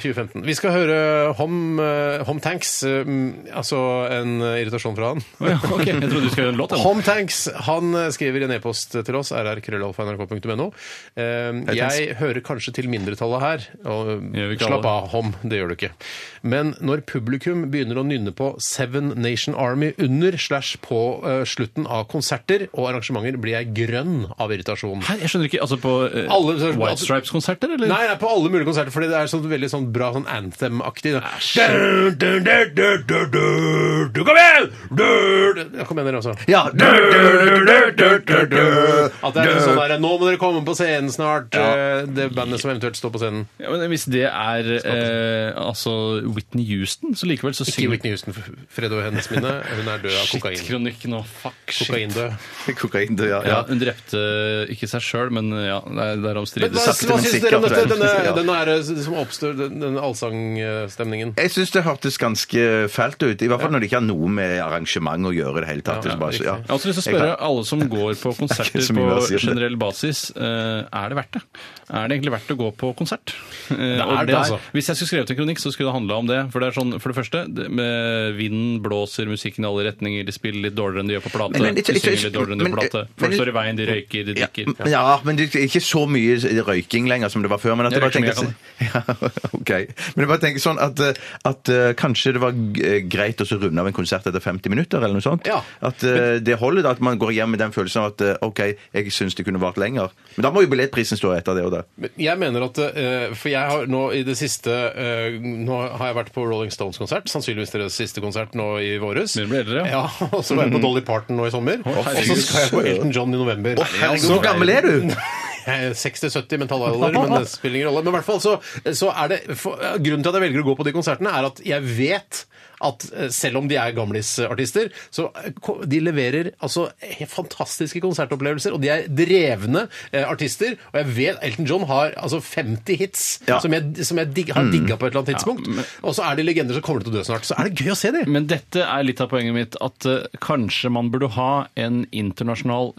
[SPEAKER 3] 2015. Vi skal høre Hom, eh, Hom Tanks, eh, mm, altså en eh, irritasjon fra han.
[SPEAKER 5] Å ja, ok, jeg trodde du skulle gjøre en låt. jeg.
[SPEAKER 3] Hom Tanks han eh, skriver i en e-post til oss, rrkrøllalfa.nrk.no. Eh, Jeg hører kanskje til mindretallet her. Og
[SPEAKER 5] Gjør vi ikke
[SPEAKER 3] slapp
[SPEAKER 5] alle?
[SPEAKER 3] av, Hom, det gjør du ikke. Men når publikum begynner å nynne på Seven Nation Army under slash på eh, slutten av konserter og arrangementer, blir jeg grønn av irritasjon.
[SPEAKER 5] Her, jeg skjønner ikke, altså På eh,
[SPEAKER 3] Alle-
[SPEAKER 5] White Stripes-konserter, eller?
[SPEAKER 3] Nei, nei, på alle mulige konserter, fordi det er sånn veldig sånn bra sånn anthem-aktig. da. Dun, dun, dun, dun, dun, dun, dun, Kom igjen! Dun, dun. Ja, Kom igjen, dere også.
[SPEAKER 4] Ja.
[SPEAKER 3] Dun, dun, dun, dun, dun, dun. At det er litt sånn der, Nå må dere komme på scenen snart. eh, Det bandet som eventuelt står på scenen.
[SPEAKER 5] Ja, men hvis det er eh, altså Whitney Houston, så likevel så
[SPEAKER 3] Ikke
[SPEAKER 5] synger
[SPEAKER 3] Whitney Houston, fred over hennes minne. Hun er død av
[SPEAKER 5] Shit,
[SPEAKER 3] kokain.
[SPEAKER 5] kronikk nå. Fuck, shit.
[SPEAKER 3] Kokaindød.
[SPEAKER 4] Kokain, du, ja.
[SPEAKER 5] Ja, hun drepte eh, ikke seg sjøl, men eh, ja, det er derom
[SPEAKER 3] Men hva,
[SPEAKER 5] strides.
[SPEAKER 3] hva
[SPEAKER 4] Sakte, men
[SPEAKER 3] syns dere om
[SPEAKER 4] sikkert, tror
[SPEAKER 3] dette?
[SPEAKER 4] jeg.
[SPEAKER 3] Denne,
[SPEAKER 4] Ja.
[SPEAKER 3] denne her, eh, som oppstår, den- den allsangstemningen.
[SPEAKER 4] Jeg syns det hørtes ganske fælt ut. I hvert fall når det ikke har noe med arrangement å gjøre. i det hele tatt. Det er bare så- ja.
[SPEAKER 5] Jeg har også lyst til å spørre alle som går på
[SPEAKER 4] ikke
[SPEAKER 5] konserter
[SPEAKER 4] så mye
[SPEAKER 5] på
[SPEAKER 4] å si om det.
[SPEAKER 5] generell basis, eh, er det verdt det? Er det egentlig verdt å gå på konsert? Eh, og
[SPEAKER 3] det, altså.
[SPEAKER 5] Hvis jeg skulle skrevet en kronikk, så skulle det handla om det. For det er sånn, for det første, det med vinden blåser musikken i alle retninger, de spiller litt dårligere enn de gjør på plate,
[SPEAKER 4] Men- men-
[SPEAKER 5] de synger litt dårligere enn de gjør på
[SPEAKER 4] men-
[SPEAKER 5] plate,
[SPEAKER 4] men-
[SPEAKER 5] folk står i veien, de røyker, de
[SPEAKER 4] Ja,
[SPEAKER 5] drikker.
[SPEAKER 4] men- ja, men det er ikke så mye røyking lenger som det var før. Men at
[SPEAKER 5] Jeg
[SPEAKER 4] jeg bare
[SPEAKER 5] røyker
[SPEAKER 4] tenker, sånn- ja, ok. men jeg bare tenker sånn at, eh, at eh, kanskje det var g- eh, greit å så runde av en konsert etter 50 minutter, eller noe sånt.
[SPEAKER 3] Ja.
[SPEAKER 4] At eh, det holder, da, at man går hjem med den følelsen av at eh, ok, jeg syns det kunne vart lenger. Men da må jo billettprisen stå etter det og det.
[SPEAKER 3] Men Jeg mener at eh, For jeg har nå i det siste eh, Nå har jeg vært på Rolling Stones-konsert, sannsynligvis deres siste konsert nå i våres.
[SPEAKER 5] Begynner å bli eldre, ja.
[SPEAKER 3] ja. Og så var jeg på Dolly Parton nå i sommer. og så skal jeg på Elton John i november.
[SPEAKER 4] Så gammel er du!
[SPEAKER 3] Jeg er 60-70 mentalhjelder, men det spiller ingen rolle. Men i hvert fall så, så er det for, eh, Grunnen til at jeg velger å gå på de konsertene, er at jeg vet at eh, selv om de er gamlisartister, så eh, ko- de leverer altså helt fantastiske konsertopplevelser, og de er drevne eh, artister. Og jeg vet Elton John har altså 50 hits
[SPEAKER 4] Ja.
[SPEAKER 3] som jeg, som jeg digg,
[SPEAKER 5] Mm.
[SPEAKER 3] har digga på et eller annet tidspunkt. Og så er de legender som kommer til å dø snart. Så er det gøy å se dem!
[SPEAKER 5] Men dette er litt av poenget mitt, at eh, kanskje man burde ha en internasjonal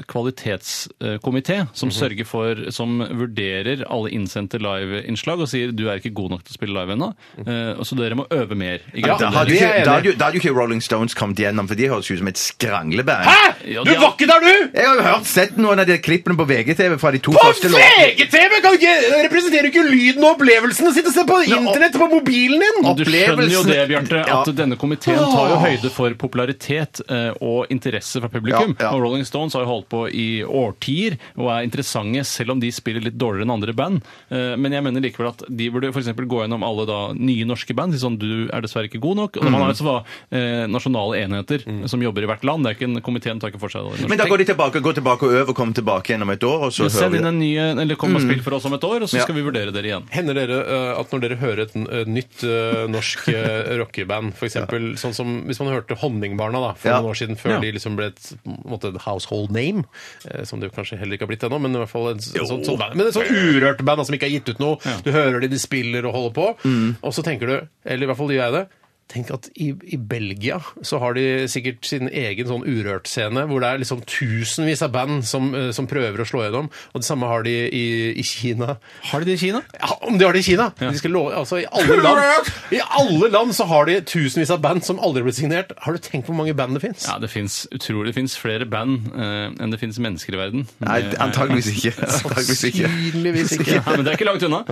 [SPEAKER 5] kvalitetskomité eh, som
[SPEAKER 3] Mhm.
[SPEAKER 5] sørger for, som vurderer alle innsendte liveinnslag og sier du er ikke god nok til å spille live ennå, eh, og så dere må øve mer. Ikke
[SPEAKER 3] Mhm. Ja,
[SPEAKER 5] sant?
[SPEAKER 4] Da
[SPEAKER 5] Dere-
[SPEAKER 4] hadde jo
[SPEAKER 3] det er
[SPEAKER 4] ikke,
[SPEAKER 3] jeg enig
[SPEAKER 4] da
[SPEAKER 3] i.
[SPEAKER 4] hadde jo- da hadde jo ikke Rolling Stones kommet gjennom, for de høres jo ut som et skrangleband.
[SPEAKER 5] Ja,
[SPEAKER 3] Du
[SPEAKER 5] de har-
[SPEAKER 3] var ikke der, du!
[SPEAKER 4] Jeg har jo hørt sett noen av de klippene på VGTV fra de to
[SPEAKER 3] På
[SPEAKER 4] første låtene.
[SPEAKER 3] VGTV! Kan ikke, representerer ikke lyden og opplevelsene! Sitt og se på internett på mobilen din!
[SPEAKER 5] Du skjønner jo det, Bjarte, at
[SPEAKER 4] Ja.
[SPEAKER 5] denne komiteen tar jo høyde for popularitet eh, og interesse fra publikum.
[SPEAKER 4] Ja, ja.
[SPEAKER 5] Og Rolling Stones har jo holdt på i årtier og er interessante selv om de spiller litt dårligere enn andre band. Eh, Men jeg mener likevel at de burde f.eks. gå gjennom alle da nye norske band. si Sånn, du er dessverre ikke god nok. Og
[SPEAKER 4] Mm.
[SPEAKER 5] man har jo så eh, nasjonale enheter som jobber i hvert land. Det er ikke en komiteen tar ikke for seg det.
[SPEAKER 4] Men da går de tilbake, går tilbake og øver og kommer tilbake igjen om et år, og så hører
[SPEAKER 5] Send
[SPEAKER 4] vi
[SPEAKER 5] inn
[SPEAKER 4] det.
[SPEAKER 5] en ny, eller kom og spill for oss om et år, og
[SPEAKER 4] Mm.
[SPEAKER 5] så
[SPEAKER 4] Ja.
[SPEAKER 5] skal vi vurdere dere igjen.
[SPEAKER 3] Hender dere eh, at når dere hører et n- eh, nytt eh, norsk eh, rockeband, f.eks. sånn som hvis man hørte Honningbarna da, for
[SPEAKER 4] Ja.
[SPEAKER 3] noen år siden, før
[SPEAKER 5] Ja.
[SPEAKER 3] de liksom ble et, på en måte, et household name, eh, som det jo kanskje heller ikke har blitt ennå, men i hvert fall et s- sånt, sånt band. Men et sånn urørt band da, som ikke har gitt ut noe. Du hører de, de spiller og holder på, og så tenker du, eller i hvert fall gjør jeg det, Tenk at i, i Belgia så har de sikkert sin egen sånn urørt-scene, hvor det er liksom tusenvis av band som, eh, som prøver å slå gjennom. Og det samme har de i, i Kina.
[SPEAKER 5] Har de det i Kina?
[SPEAKER 3] Ja, om de har det i Kina! De skal love, altså, i, alle land, I alle land så har de tusenvis av band som aldri blir signert. Har du tenkt hvor mange band det fins?
[SPEAKER 5] Ja, det fins utrolig det finnes flere band eh, enn det fins mennesker i verden.
[SPEAKER 4] Nei,
[SPEAKER 5] Det er-
[SPEAKER 4] antageligvis ikke. Antageligvis ikke.
[SPEAKER 3] Sannsynligvis ikke.
[SPEAKER 5] Nei, men det er ikke langt unna.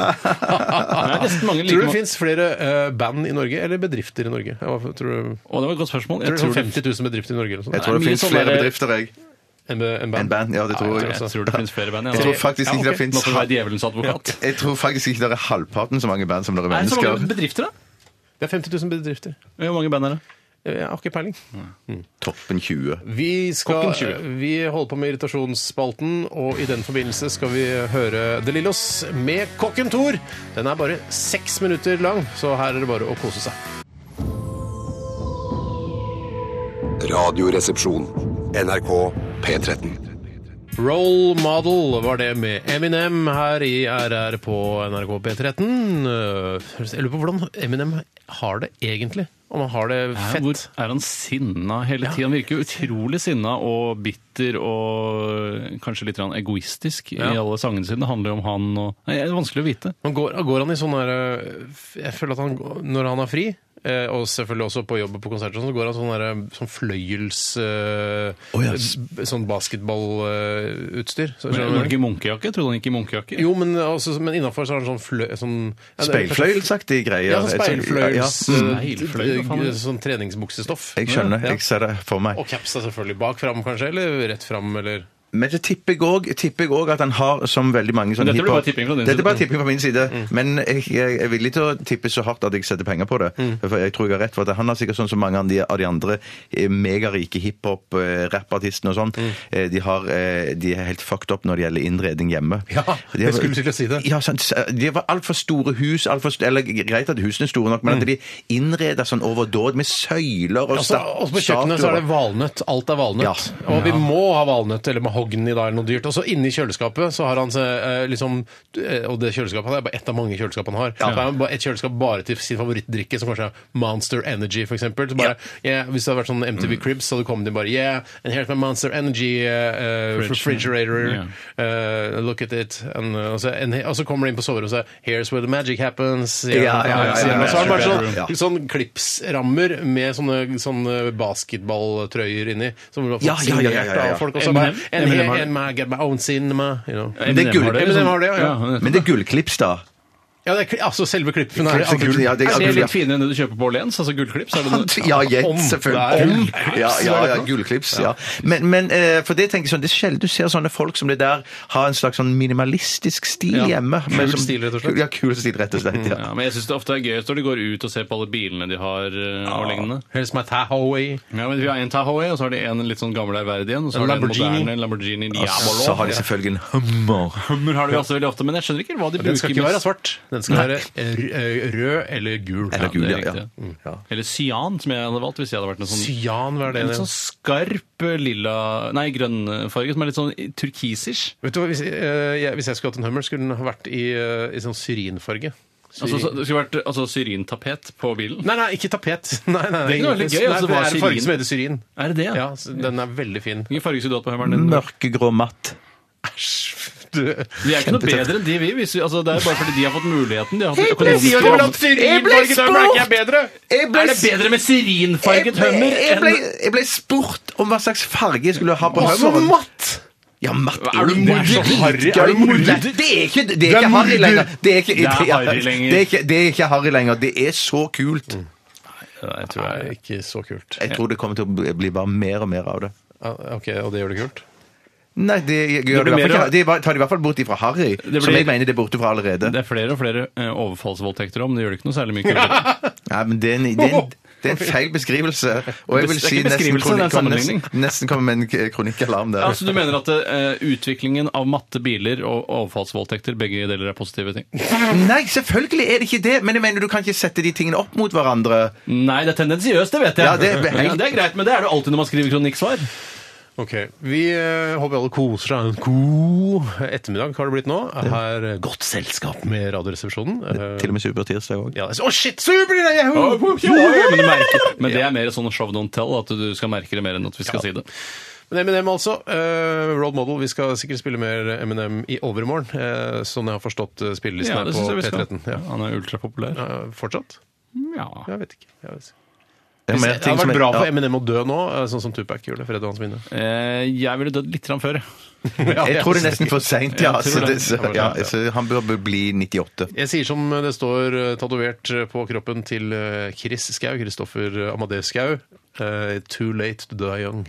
[SPEAKER 5] Det er nesten mange
[SPEAKER 3] Tror du
[SPEAKER 5] like
[SPEAKER 3] det fins flere eh, band i Norge, eller bedrifter i Norge? Ja, hva tror du,
[SPEAKER 5] Å, det var et godt spørsmål.
[SPEAKER 3] tror
[SPEAKER 5] Jeg
[SPEAKER 3] du
[SPEAKER 5] tror
[SPEAKER 3] sånn
[SPEAKER 5] det,
[SPEAKER 3] 50 000 bedrifter i Norge eller
[SPEAKER 4] Jeg
[SPEAKER 3] noe sånt?
[SPEAKER 4] tror det
[SPEAKER 5] Mye
[SPEAKER 4] finnes
[SPEAKER 5] sånn
[SPEAKER 4] flere
[SPEAKER 5] der-
[SPEAKER 4] bedrifter, jeg.
[SPEAKER 3] En, en
[SPEAKER 4] En band, ja, det tror jeg.
[SPEAKER 5] jeg tror det finnes flere band.
[SPEAKER 4] Jeg tror faktisk ikke det
[SPEAKER 3] Ja, ok.
[SPEAKER 5] Nå
[SPEAKER 4] finnes
[SPEAKER 5] får du være djevelens advokat.
[SPEAKER 4] Jeg tror faktisk ikke det er halvparten så mange band som det er
[SPEAKER 5] Er det så mange
[SPEAKER 4] mennesker.
[SPEAKER 5] bedrifter, da?
[SPEAKER 3] Det er 50 000 bedrifter.
[SPEAKER 5] Hvor mange band er det?
[SPEAKER 3] Jeg har ikke peiling.
[SPEAKER 4] Toppen 20.
[SPEAKER 3] Vi, skal,
[SPEAKER 5] Klokken 20.
[SPEAKER 3] vi holder på med irritasjonsspalten, og i den forbindelse skal vi høre De Lillos med Kokken Thor. Den er bare seks minutter lang, så her er det bare å kose seg.
[SPEAKER 2] Radioresepsjon. NRK P13.
[SPEAKER 3] Role Model var det med Eminem her i RR på NRK P13. Øh, Jeg lurer på hvordan Eminem har det egentlig? Om han har det
[SPEAKER 5] Hæ,
[SPEAKER 3] fett?
[SPEAKER 5] Hvor er han sinna hele tida? Han virker jo utrolig sinna og bitter og kanskje litt grann egoistisk i alle sangene sine. Det handler jo om han og Nei, Det er vanskelig å vite.
[SPEAKER 3] Men går, går han i sånn der øh, Jeg føler at han går- når han har fri eh, og selvfølgelig også på jobb og på konsert, og sånn, så går han sånn, der, øh, sånn fløyels... øh,
[SPEAKER 4] Å, ja.
[SPEAKER 3] b- Sånn basketballutstyr. Så,
[SPEAKER 5] Men
[SPEAKER 3] skjønner
[SPEAKER 5] han
[SPEAKER 3] du hva jeg
[SPEAKER 5] gikk i munkejakke? Trodde han gikk i munkejakke?
[SPEAKER 3] mener? jo, men, altså, men innafor så har han sånn, fløy, sånn ja, det er-
[SPEAKER 4] Speilfløyelsaktige greier.
[SPEAKER 3] Ja, sånn speilfløyels...
[SPEAKER 4] Ja, ja. Mm.
[SPEAKER 3] øh,
[SPEAKER 5] Speilfløyel, hva faen er det?
[SPEAKER 3] Sånn treningsbuksestoff.
[SPEAKER 4] Jeg skjønner.
[SPEAKER 3] Ja.
[SPEAKER 4] Jeg ser det for meg.
[SPEAKER 3] Og caps er selvfølgelig bak fram, kanskje? Eller rett fram, eller
[SPEAKER 4] Men det tipper jeg òg- tipper jeg òg at han har, som veldig mange sånne
[SPEAKER 5] Dette blir
[SPEAKER 4] hiphop-
[SPEAKER 5] bare tipping fra din
[SPEAKER 4] Dette
[SPEAKER 5] side.
[SPEAKER 4] er bare tipping fra min side.
[SPEAKER 3] Mm.
[SPEAKER 4] Men jeg, jeg er villig til å tippe så hardt at jeg setter penger på det.
[SPEAKER 3] Mm.
[SPEAKER 4] For jeg tror jeg har rett, for at han har sikkert sånn som mange av de, av de andre eh, megarike hiphop-rappartistene og sånn.
[SPEAKER 3] Mm.
[SPEAKER 4] eh, De, har, eh, de er helt fucked up når det gjelder innredning hjemme.
[SPEAKER 3] Ja,
[SPEAKER 4] De har-
[SPEAKER 3] jeg skulle til å si det.
[SPEAKER 4] Ja, sant. De var altfor store hus. Alt for, st- eller greit at husene er store nok, men at de innreder sånn overdåd med søyler og
[SPEAKER 3] Også,
[SPEAKER 4] sta-
[SPEAKER 3] også Altså, på kjøkkenet Mm. så er det valnøtt. Alt er valnøtt.
[SPEAKER 4] Ja.
[SPEAKER 3] Og vi må ha valnøtt eller mahogni da, eller noe dyrt. Og så inni kjøleskapet så har han eh, liksom eh, Og det kjøleskapet han har, er bare ett av mange kjøleskap han har. Det er bare et kjøleskap bare til sin favorittdrikke, som kanskje er Monster Energy, for eksempel. Så bare, yeah, hvis det hadde vært sånn MTV
[SPEAKER 4] Mm.
[SPEAKER 3] Cribs, så hadde det kommet inn bare Yeah, and here's my Monster Energy eh, eh,
[SPEAKER 5] Fridge.
[SPEAKER 3] refrigerator. eh, look at it. And, eh, og, så, and, he- og så kommer de inn på soverommet og sier Here's where the magic happens. sier
[SPEAKER 4] Ja,
[SPEAKER 3] han.
[SPEAKER 4] ja, ja, ja, ja.
[SPEAKER 3] Og så har han bare sånn
[SPEAKER 4] Ja.
[SPEAKER 3] sånn klipsrammer med sånne, sånne basketballtrøyer inni. Som vi har fått
[SPEAKER 4] Ja, ja, ja, ja, ja, ja.
[SPEAKER 3] signert av folk. Og så bare
[SPEAKER 5] Eminem?
[SPEAKER 3] And
[SPEAKER 5] Eminem
[SPEAKER 3] here
[SPEAKER 5] har det.
[SPEAKER 3] and my, get my own cinema. You know.
[SPEAKER 4] Det er gull.
[SPEAKER 5] liksom.
[SPEAKER 3] Eminem har det, ja, ja.
[SPEAKER 4] Men det er gullklips, da.
[SPEAKER 3] Ja, det er, kli- altså selve klippen er
[SPEAKER 4] Klipset gull, ja, det
[SPEAKER 5] Er det
[SPEAKER 4] gull, ja.
[SPEAKER 5] litt finere enn det du kjøper på Åhléns? Altså gullklips? Er det noe?
[SPEAKER 4] Ja, gjett,
[SPEAKER 3] Om. Det er
[SPEAKER 4] selvfølgelig. Om. Ja, ja, ja, gullklips. Ja. Men, men eh, for det tenker jeg sånn, det er sjelden du ser sånne folk som det der har en slags sånn minimalistisk stil
[SPEAKER 5] Ja.
[SPEAKER 4] hjemme.
[SPEAKER 3] Kul
[SPEAKER 4] men som-
[SPEAKER 3] stil, rett og slett.
[SPEAKER 4] Ja, kul stil, rett og slett.
[SPEAKER 5] Ja,
[SPEAKER 4] Ja.
[SPEAKER 5] men jeg syns det ofte er gøyest når de går ut og ser på alle bilene de har eh, og lignende.
[SPEAKER 3] Here's my Tahoe.
[SPEAKER 5] Ja, men Vi har en Tahoe, og så har de en litt sånn gammel ærverdig en. Og så
[SPEAKER 3] En
[SPEAKER 5] har de en
[SPEAKER 3] Lamborghini.
[SPEAKER 5] moderne Lamborghini Diabolo.
[SPEAKER 4] Så har de selvfølgelig en hummer.
[SPEAKER 5] Hummer har de også veldig ofte, men jeg skjønner ikke hva de
[SPEAKER 3] Den skal ikke
[SPEAKER 5] bruker
[SPEAKER 3] være
[SPEAKER 5] mest.
[SPEAKER 3] svart. Den skal være r- eh, rød eller gul.
[SPEAKER 4] Eller gul,
[SPEAKER 5] det
[SPEAKER 4] ja. Mm,
[SPEAKER 5] er
[SPEAKER 4] ja.
[SPEAKER 5] riktig. Eller cyan, som jeg hadde valgt hvis jeg hadde vært en sånn
[SPEAKER 3] Cyan, hva er det?
[SPEAKER 5] En sånn skarp eh, lilla Nei, grønnfarge som er litt sånn turkisish.
[SPEAKER 3] Vet du hva, hvis, eh, jeg, hvis jeg skulle hatt en Hummer, skulle den ha vært i, eh, i sånn syrinfarge.
[SPEAKER 5] Altså, så- det skulle vært eh, altså, syrintapet på bilen.
[SPEAKER 3] Nei, nei, ikke tapet. Nei, nei, nei.
[SPEAKER 5] Det kunne vært litt gøy, altså, hva
[SPEAKER 3] det er
[SPEAKER 5] er
[SPEAKER 3] en farge
[SPEAKER 5] syrin?
[SPEAKER 3] som heter syrin.
[SPEAKER 5] Er det det,
[SPEAKER 3] Ja, så den er veldig fin.
[SPEAKER 5] Hvilken farge skulle du hatt på hummeren din?
[SPEAKER 4] Mørkegrå matt.
[SPEAKER 3] Du,
[SPEAKER 5] De er ikke noe bedre enn de vi. Hvis vi altså, det er bare fordi de har fått muligheten. De har fått
[SPEAKER 3] Jeg
[SPEAKER 5] økonomisk-
[SPEAKER 3] ble spurt! Jeg ble
[SPEAKER 5] Er det bedre med
[SPEAKER 4] Jeg
[SPEAKER 5] syrinfarget
[SPEAKER 4] ble,
[SPEAKER 5] hummer
[SPEAKER 4] jeg, ble,
[SPEAKER 5] enn
[SPEAKER 4] jeg ble spurt om hva slags farge jeg skulle ha på
[SPEAKER 3] Også
[SPEAKER 4] hummeren.
[SPEAKER 3] matt!
[SPEAKER 4] Ja, matt
[SPEAKER 5] Er du
[SPEAKER 4] jo
[SPEAKER 5] morder?
[SPEAKER 4] dritgøy.
[SPEAKER 5] Er du morder?
[SPEAKER 4] Nei, Det er ikke, det er
[SPEAKER 3] er
[SPEAKER 4] ikke Harry
[SPEAKER 3] morder.
[SPEAKER 4] lenger. Det er ikke,
[SPEAKER 5] Det er Harry lenger.
[SPEAKER 4] det er ikke, det er ikke Harry lenger. Det er så kult.
[SPEAKER 5] Nei, tror
[SPEAKER 3] Det er ikke så kult.
[SPEAKER 4] Jeg tror det kommer til å bli- bli bare mer og mer av det.
[SPEAKER 3] Ah, Ok, Og det gjør det kult?
[SPEAKER 4] Nei, det gjør det,
[SPEAKER 5] blir
[SPEAKER 4] i hvert
[SPEAKER 5] mer
[SPEAKER 4] fall
[SPEAKER 5] av-
[SPEAKER 4] ikke. Det er bare- tar de i hvert fall bort ifra Harry,
[SPEAKER 5] blir-
[SPEAKER 4] som jeg mener det er borte fra allerede.
[SPEAKER 5] Det er flere og flere eh, overfallsvoldtekter om, det gjør det ikke noe særlig mye kulere.
[SPEAKER 4] Nei, men det er en, det er en, det er en feil beskrivelse. Og jeg vil
[SPEAKER 5] Det er
[SPEAKER 4] si
[SPEAKER 5] ikke
[SPEAKER 4] nesten,
[SPEAKER 5] beskrivelse, det er en
[SPEAKER 4] kronikk, kommer nesten,
[SPEAKER 5] sammenligning.
[SPEAKER 4] nesten kommer med en k- kronikkalarm der.
[SPEAKER 5] Altså, du mener at eh, utviklingen av matte biler og overfallsvoldtekter begge deler er positive ting?
[SPEAKER 4] Nei, selvfølgelig er det ikke det, men jeg mener du kan ikke sette de tingene opp mot hverandre.
[SPEAKER 5] Nei, det er tendensiøst, det vet jeg.
[SPEAKER 4] Ja, det er helt-
[SPEAKER 5] Ja, det er greit, men det er det jo alltid når man skriver kronikksvar.
[SPEAKER 3] Ok, Vi eh, håper alle koser seg. En god ettermiddag har det blitt nå. Her eh, Godt selskap med Radioresepsjonen. Eh,
[SPEAKER 4] Til og med Supertirsdag òg.
[SPEAKER 3] ja, Å, shit! Super! Yeah!
[SPEAKER 5] Men, du merker, men det er mer sånn show don't tell, at du skal merke det mer enn at vi skal si det.
[SPEAKER 3] Men Eminem, altså. eh, role model. Vi skal sikkert spille mer Eminem i overmorgen, eh, sånn jeg har forstått eh, spillelisten her på P13. Ja.
[SPEAKER 5] Han er ultrapopulær.
[SPEAKER 3] Eh, fortsatt?
[SPEAKER 5] Ja.
[SPEAKER 3] Jeg vet ikke. Jeg vet ikke.
[SPEAKER 4] Det
[SPEAKER 3] Hvis,
[SPEAKER 4] er mer
[SPEAKER 3] det
[SPEAKER 4] ting
[SPEAKER 3] hadde
[SPEAKER 4] som
[SPEAKER 3] vært
[SPEAKER 4] er-
[SPEAKER 3] bra for
[SPEAKER 4] ja.
[SPEAKER 3] Eminem å dø nå, eh, sånn som Tupac gjorde. Fred og hans minne.
[SPEAKER 5] Eh, jeg ville dødd litt grann før.
[SPEAKER 4] Jeg tror det er nesten for seint, ja.
[SPEAKER 5] Jeg tror
[SPEAKER 4] Så, det,
[SPEAKER 5] det.
[SPEAKER 4] så, ja. så han bør bli 98.
[SPEAKER 3] Jeg sier som det står eh, tatovert eh, på kroppen til eh, Chris Skau, Kristoffer eh, Amadeus Skau. eh, Too late to die young.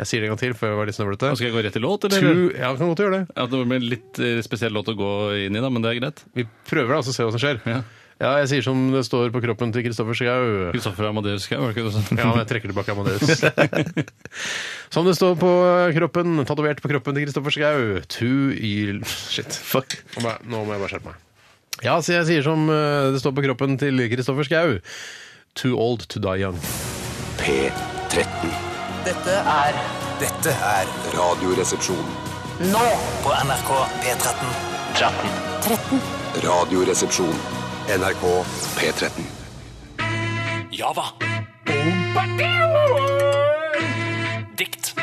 [SPEAKER 3] Jeg sier det en gang til, for jeg var litt snøvlete.
[SPEAKER 5] Og skal jeg gå rett i låt, eller?
[SPEAKER 3] Too, ja, kan godt gjøre det.
[SPEAKER 5] Ja, det blir en litt eh, spesiell låt å gå inn i, da, men det er greit.
[SPEAKER 3] Vi prøver da, så ser vi hva som skjer. Ja.
[SPEAKER 5] Ja.
[SPEAKER 3] jeg sier som det står på kroppen til Kristoffer Skau.
[SPEAKER 5] Kristoffer Amadeus Schau, var det ikke det sånn?
[SPEAKER 3] Ja, men jeg trekker tilbake Amadeus. som det står på kroppen, tatovert på kroppen til Kristoffer Skau. Too y- Shit.
[SPEAKER 4] Fuck.
[SPEAKER 3] Nå må jeg- Nå må jeg bare skjerpe meg. Ja, så jeg sier som eh, det står på kroppen til Kristoffer Skau. Too old to die young.
[SPEAKER 2] P13.
[SPEAKER 1] Dette er Dette er
[SPEAKER 2] Radioresepsjon.
[SPEAKER 8] Nå
[SPEAKER 1] på NRK P13.
[SPEAKER 2] Radioresepsjon. NRK P13.
[SPEAKER 7] Java. Dikt.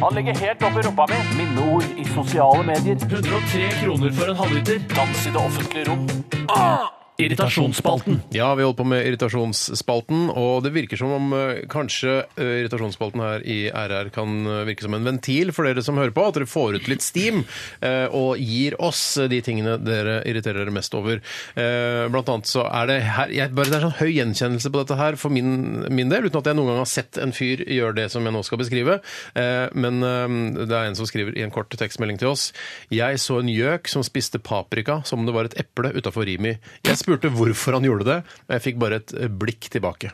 [SPEAKER 7] Han legger helt opp i rumpa mi. Minneord i sosiale medier. 103 kroner for en halvliter. Dans i det offentlige rom.
[SPEAKER 5] Irritasjonsspalten.
[SPEAKER 3] Ja, vi holder på med irritasjonsspalten, og det virker som om eh, kanskje eh, irritasjonsspalten her i RR kan eh, virke som en ventil for dere som hører på, at dere får ut litt steam eh, og gir oss eh, de tingene dere irriterer dere mest over. Eh, Blant annet så er det her jeg, bare Det er sånn høy gjenkjennelse på dette her for min, min del, uten at jeg noen gang har sett en fyr gjøre det som jeg nå skal beskrive. Eh, Men eh, det er en som skriver i en kort tekstmelding til oss. Jeg så en gjøk som spiste paprika som om det var et eple utafor Rimi. Jeg spurte hvorfor han gjorde det, og jeg fikk bare et eh, blikk tilbake.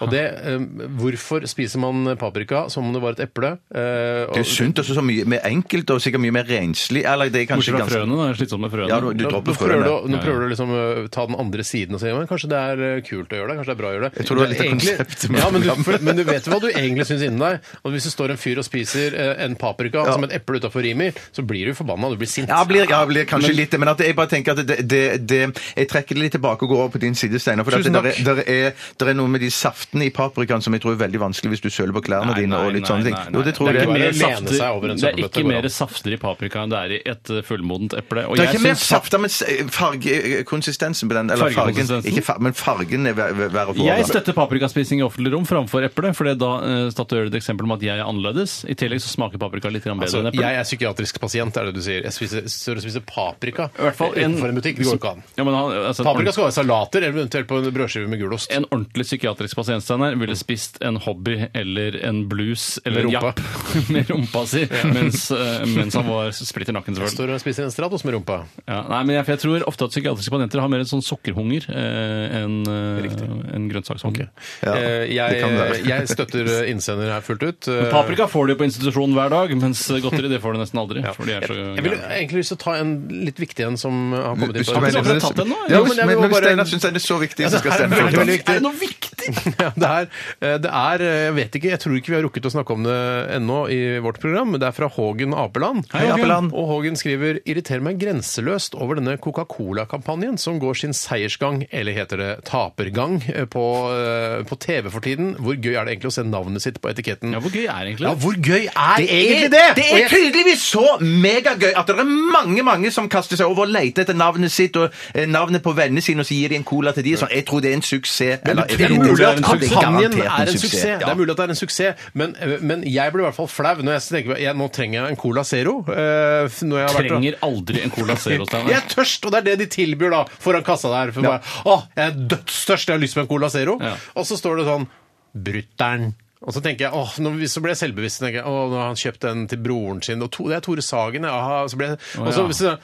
[SPEAKER 3] Og det, eh, Hvorfor spiser man paprika som om det var et eple? Eh, og-
[SPEAKER 4] Det er jo sunt og så mye mer enkelt og sikkert mye mer renslig. Eller det er kanskje
[SPEAKER 5] Bortsett fra
[SPEAKER 4] ganske-
[SPEAKER 5] frøene. da, Det er slitsomt med frøene.
[SPEAKER 4] Ja, du, du
[SPEAKER 3] Nå, nå
[SPEAKER 4] dropper
[SPEAKER 3] prøver du,
[SPEAKER 4] frøene.
[SPEAKER 3] å- nå prøver du liksom å ta den andre siden og si men kanskje det er eh, kult å gjøre det. kanskje det er bra å gjøre det.
[SPEAKER 4] Jeg tror det var litt av
[SPEAKER 3] Egentlig-
[SPEAKER 4] konseptet med
[SPEAKER 3] ja, men, du,
[SPEAKER 4] programmet.
[SPEAKER 3] for, men du vet jo hva du egentlig syns inni deg. Og Hvis det står en fyr og spiser eh, en paprika som et eple utafor Rimi, så blir du forbanna. Du blir sint.
[SPEAKER 4] Ja, jeg blir, jeg blir kanskje litt det, men at jeg bare tenker at det, det, det, jeg trekker det litt tilbake og går over på din side, Steinar. For at
[SPEAKER 3] Tusen
[SPEAKER 4] det, der,
[SPEAKER 3] takk.
[SPEAKER 4] er- der er, der er noe med de saftene i paprikaen som jeg tror er veldig vanskelig hvis du søler på klærne dine og litt sånne ting. Jo, det tror
[SPEAKER 5] Det er
[SPEAKER 4] jeg.
[SPEAKER 5] ikke
[SPEAKER 3] Bare
[SPEAKER 5] mer
[SPEAKER 3] lene
[SPEAKER 5] safter,
[SPEAKER 3] seg over en
[SPEAKER 5] det er
[SPEAKER 3] søppelbøtte
[SPEAKER 5] ikke
[SPEAKER 3] går
[SPEAKER 5] mer
[SPEAKER 3] an.
[SPEAKER 5] safter i paprika enn det er i et eh, fullmodent eple. Og
[SPEAKER 4] Det er
[SPEAKER 5] jeg
[SPEAKER 4] ikke mer
[SPEAKER 5] syns-
[SPEAKER 4] safter, men s- farge, eh, konsistensen på den, eller fargen,
[SPEAKER 5] Fargekonsistensen?
[SPEAKER 4] ikke far, men fargen er ver- ver- verre å få.
[SPEAKER 5] Jeg
[SPEAKER 4] over.
[SPEAKER 5] støtter paprikaspising i offentlig rom framfor eple, for det da eh, statuerer det et eksempel om at jeg er annerledes. I tillegg så smaker paprika litt grann bedre
[SPEAKER 3] Altså,
[SPEAKER 5] enn eple.
[SPEAKER 3] jeg er psykiatrisk pasient, er det du sier. Jeg spiser, står og spiser paprika
[SPEAKER 5] I hvert fall en-
[SPEAKER 3] utenfor en butikk. Det går jo ikke an.
[SPEAKER 5] Ja, men han- altså, en
[SPEAKER 3] Paprika skal være salater, eller eventuelt på en brødskive med gulost.
[SPEAKER 5] en ordentlig psykiatrisk pasient Steinar, ville spist en hobby eller en blues eller
[SPEAKER 3] Mm. Med
[SPEAKER 5] en
[SPEAKER 3] rumpa.
[SPEAKER 5] japp med rumpa si mens, eh, mens han var splitter nakken, selvfølgelig.
[SPEAKER 3] Står og spiser en stratos med rumpa.
[SPEAKER 5] Ja, nei, men jeg, for jeg tror ofte at psykiatriske pasienter har mer en sånn sukkerhunger eh, enn eh, en grønnsakshunger.
[SPEAKER 4] Ja,
[SPEAKER 3] Eh,
[SPEAKER 4] det kan være.
[SPEAKER 3] jeg, jeg støtter innsender her fullt ut. Eh,
[SPEAKER 5] Mm. Paprika får du jo på institusjon hver dag, mens godteri det får du nesten aldri.
[SPEAKER 3] Ja.
[SPEAKER 5] For de er så
[SPEAKER 3] Jeg ville egentlig lyst til å ta en litt viktig en som har kommet inn.
[SPEAKER 4] Hvis
[SPEAKER 3] på-
[SPEAKER 4] du mener
[SPEAKER 5] akkurat
[SPEAKER 4] det-
[SPEAKER 5] tatt den nå?
[SPEAKER 4] Ja,
[SPEAKER 3] Jo,
[SPEAKER 4] hvis-
[SPEAKER 3] men jeg
[SPEAKER 4] men
[SPEAKER 3] må
[SPEAKER 4] men hvis
[SPEAKER 3] bare-
[SPEAKER 4] Steinar syns den er så viktig, så skal
[SPEAKER 3] det er
[SPEAKER 4] Steinar få
[SPEAKER 3] veldig,
[SPEAKER 4] den.
[SPEAKER 3] veldig viktig.
[SPEAKER 5] Er det noe viktig?
[SPEAKER 3] Ja, det er, eh, det er eh, Jeg vet ikke, jeg tror ikke vi har rukket å snakke om det ennå i vårt program, men det er fra Hågen Apeland.
[SPEAKER 4] Hei, Apeland.
[SPEAKER 3] Og Hågen skriver irriterer meg grenseløst over denne Coca-Cola-kampanjen som går sin seiersgang, eller heter det tapergang, eh, på, eh, på TV for tiden. Hvor gøy er det egentlig å se navnet sitt på etiketten?
[SPEAKER 5] Ja, hvor gøy er egentlig
[SPEAKER 3] Ja, hvor gøy er
[SPEAKER 4] det?
[SPEAKER 3] egentlig det?
[SPEAKER 4] Det
[SPEAKER 3] Og
[SPEAKER 4] er
[SPEAKER 3] jeg-
[SPEAKER 4] tydeligvis så megagøy at det er mange mange som kaster seg over og leter etter navnet sitt og eh, navnet på vennene sine, og så gir de en cola til de. Sånn, jeg tror det er en suksess. Eller,
[SPEAKER 3] Det
[SPEAKER 4] jeg
[SPEAKER 3] er
[SPEAKER 4] vet
[SPEAKER 3] mulig
[SPEAKER 4] ikke.
[SPEAKER 3] at
[SPEAKER 4] Ja, det er
[SPEAKER 3] kampanjen
[SPEAKER 4] garantert
[SPEAKER 3] er en suksess,
[SPEAKER 4] Ja.
[SPEAKER 3] det er mulig at det er en suksess, men, eh, men jeg blir i hvert fall flau når jeg tenker på- jeg, nå trenger jeg en Cola Zero. eh, f- når jeg har vært-
[SPEAKER 5] Trenger aldri en Cola Zero,
[SPEAKER 3] Jeg
[SPEAKER 5] Steinar.
[SPEAKER 3] er tørst, og det er det de tilbyr da foran kassa der. For bare, å, jeg er dødstørst, jeg har lyst på en Cola Zero.
[SPEAKER 5] Ja.
[SPEAKER 3] Og så står det sånn Brutter'n. Og så tenker jeg, åh, nå, så ble jeg selvbevisst. så tenker jeg, åh, nå har han kjøpt den til broren sin. Og to, det er Tore Sagen. ja, Aha, så ble jeg, og så,
[SPEAKER 5] ja.
[SPEAKER 3] så,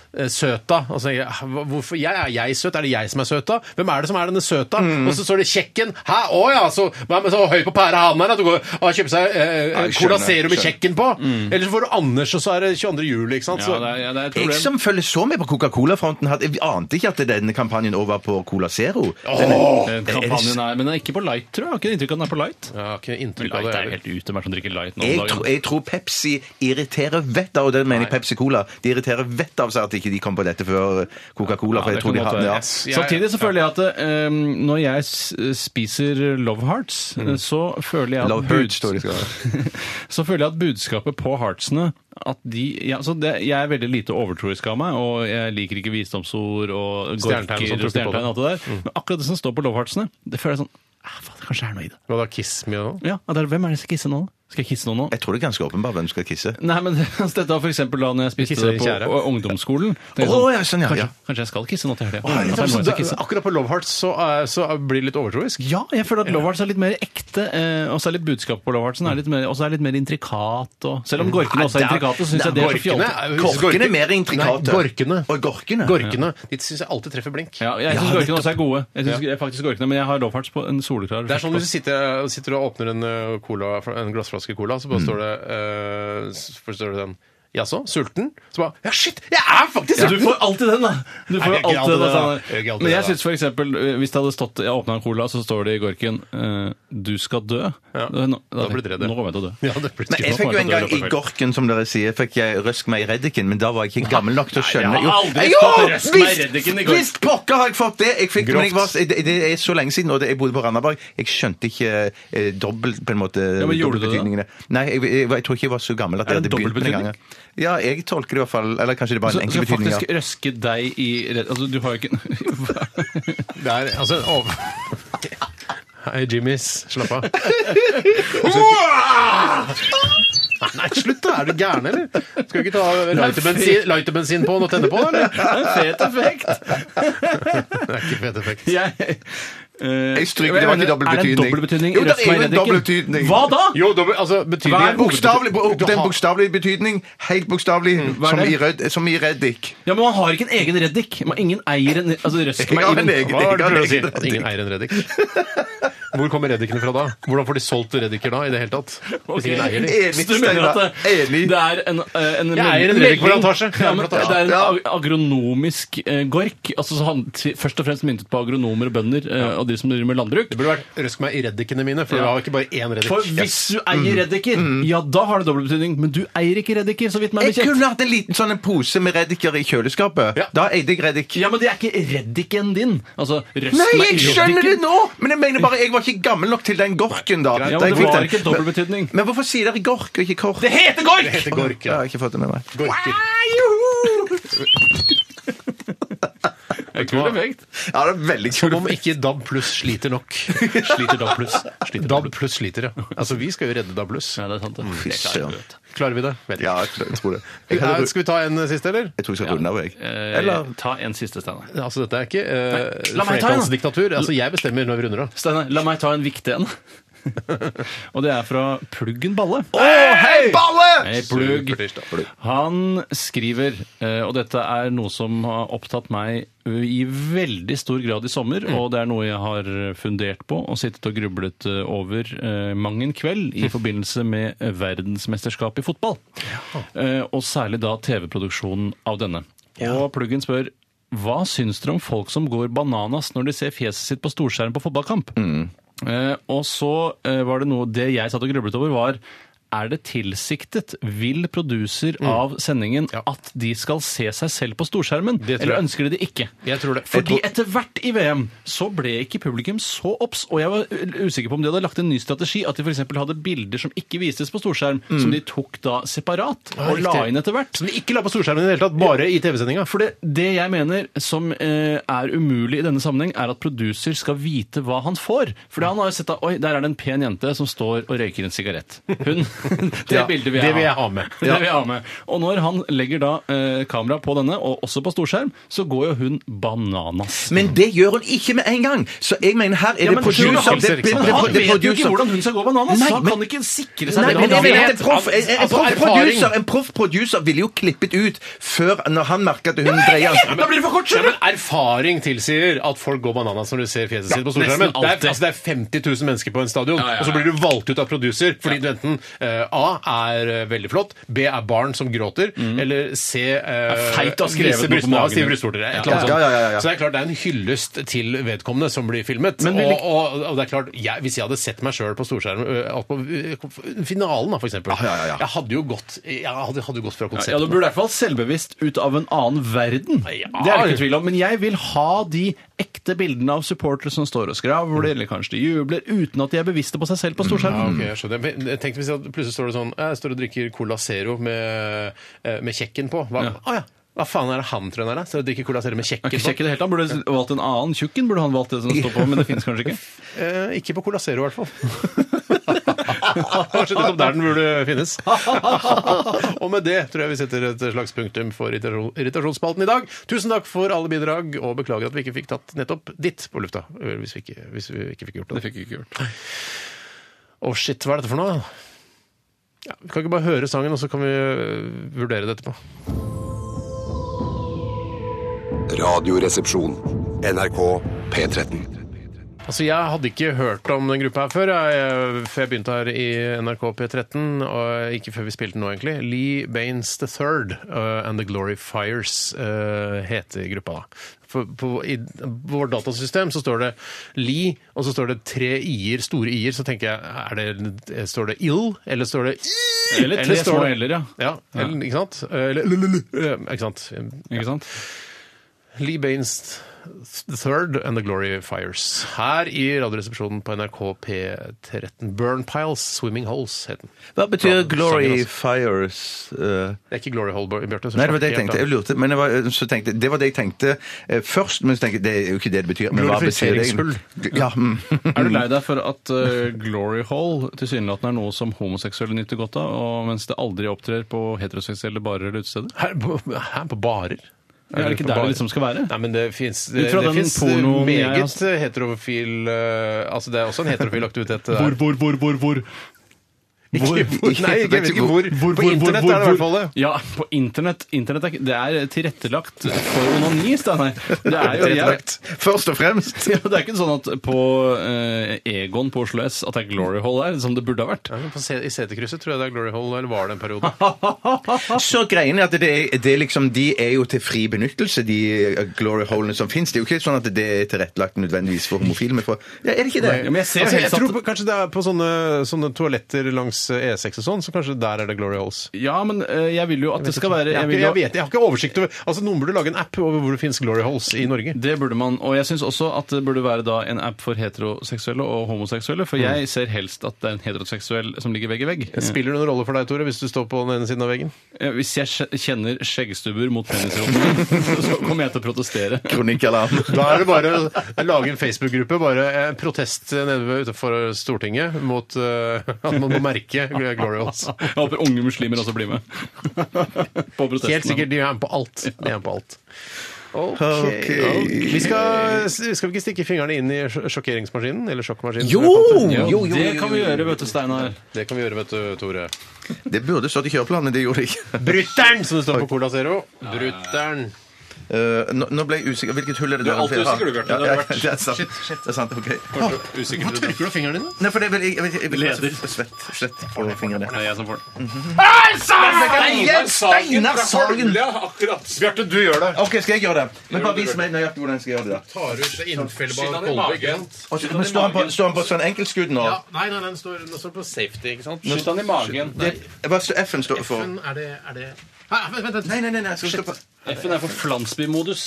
[SPEAKER 3] eh, søta. Og så tenker jeg, ah, hva- hvorfor jeg, er jeg søt? Er det jeg som er søta? Hvem er det som er denne søta?
[SPEAKER 5] Mm.
[SPEAKER 3] Og så står det kjekken. Hæ, å ja, så, hva med så høy på pæra han er at du går og kjøper seg eh,
[SPEAKER 4] jeg
[SPEAKER 3] Cola
[SPEAKER 4] skjønner,
[SPEAKER 3] Zero med
[SPEAKER 4] skjønner.
[SPEAKER 3] kjekken på. Eller så får du Anders, og så er det 22. juli, ikke sant?
[SPEAKER 5] Mm. Ja,
[SPEAKER 3] Så,
[SPEAKER 5] det er, ja, det er et
[SPEAKER 4] Jeg
[SPEAKER 5] problem.
[SPEAKER 4] som følger så med på Coca-Cola-fronten, hadde- jeg ante ikke at denne kampanjen over på Cola Zero.
[SPEAKER 5] Eh, Kampanjen er, men den er ikke på light, tror jeg. Jeg Har ikke inntrykk av at den er på light.
[SPEAKER 3] jeg har ikke inntrykk av
[SPEAKER 5] Light
[SPEAKER 3] det.
[SPEAKER 5] er
[SPEAKER 3] heller.
[SPEAKER 5] helt ute, hvem er det som drikker light nå
[SPEAKER 4] Jeg,
[SPEAKER 5] om
[SPEAKER 4] tro,
[SPEAKER 5] dagen?
[SPEAKER 4] jeg tror Pepsi irriterer vettet av og det mener jeg Pepsi Cola. De irriterer vettet av seg at ikke de kom på dette før eh, Coca-Cola. for jeg
[SPEAKER 5] Ja, det
[SPEAKER 4] tror
[SPEAKER 5] kan
[SPEAKER 4] de
[SPEAKER 5] godt
[SPEAKER 4] har,
[SPEAKER 5] være.
[SPEAKER 4] ja.
[SPEAKER 3] Yes. Jeg-
[SPEAKER 5] Samtidig så føler jeg at eh, når jeg s- eh, spiser Love Hearts, eh, så føler jeg at
[SPEAKER 4] Mm. Love
[SPEAKER 5] bud-
[SPEAKER 4] Hurts, tror jeg det skal være.
[SPEAKER 5] så føler jeg at budskapet på heartsene at de, ja, så det, Jeg er veldig lite overtroisk av meg, og jeg liker ikke visdomsord og
[SPEAKER 3] Stjernetegn og
[SPEAKER 5] gorker
[SPEAKER 3] sånt,
[SPEAKER 5] og
[SPEAKER 3] tror ikke på
[SPEAKER 5] stjernetegn og alt det der.
[SPEAKER 4] Mm.
[SPEAKER 5] Men akkurat det som står på Love Heartsene, det føler jeg sånn ah, faen, det Kanskje er noe i det.
[SPEAKER 3] Hva da, Kiss Me og
[SPEAKER 5] Ja, at det er, Hvem er det som skal kisse nå? Skal jeg kisse noen nå?
[SPEAKER 4] Jeg tror det er ganske åpenbart hvem som skal kisse.
[SPEAKER 5] Nei, men altså, Dette var for eksempel da når jeg spiste
[SPEAKER 3] Kisse
[SPEAKER 5] det
[SPEAKER 3] i
[SPEAKER 5] på
[SPEAKER 3] tjære.
[SPEAKER 5] å- ungdomsskolen. Tenkte jeg
[SPEAKER 4] Å, ja, sånn, ja,
[SPEAKER 5] kanskje,
[SPEAKER 4] ja.
[SPEAKER 5] kanskje jeg skal kisse nå til helga. At
[SPEAKER 4] sånn
[SPEAKER 5] det er noen som skal kisse.
[SPEAKER 3] Akkurat på Love Hearts så, er- så er- blir det litt overtroisk.
[SPEAKER 5] Ja, jeg føler at Love Hearts er litt mer ekte, eh, og så er litt budskapet på Love Hearts er litt mer, også er litt mer intrikat. Og,
[SPEAKER 3] Mm.
[SPEAKER 5] selv om gorkene også er
[SPEAKER 4] Nei, da-
[SPEAKER 5] intrikate, syns jeg det er så
[SPEAKER 3] Gorkene
[SPEAKER 5] fjollete.
[SPEAKER 3] er-
[SPEAKER 4] Gorkene er mer intrikate.
[SPEAKER 3] Nei, gorkene.
[SPEAKER 4] Og gorkene.
[SPEAKER 3] Gorkene. De syns jeg alltid treffer blink.
[SPEAKER 5] Ja, jeg syns gorkene også er gode. Jeg synes faktisk gorkene, Men jeg har Love Hearts på en soleklar
[SPEAKER 3] Det er sånn hvis du sitter, sitter og åpner en, eh, cola, en glassflaske cola, så bare står det, eh, s- først står det sånn Jaså, sulten? Så bare Ja, shit! Jeg er faktisk
[SPEAKER 5] Ja, du
[SPEAKER 3] sulten!
[SPEAKER 5] får alltid den, da! Du får
[SPEAKER 3] Nei, jeg gjør ikke
[SPEAKER 5] alltid
[SPEAKER 3] alltid
[SPEAKER 5] den,
[SPEAKER 3] det,
[SPEAKER 5] Steinar.
[SPEAKER 3] da. Jeg gjør ikke alltid
[SPEAKER 5] Men jeg
[SPEAKER 3] det, da.
[SPEAKER 5] syns f.eks. eh, hvis det hadde stått Jeg åpna en cola, så står det i gorken eh, 'Du skal dø'.
[SPEAKER 3] Ja.
[SPEAKER 5] Nå,
[SPEAKER 3] Da blir det det.
[SPEAKER 5] Nå kommer jeg til å dø.
[SPEAKER 3] Ja, det blir
[SPEAKER 4] Men jeg
[SPEAKER 3] skummelt.
[SPEAKER 4] fikk jo en gang i
[SPEAKER 5] Feil.
[SPEAKER 4] Gorken, som dere sier, fikk jeg røsk meg i reddiken, men da var jeg ikke gammel nok til å skjønne
[SPEAKER 5] jeg har aldri
[SPEAKER 4] Jo,
[SPEAKER 5] fått røsk meg i
[SPEAKER 4] visst-
[SPEAKER 5] reddiken i Gorken.
[SPEAKER 4] Visst pokker har jeg fått det! Jeg fikk, men jeg var,
[SPEAKER 3] Grovt.
[SPEAKER 4] det, det er så lenge siden, og det, jeg bodde på Randaberg. Jeg skjønte ikke eh, dobbelt på en måte
[SPEAKER 5] men gjorde du det da?
[SPEAKER 4] dobbeltbetydningene. Nei, jeg, jeg, var- jeg tror ikke jeg var så gammel at
[SPEAKER 5] Er
[SPEAKER 4] jeg hadde
[SPEAKER 5] det en
[SPEAKER 4] begynt med det.
[SPEAKER 5] dobbeltbetydning?
[SPEAKER 4] gangen. Ja, jeg tolker det i hvert fall Eller kanskje det bare er
[SPEAKER 5] Så,
[SPEAKER 4] en
[SPEAKER 5] så
[SPEAKER 4] enkel betydning.
[SPEAKER 5] faktisk
[SPEAKER 4] Ja.
[SPEAKER 5] røske deg i Altså, du har jo ikke
[SPEAKER 3] Det er altså over... Hei, Jimmys. Slapp av. Nei, slutt, da! Er du gæren, eller? Skal vi ikke ta lighterbensin, lighterbensin på den og tenne på, eller?
[SPEAKER 5] Fet effekt!
[SPEAKER 3] Det er ikke fet effekt.
[SPEAKER 5] Jeg, eh,
[SPEAKER 4] Jeg stryker, det var ikke dobbelt
[SPEAKER 5] Er det
[SPEAKER 4] betydning.
[SPEAKER 5] dobbel betydning?
[SPEAKER 4] Jo, det
[SPEAKER 5] Røsk
[SPEAKER 4] er
[SPEAKER 5] meg
[SPEAKER 4] jo en
[SPEAKER 5] i reddiken.
[SPEAKER 4] dobbel betydning.
[SPEAKER 5] Hva da?
[SPEAKER 3] Jo, dobbelt, altså
[SPEAKER 5] Hva
[SPEAKER 3] betydningen
[SPEAKER 5] er
[SPEAKER 4] Bokstavelig, bo-
[SPEAKER 3] Du
[SPEAKER 4] den
[SPEAKER 3] har-
[SPEAKER 4] bokstavelige betydning, helt bokstavelig,
[SPEAKER 5] Mm, hva er
[SPEAKER 4] som,
[SPEAKER 5] det?
[SPEAKER 4] i redd- som i reddik.
[SPEAKER 5] Ja, men man har ikke en egen reddik. Man, ingen eier en Altså, røsk
[SPEAKER 4] Jeg
[SPEAKER 5] meg
[SPEAKER 4] har
[SPEAKER 5] i
[SPEAKER 4] en egen-
[SPEAKER 3] Hva er det du prøver å si?
[SPEAKER 4] Jeg har en
[SPEAKER 3] At ingen eier en reddik? Hvor kommer reddikene fra da? Hvordan får de solgt reddiker da, i det hele tatt? Hvis ingen eier de?
[SPEAKER 4] Enig,
[SPEAKER 5] Så du mener at det,
[SPEAKER 4] Enig.
[SPEAKER 5] det er en, eh, en
[SPEAKER 3] Jeg eier en
[SPEAKER 5] melding-
[SPEAKER 3] reddik for plantasje. Jeg
[SPEAKER 5] Ja,
[SPEAKER 3] eier
[SPEAKER 5] men
[SPEAKER 3] plantasje.
[SPEAKER 5] det er en
[SPEAKER 4] Ja.
[SPEAKER 5] ag- agronomisk eh, gork. Altså, så han, til, først og fremst myntet på agronomer og bønder eh, og de som driver med landbruk.
[SPEAKER 3] Det burde vært 'røsk meg i reddikene mine', for
[SPEAKER 5] Ja.
[SPEAKER 3] jeg har ikke bare én reddik.
[SPEAKER 5] For hvis du
[SPEAKER 4] Mm.
[SPEAKER 5] eier reddiker, ja, da har det dobbel betydning. Men du eier ikke reddiker, så vidt meg
[SPEAKER 4] Jeg
[SPEAKER 5] bekjent.
[SPEAKER 4] kunne hatt en liten sånn en pose med reddiker i kjøleskapet.
[SPEAKER 3] Ja.
[SPEAKER 4] Da eide jeg reddik.
[SPEAKER 5] Ja, men det er ikke reddiken din. Altså, røst
[SPEAKER 4] Nei,
[SPEAKER 5] meg i
[SPEAKER 4] jeg skjønner det
[SPEAKER 5] reddiken.
[SPEAKER 4] nå! Men jeg mener bare, jeg var ikke gammel nok til den gorken, da. Da
[SPEAKER 5] Ja, men
[SPEAKER 4] jeg
[SPEAKER 5] det
[SPEAKER 4] fikk
[SPEAKER 5] var
[SPEAKER 4] den.
[SPEAKER 5] ikke dobbel betydning.
[SPEAKER 4] Men hvorfor sier dere gork og ikke kork?
[SPEAKER 5] Det heter
[SPEAKER 3] Det
[SPEAKER 5] gork!
[SPEAKER 3] heter
[SPEAKER 4] Ja,
[SPEAKER 3] gork.
[SPEAKER 4] jeg
[SPEAKER 3] Ja.
[SPEAKER 4] har ikke fått det med meg.
[SPEAKER 3] Gorker.
[SPEAKER 5] Kul effekt.
[SPEAKER 4] Ja, det er veldig
[SPEAKER 3] Som
[SPEAKER 4] kult.
[SPEAKER 3] om ikke DAB pluss sliter nok. Sliter DAB pluss. Sliter DAB pluss sliter, ja. Altså, vi skal jo redde DAB pluss.
[SPEAKER 5] Ja, det er sant. det.
[SPEAKER 4] Fy søren.
[SPEAKER 3] Klarer vi det? Vet ikke.
[SPEAKER 4] Ja, jeg tror det. Jeg,
[SPEAKER 3] Er-
[SPEAKER 4] hadde,
[SPEAKER 3] Skal vi ta en eh, siste, eller?
[SPEAKER 4] jeg tror jeg skal runde av, jeg.
[SPEAKER 5] Eh,
[SPEAKER 4] Eller
[SPEAKER 5] Ta en siste, Steinar.
[SPEAKER 3] Altså, dette er ikke eh,
[SPEAKER 5] La meg ta en, da.
[SPEAKER 3] flertallsdiktatur. Altså, jeg bestemmer når vi runder av.
[SPEAKER 5] Steinar, la meg ta en viktig en. Og det er fra Pluggen Balle.
[SPEAKER 4] Å, hei, balle!
[SPEAKER 5] Hei, Plugg.
[SPEAKER 3] Supertirsdag.
[SPEAKER 5] Han skriver, eh, og dette er noe som har opptatt meg i veldig stor grad i sommer, og det er noe jeg har fundert på og sittet og grublet eh, over eh, mang en kveld i forbindelse med verdensmesterskapet i fotball. Eh, Og særlig da TV-produksjonen av denne. Og Pluggen spør hva syns dere om folk som går bananas når de ser fjeset sitt på storskjerm på fotballkamp?
[SPEAKER 3] Mm.
[SPEAKER 5] Eh, og så eh, var det noe Det jeg satt og grublet over, var er det tilsiktet? Vil produser
[SPEAKER 3] Mm.
[SPEAKER 5] av sendingen at de skal se seg selv på storskjermen?
[SPEAKER 3] Det tror
[SPEAKER 5] Eller
[SPEAKER 3] jeg.
[SPEAKER 5] ønsker de det ikke?
[SPEAKER 3] Jeg tror det.
[SPEAKER 5] Fordi
[SPEAKER 3] Jeg tror-
[SPEAKER 5] etter hvert i VM så ble ikke publikum så obs, og jeg var u- usikker på om de hadde lagt en ny strategi, at de f.eks. hadde bilder som ikke vises på storskjerm, som de tok da separat og la
[SPEAKER 3] Mm. riktig.
[SPEAKER 5] inn etter hvert.
[SPEAKER 3] Som vi ikke la på storskjermen i det hele tatt, bare i TV-sendinga.
[SPEAKER 5] For det, det jeg mener som eh, er umulig i denne sammenheng, er at producer skal vite hva han får. For han har jo sett at oi, der er det en pen jente som står og røyker en sigarett. Hun, Det
[SPEAKER 3] Ja,
[SPEAKER 5] bildet vil jeg,
[SPEAKER 3] det vil jeg ha med.
[SPEAKER 5] Det vil jeg ha med. Og når han legger da eh, kamera på denne, og også på storskjerm, så går jo hun bananas.
[SPEAKER 4] Men det gjør hun ikke med en gang! Så jeg mener, her er det producer...
[SPEAKER 5] han,
[SPEAKER 4] det- det- det- det-
[SPEAKER 5] han
[SPEAKER 4] det-
[SPEAKER 5] vet jo ikke
[SPEAKER 4] producer-
[SPEAKER 5] hvordan hun skal gå bananas!
[SPEAKER 4] Nei,
[SPEAKER 5] så han
[SPEAKER 4] men-
[SPEAKER 5] kan ikke sikre seg
[SPEAKER 4] Nei,
[SPEAKER 5] det.
[SPEAKER 4] men
[SPEAKER 5] Han
[SPEAKER 4] jeg mener
[SPEAKER 5] vet-
[SPEAKER 4] at en proff en, en,
[SPEAKER 3] Altså,
[SPEAKER 4] proff
[SPEAKER 3] erfaring.
[SPEAKER 4] producer- en proff producer ville jo klippet ut før når han merker at hun dreier
[SPEAKER 5] Da blir det for kort,
[SPEAKER 3] Ja,
[SPEAKER 5] skjønner
[SPEAKER 3] men
[SPEAKER 5] du!
[SPEAKER 3] Erfaring tilsier at folk går bananas når du ser fjeset sitt på
[SPEAKER 5] nesten
[SPEAKER 3] storskjermen. Det er,
[SPEAKER 5] alltid.
[SPEAKER 3] altså, det er 50 000 mennesker på en stadion,
[SPEAKER 5] ja, ja.
[SPEAKER 3] og så blir du valgt ut av producer fordi du enten eh, A er eh, veldig flott, B er barn som gråter, eller C uh,
[SPEAKER 5] Er Mhm. feit og har skrevet noe på magen.
[SPEAKER 3] Stive brystvorter. et eller
[SPEAKER 5] Ja,
[SPEAKER 3] annet
[SPEAKER 4] ja,
[SPEAKER 3] sånt.
[SPEAKER 4] ja, ja, ja.
[SPEAKER 3] Så det er klart det er en hyllest til vedkommende som blir filmet.
[SPEAKER 5] Men vil
[SPEAKER 3] og, og, og det er klart, jeg, Hvis jeg hadde sett meg sjøl på storskjermen, eh, alt på eh, finalen da, for eksempel,
[SPEAKER 4] ja, ja, ja.
[SPEAKER 3] jeg hadde jo gått, jeg hadde, hadde gått fra
[SPEAKER 5] Ja,
[SPEAKER 3] konseptet.
[SPEAKER 5] Du burde i hvert fall selvbevisst ut av en annen verden.
[SPEAKER 3] Ja.
[SPEAKER 5] Det er det ikke tvil om. Men jeg vil ha de ekte bildene av supportere som står og skravler, eller kanskje de jubler, uten at de er bevisste på seg selv på Mm.
[SPEAKER 3] Mm, Ja,
[SPEAKER 5] storskjermen.
[SPEAKER 3] ok, jeg skjønner. Men jeg tenkte hvis jeg, plutselig står det sånn Jeg står og drikker Cola Zero med, eh, med kjekken på. Hva,
[SPEAKER 5] Ja.
[SPEAKER 3] Å ja. Hva faen er det han tror han er? da? Står og drikker Cola Zero med
[SPEAKER 5] Er
[SPEAKER 3] kjekken
[SPEAKER 5] ikke kjekk
[SPEAKER 3] på?
[SPEAKER 5] i det hele tatt. Han Burde valgt en annen tjukken, burde han valgt det som står på, men det finnes kanskje ikke.
[SPEAKER 3] Eh, ikke på Cola Zero, i hvert fall. Kanskje nettopp der den burde finnes. og med det tror jeg vi setter et slags punktum for irritasjon- irritasjonsspalten i dag. Tusen takk for alle bidrag, og beklager at vi ikke fikk tatt nettopp ditt på lufta. eh, Hvis vi ikke, hvis vi ikke fikk gjort det.
[SPEAKER 5] Det fikk jeg ikke gjort.
[SPEAKER 3] Å, shit, hva er dette for noe? Ja, vi kan ikke bare høre sangen, og så kan vi eh, vurdere det etterpå.
[SPEAKER 2] Radioresepsjon. NRK P13.
[SPEAKER 3] Altså, Jeg hadde ikke hørt om den gruppa her før, jeg, før jeg begynte her i NRK P13. Og ikke før vi spilte den nå, egentlig. Lee Baines the Third uh, and The Glory Fires uh, heter gruppa. da. For, på, I vårt datasystem så står det Lee, og så står det tre i-er, store i-er. Så tenker jeg er det, står det ill, eller står det i?
[SPEAKER 5] Eller tre
[SPEAKER 3] står
[SPEAKER 5] små
[SPEAKER 3] det-
[SPEAKER 5] eller, ja.
[SPEAKER 3] Ja, Eh, eller, ikke sant? Eller, ikke sant?
[SPEAKER 5] Ikke sant?
[SPEAKER 3] Lee Baines The Third and The Glory Fires. Her i Radioresepsjonen på NRK P13. Burn Piles Swimming Holes het den.
[SPEAKER 4] Hva betyr
[SPEAKER 3] Fra-
[SPEAKER 4] glory
[SPEAKER 3] sangen, altså.
[SPEAKER 4] fires eh?
[SPEAKER 3] Det er ikke Glory Hole, Bjarte. så
[SPEAKER 4] Nei, det var det jeg
[SPEAKER 3] slapp helt
[SPEAKER 4] tenkte. Jeg
[SPEAKER 3] av.
[SPEAKER 4] lurte, men jeg var, eh, så tenkte, det var det jeg tenkte eh, først, men så tenkte jeg, det er jo ikke det det betyr. Men hva betyr det? egentlig? Ja, mm.
[SPEAKER 5] Er du lei deg for at eh, glory hole tilsynelatende er noe som homoseksuelle nyter godt av, og mens det aldri opptrer på heteroseksuelle barer eller utesteder?
[SPEAKER 3] Her på, her på barer?
[SPEAKER 5] Er det ikke der det liksom skal være?
[SPEAKER 3] Nei, men det fins
[SPEAKER 5] Ut fra den pornoen jeg har
[SPEAKER 3] meget
[SPEAKER 5] sett.
[SPEAKER 3] heterofil eh, Altså, det er også en heterofil aktivitet. det der.
[SPEAKER 5] Hvor, hvor, hvor, hvor, hvor?
[SPEAKER 3] Ikke hvor. Nei, jeg vet ikke hvor. På internett er det i hvert fall det.
[SPEAKER 5] Ja, på internett. internett er, ikke- det er tilrettelagt for onani, Steinar. Det er jo jeg,
[SPEAKER 4] Tilrettelagt. Først og fremst.
[SPEAKER 5] ja, det er ikke sånn at på eh, Egon på Oslo S at det er Glory Hall der, som det burde ha vært.
[SPEAKER 3] Ja, men på se- I seterkrysset tror jeg det er Glory Hole, eller var det en periode?
[SPEAKER 4] Så greien er at det, er- det er liksom, de er jo til fri benyttelse, de eh, glory holene som finnes. Det er jo ikke sånn at det er tilrettelagt nødvendigvis for homofile. Men for, ja, er det ikke det?
[SPEAKER 5] Ja, men jeg ser
[SPEAKER 3] Altså, jeg
[SPEAKER 5] helst at-
[SPEAKER 3] tror på, kanskje det er på sånne, sånne toaletter langs E6 og sånn, så kanskje der er det Glory Holes.
[SPEAKER 5] Ja, men eh, jeg vil jo at det skal være
[SPEAKER 3] Jeg,
[SPEAKER 5] jeg
[SPEAKER 3] har
[SPEAKER 5] vil
[SPEAKER 3] ikke,
[SPEAKER 5] jo,
[SPEAKER 3] jeg vet, jeg har ikke oversikt over Altså, Noen burde lage en app over hvor det finnes Glory Holes i Norge.
[SPEAKER 5] Det burde man. Og jeg syns også at det burde være da en app for heteroseksuelle og homoseksuelle, for
[SPEAKER 3] Mm.
[SPEAKER 5] jeg ser helst at det er en heteroseksuell som ligger vegg i vegg.
[SPEAKER 3] Spiller det noen rolle for deg, Tore, hvis du står på den ene siden av veggen?
[SPEAKER 5] Eh, Hvis jeg skje- kjenner skjeggstubber mot penisrommene, så kommer jeg til å protestere.
[SPEAKER 4] Kronikkalarm.
[SPEAKER 3] Da er det bare å lage en Facebook-gruppe, bare eh, protest nede ved- utenfor Stortinget mot eh, at man må merke Glory Holes.
[SPEAKER 5] Jeg håper unge muslimer også blir med. På protesten.
[SPEAKER 3] Helt sikkert. De er med på alt. De er med på alt. Ok.
[SPEAKER 4] Ok.
[SPEAKER 3] Vi skal, skal vi ikke stikke fingrene inn i sj- sjokkeringsmaskinen? Eller sjokkmaskinen? som
[SPEAKER 4] Jo!
[SPEAKER 3] jeg kalte det?
[SPEAKER 5] Ja,
[SPEAKER 3] Ja,
[SPEAKER 4] Jo, jo,
[SPEAKER 5] det
[SPEAKER 4] jo,
[SPEAKER 5] kan vi
[SPEAKER 4] jo, jo,
[SPEAKER 5] gjøre, vet du, Steinar.
[SPEAKER 3] Det kan vi gjøre, vet du, Tore.
[SPEAKER 4] Det burde stått i kjøreplanen, det gjorde det ikke.
[SPEAKER 3] Brutter'n, som det står på Cola Zero. Brutter'n.
[SPEAKER 4] Eh, nå, nå ble jeg usikker. Hvilket hull er det
[SPEAKER 5] Du er alltid
[SPEAKER 4] har?
[SPEAKER 5] usikker, du,
[SPEAKER 4] Ja,
[SPEAKER 5] Bjarte. Det har
[SPEAKER 4] ja,
[SPEAKER 5] vært-
[SPEAKER 4] det er sant. Det er sant, ok.
[SPEAKER 3] Usikker Hvorfor trykker du fingrene dine?
[SPEAKER 4] Nei, for det er vel jeg, jeg, jeg, jeg, jeg,
[SPEAKER 5] Leder.
[SPEAKER 4] svett, svett på fingrene. Mhm.
[SPEAKER 5] Det er jeg som får den.
[SPEAKER 4] Steinar Sagen fra Holmlia,
[SPEAKER 5] akkurat.
[SPEAKER 3] Bjarte, du gjør det.
[SPEAKER 4] Ok, skal jeg gjøre det? Men bare vis meg nøyaktig hvordan jeg skal gjøre det. da.
[SPEAKER 3] Tar ut det innfellbare kolvegget.
[SPEAKER 4] Og så- Men står han på, står han på sånn enkeltskudd nå?
[SPEAKER 3] Ja, nei, nei, nei, den står, den står på safety, ikke sant?
[SPEAKER 5] Skyt han i magen.
[SPEAKER 4] Hva står F-en står for?
[SPEAKER 3] Men er det, er det... Hæ, vent, vent,
[SPEAKER 4] Nei,
[SPEAKER 3] vent.
[SPEAKER 4] nei, nei, nei. Skal stå på.
[SPEAKER 5] F-en er for flansbymodus.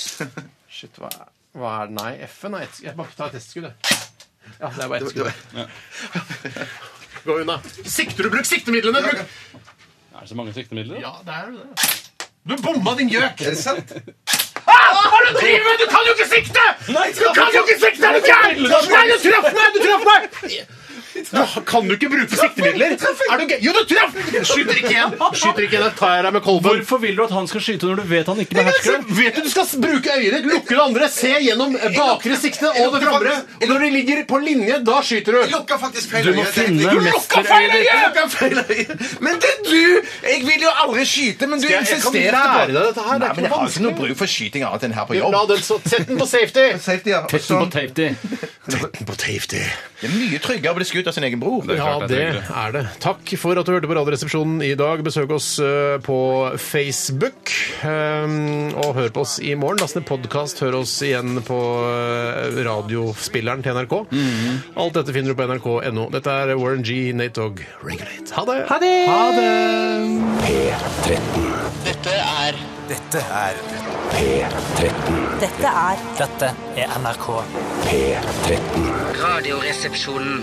[SPEAKER 3] Shit, hva er, hva er det? Nei, F-en er ett... Jeg bare tar et testskudd, jeg. Ja, det er bare ett
[SPEAKER 4] Det var-
[SPEAKER 3] skudd. Gå unna. Sikter du, bruk siktemidlene, bruk!
[SPEAKER 5] Er det så mange siktemidler?
[SPEAKER 3] Ja, det er jo det. Du bomma din gjøk!
[SPEAKER 4] Er det sant?
[SPEAKER 3] Ah, Hva er det du driver med? Du kan jo ikke sikte! du kan jo ikke sikte! Er du gæren? Nei, du traff meg! Du traff meg! Du kan jo ikke bruke siktemidler. Er du gæren? Jo, du traff! Skyter ikke igjen. Skyter ikke igjen. Da tar jeg deg med kolben.
[SPEAKER 5] Hvorfor vil du at han skal skyte når du vet han ikke behersker det?
[SPEAKER 3] Vet du, du skal bruke øyet ditt, lukke det andre, se gjennom bakre sikte og det framre. Og når de ligger på linje, da skyter du.
[SPEAKER 4] Lukka faktisk feil
[SPEAKER 5] Du må
[SPEAKER 4] øye.
[SPEAKER 5] finne
[SPEAKER 4] Du lukka
[SPEAKER 5] mesterøyet ditt.
[SPEAKER 4] feil øye! Lukka feil øye. Men det er du! Jeg vil jo aldri skyte, men du
[SPEAKER 3] jeg- jeg kan
[SPEAKER 4] insisterer
[SPEAKER 3] lære
[SPEAKER 4] på-
[SPEAKER 3] deg dette her, det er
[SPEAKER 4] Nei, men jeg
[SPEAKER 3] ikke noe
[SPEAKER 4] har ikke noe
[SPEAKER 3] vanskelig.
[SPEAKER 4] bruk for skyting annet enn her på
[SPEAKER 3] La
[SPEAKER 4] jobb.
[SPEAKER 3] den så Sett den på safety.
[SPEAKER 4] Safety, ja. Og
[SPEAKER 5] Testen på
[SPEAKER 4] sånn.
[SPEAKER 5] safety.
[SPEAKER 3] På safety.
[SPEAKER 4] Det er mye tryggere å bli skutt av sin egen bror.
[SPEAKER 3] Ja,
[SPEAKER 5] klart det
[SPEAKER 3] det
[SPEAKER 5] er
[SPEAKER 3] er det. Takk for at du hørte på Radioresepsjonen i dag. Besøk oss eh, på Facebook, ehm, og hør på oss i morgen. Last ned podkast, hør oss igjen på eh, radiospilleren til NRK.
[SPEAKER 5] Mhm.
[SPEAKER 3] Alt dette finner du på nrk.no. Dette er Warren G, Nate Dogg, Regulate. Ha det! Ha det!
[SPEAKER 8] Dette er
[SPEAKER 1] Dette er
[SPEAKER 9] Dette er
[SPEAKER 1] Dette er NRK.
[SPEAKER 8] Radioresepsjonen.